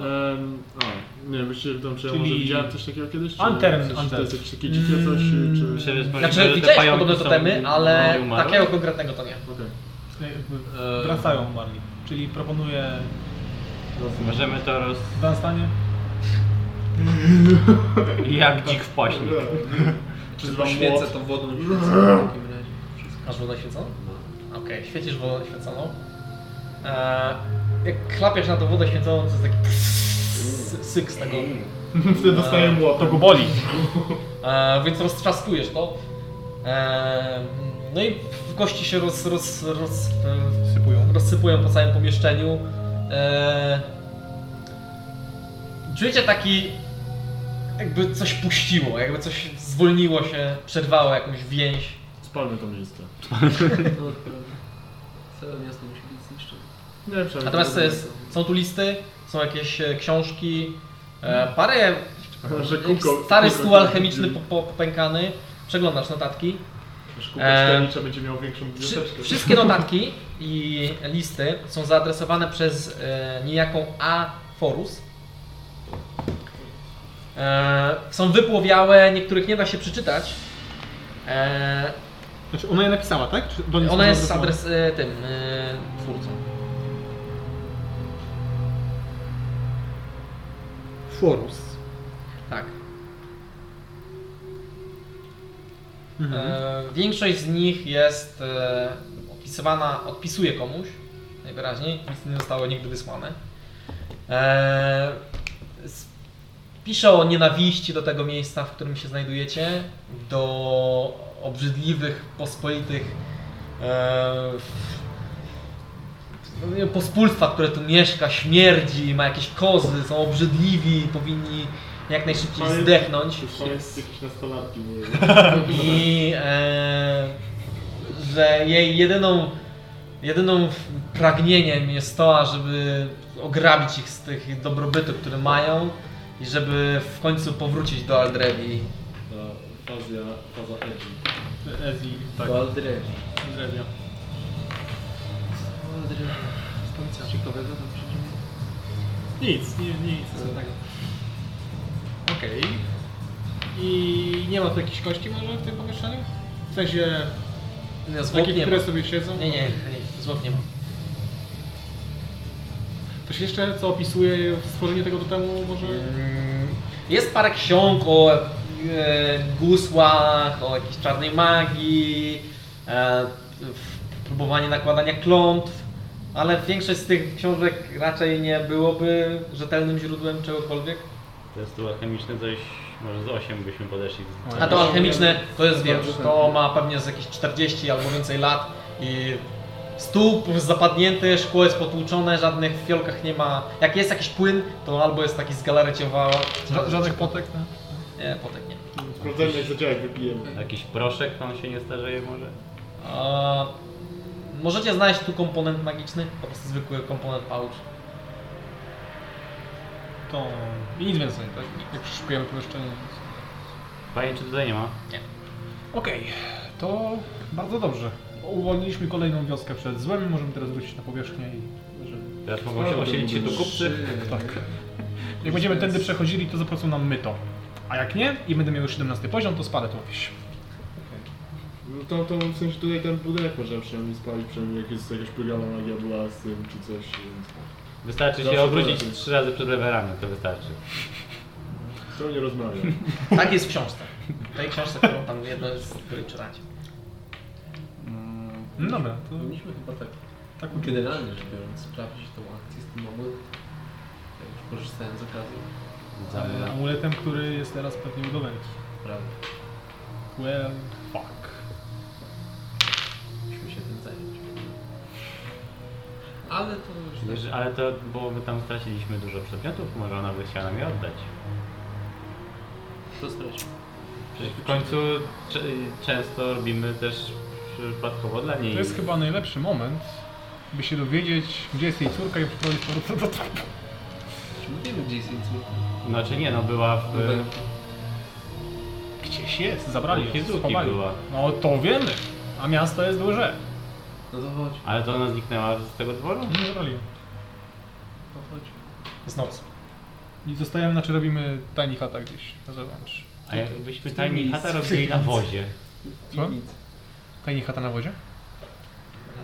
Um, o, nie wiem, jeszcze pytam, czy ja Czyli- może widziałem coś takiego kiedyś? Czy Anteren- coś, anteren. To jest jakieś takie Mm, dzikie coś, y, czy... Myślę, że jest- Znaczy że te widziałeś pająki podobne są- totemy, ale one umarły? takiego konkretnego to nie. Okej. E, Jakby Wracają umarli. Czyli proponuję Możemy to roz... Dunstanie. jak dzik w paśnik. Czy Czy dwa poświęcę młot? tą wodą rzucę w takim razie. Masz wodę świeconą? No. Okej, świecisz wodą świeconą. E, jak klapiesz na tą wodę świeconą, to jest taki syk z tego. Wtedy dostaję młot. To go boli. E, więc roztrzaskujesz to. E, no i w kości się roz, roz, roz, Sypują. rozsypują po całym pomieszczeniu. E, Czujecie taki, jakby coś puściło, jakby coś zwolniło się, przerwało jakąś więź. Spalmy to miejsce. Całe miasto musi być zniszczone. Nie, przecież- Natomiast jest, są tu listy, są jakieś e, książki, e, parę Że jakiś kółko- stary kółko stół się alchemiczny widzi. po- po- popękany, przeglądasz notatki. Nasz Eee, kupeczka będzie miał większą Wszy- biblioteczkę. Wszystkie notatki i listy są zaadresowane przez e, niejaką A. Forus. E, są wypłowiałe, niektórych nie da się przeczytać. E, Znaczy ona je napisała, tak? Czy do niej ona jest zaadresowana? adres e, tym e, twórcą. Forus. Tak. Mhm. E, większość z nich jest e, opisywana, odpisuje komuś najwyraźniej, nic nie zostało nigdy wysłane. E, s- pisze o nienawiści do tego miejsca, w którym się znajdujecie, do obrzydliwych, pospolitych e, no nie wiem, pospólstwa, które tu mieszka, śmierdzi, ma jakieś kozy, są obrzydliwi, powinni jak najszybciej Pamię- zdechnąć. Pamięć jakieś nastolatki, nie wiem. I e, że jej jedyną, jedyną pragnieniem jest to, żeby ograbić ich z tych dobrobytu, które mają i żeby w końcu powrócić do Aldrewi. Ta Fazja, faza Edgy. Ezji, tak. Baldry. Drewia. Stacja ciekawego tam przyjdzie. Nic, nie, nic. Tego. Okej. I nie ma tu jakichś kości może w tym pomieszczeniu? W sensie Nie, zwłok takich, nie ma. które sobie siedzą? Nie, nie, nie, zwłok nie ma. Coś jeszcze, co opisuje stworzenie tego totemu może? Mm, Jest parę ksiąg o e, gusłach, o jakiejś czarnej magii, e, w- próbowanie nakładania klątw, ale większość z tych książek raczej nie byłoby rzetelnym źródłem czegokolwiek. To jest tu alchemiczny coś, może z 8 byśmy podeszli. A to alchemiczne to jest wiesz, to ma pewnie z jakieś 40 albo więcej lat i stół już zapadnięty, szkło jest potłuczone, żadnych w fiolkach nie ma. Jak jest jakiś płyn, to albo jest taki zgalaretiowały. Ża- Żadnych potek, tak? Nie, potek nie. Sprawdzajmy, jak zadziałek wypijemy. Jakiś proszek, on się nie starzeje może? A, możecie znaleźć tu komponent magiczny, po prostu zwykły komponent pouch. To... I nic więcej, tak? Jak przeszukujemy pomieszczenie. Panie, czy tutaj nie ma? Okej, to bardzo dobrze. Uwolniliśmy kolejną wioskę przed złem i możemy teraz wrócić na powierzchnię i... żeby- Teraz mogą się osiedlić się tu kupcy. Tak. Jak będziemy tędy przechodzili, to zapłacą nam myto. A jak nie i będę miał już 17 poziom, to spadę tą wieś. No to, to w sensie tutaj ten budynek możemy przynajmniej spalić, przynajmniej jak jest jakaś pyrgana magia była z tym, czy coś, więc... Wystarczy się Zawsze obrócić polecam. trzy razy przed lewerami, to wystarczy. Kto nie rozmawia? Tak jest w książce. W tej książce, którą tam jedno z której czytacie. No dobra, to... Mm. Powinniśmy chyba tak, Tak uczynić. generalnie rzecz biorąc, sprawdzić tą akcję z tym amuletem. Ja już korzystałem z okazji, Ale E, Amuletem, który jest teraz pewnie u Dowenki. prawda? Well, fuck. Musimy się tym zająć. Ale to już Jeżeli- Ale to, bo my tam straciliśmy dużo przedmiotów, może ona by chciała nam je oddać. tak, to stracił. Przecież w końcu cze- często robimy też przypadkowo dla niej. To jest chyba najlepszy moment, by się dowiedzieć, gdzie jest jej córka i przyprowadzić powrót do domu. Czy my wiemy gdzie jest jej córka? Znaczy nie, no była w... Gdzieś jest, zabrali U ją, Hizuki schowali. była. No to wiemy, a miasto jest duże. No to chodź, Ale to ona zniknęła z tego dworu? Nie zabrali ją. to chodź. Jest noc. I zostajemy, znaczy robimy tiny hata gdzieś na zewnątrz. A jakbyśmy tajni chata robili na wozie. Co? Mhm. Tiny hata na wodzie?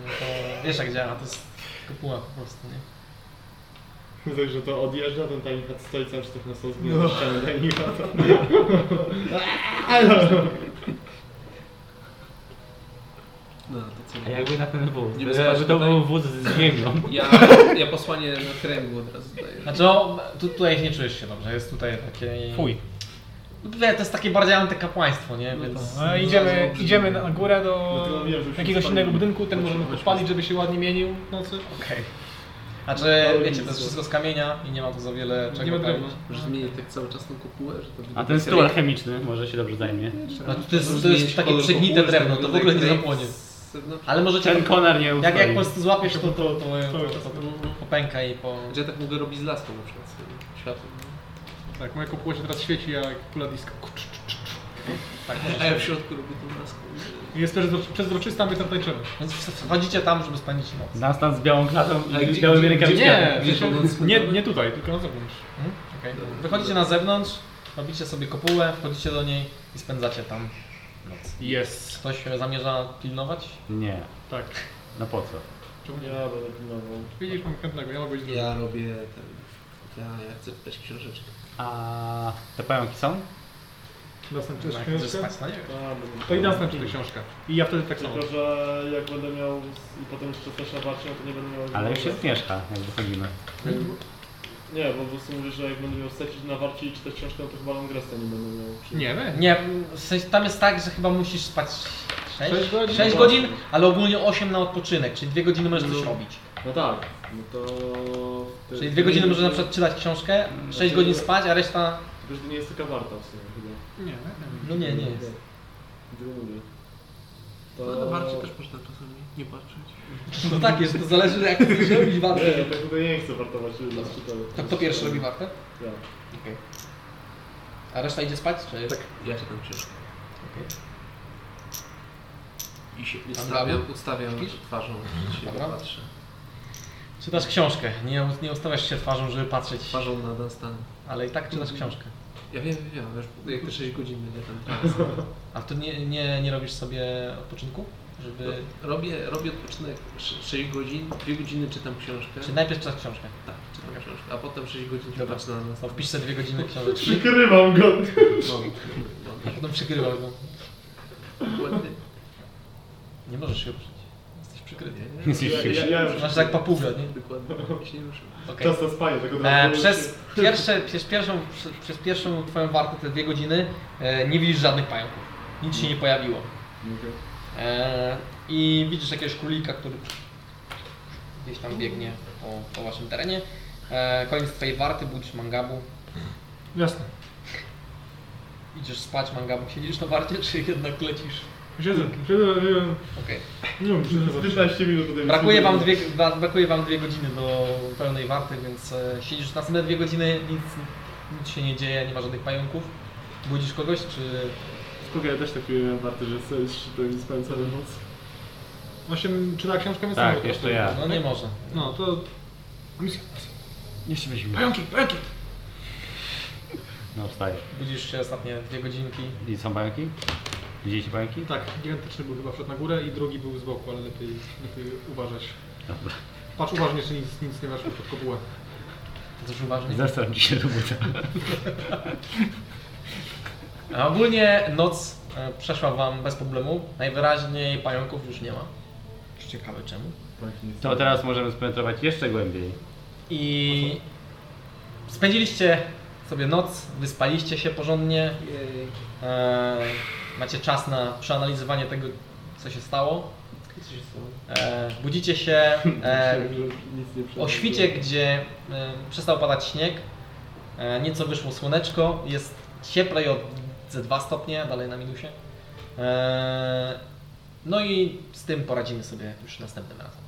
No To wiesz jak działa, to jest kopuła po prostu, nie? Także to odjeżdża, ten tiny hat stoi cały czas tak na stos, no. ścianę tiny hata. No to co? A jakby na ten wóz? Nie Jakby wystarczy to tutaj? był wóz z ziemią. Ja, ja posłanie na kręgu od razu daję. Znaczy o, tu, tutaj nie czujesz się dobrze, jest tutaj takie... Fuj. No To wie, to jest takie bardziej antykapłaństwo, nie? No Więc... A idziemy, idziemy na górę do No to wiem, że już jakiegoś się innego spalimy. budynku, ten Chodźmy, możemy chodźmy. podpalić, żeby się ładnie mienił w nocy. Okej. Znaczy, No, wiecie, to jest wszystko z kamienia i nie ma tu za wiele czego Nie ma drewna. palić. Że zmienię tak cały czas tą kopułę, że to będzie tak A ten taka stół rejka. alchemiczny może się dobrze zajmie. No to jest, to Zmienić jest takie kolor przegnite kopuły, drewno, żeby to w ogóle nie tak zapłonie. z zewnątrz. Ale możecie... Ten konar nie Jak, jak ustoi. po prostu złapiesz, to, to, to, to, to, to popęka i po... Gdzie ja tak mogę robić z laską na przykład no. swoim światłem. Tak, moja kopuła się teraz świeci jak kula diska. Tak, A ja w środku robię tą laską. Jest przezro- przezroczysta, my tam tańczymy. Więc wchodzicie tam, żeby spędzić noc. Nas tam z białą klatą A i gdzie- z białymi gdzie- rękawiczkami. Nie, W sensie, nie, nie tutaj, tylko na zewnątrz. Hmm? Okej. Wychodzicie na zewnątrz, robicie sobie kopułę, wchodzicie do niej i spędzacie tam noc. Jest. Ktoś zamierza pilnować? Nie. Tak. No po co? Ja będę pilnował. Widzisz, mam chętnego, ja mogę iść drugi. Ja robię ten... Ja, ja chcę czytać książeczkę. A te pająki są? Dostęp Jak Tak, chcesz książkę. Tak, spać no na niego? A, będę Tak, To i następna czyta książkę. I ja wtedy tak samo. Tylko, że jak będę miał i potem jeszcze też na bacie, to nie będę miał... Ale już się zmieszka, jak wychodzimy. Nie, bo po prostu mówisz, że jak będę miał secić na warcie i czytać książkę, no to chyba Longresta nie będę miał. Czy- Nie, we. Nie, w sensie tam jest tak, że chyba musisz spać 6, Sześć godzin? godzin, ale ogólnie 8 na odpoczynek, czyli 2 godziny możesz coś No. robić. No tak, no to... to- Czyli 2 godziny to- możesz na przykład czytać książkę, 6 Znaczy- godzin spać, a reszta... Tylko, że to nie jest taka warta w sumie chyba. Nie, we. No nie, nie jest. Gdyby mówię. No, na barcie też można czasami nie patrzeć. No tak jest, to zależy jak chcesz robić Nie, wartę. ja tak tutaj nie chcę wartować, żeby nas czytały. Tak, To kto pierwszy robi wartę? Ja. Okej. A reszta idzie spać? Czy... Tak. Ja czytam książkę. I się Tam ustawiam, ustawiam Śpisz? twarzą, że się Dobra. patrzę. Czytasz książkę, nie, nie ustawiasz się twarzą, żeby patrzeć, Twarzą na Dan Stan. ale i tak czytasz książkę. Ja wiem, wiem, wiem, wiesz, jak te 6 godzin będzie Tak, tam. A to nie, nie, nie robisz sobie odpoczynku? Żeby... E, Robię, robię odpoczynek 6 godzin, 2 godziny czytam książkę. Czy najpierw czytasz książkę? Tak, czytam książkę, a potem 6 godzin Dobra. patrzę na nas. No, wpisz sobie dwie godziny książeczki, Przykrywam go! a potem no. przykrywasz go. Dokładnie. Nie możesz się ruszyć. Jesteś przykryty. Ja, ja, ja już Znaczy tak papuga, nie? Dokładnie, ja się nie ruszę. Okej. czas na spanie, tak tego E, teraz- przez, pierwsze, przez, pierwszą, przez, przez pierwszą twoją wartę, te dwie godziny, e, nie widzisz żadnych pająków. Nic się nie pojawiło. Okej. E, I widzisz jakiegoś królika, który gdzieś tam biegnie po, po waszym terenie. E, koniec twojej warty, budzisz mangabu. Jasne. Idziesz spać, mangabu. Siedzisz na warcie, czy jednak lecisz? Siedzę, siedzę, nie wiem, Okej. nie wiem, siedzę. 15 minut tutaj Brakuje wam, myślę, dwie, wa- brakuje wam dwie godziny do pełnej warty, więc e, siedzisz następne dwie godziny, nic, nic się nie dzieje, nie ma żadnych pająków. Budzisz kogoś, czy... że- Spoko, ja też tak miałem warto, że sobie czytałem i spałem całą noc. Osiem czyta książkę, więc Tak, nie ma- jeszcze ja. No nie może. No, to... Misja. Jeszcze weźmy. Pająki, pająki! No wstaję. Budzisz się ostatnie dwie godzinki. I są pająki? Widzieliście pająki? Tak, gigantyczny był chyba wszedł na górę i drugi był z boku, ale lepiej, lepiej uważać. Dobra. Patrz uważnie, czy nic, nic nie weszło pod kopułę. To też uważnie. Zastaram się robota. A ogólnie noc e, przeszła wam bez problemu. Najwyraźniej pająków już nie ma. Ciekawe czemu. To teraz możemy spenetrować jeszcze głębiej. I spędziliście sobie noc, wyspaliście się porządnie. Jej. E, macie czas na przeanalizowanie tego, co się stało. Co się stało? E, budzicie się e, Myślałem, że nic nie o przeżyłem. świcie, gdzie e, przestał padać śnieg. E, nieco wyszło słoneczko. Jest cieplej o ze 2 stopnie, dalej na minusie. E, no i z tym poradzimy sobie już następnym razem.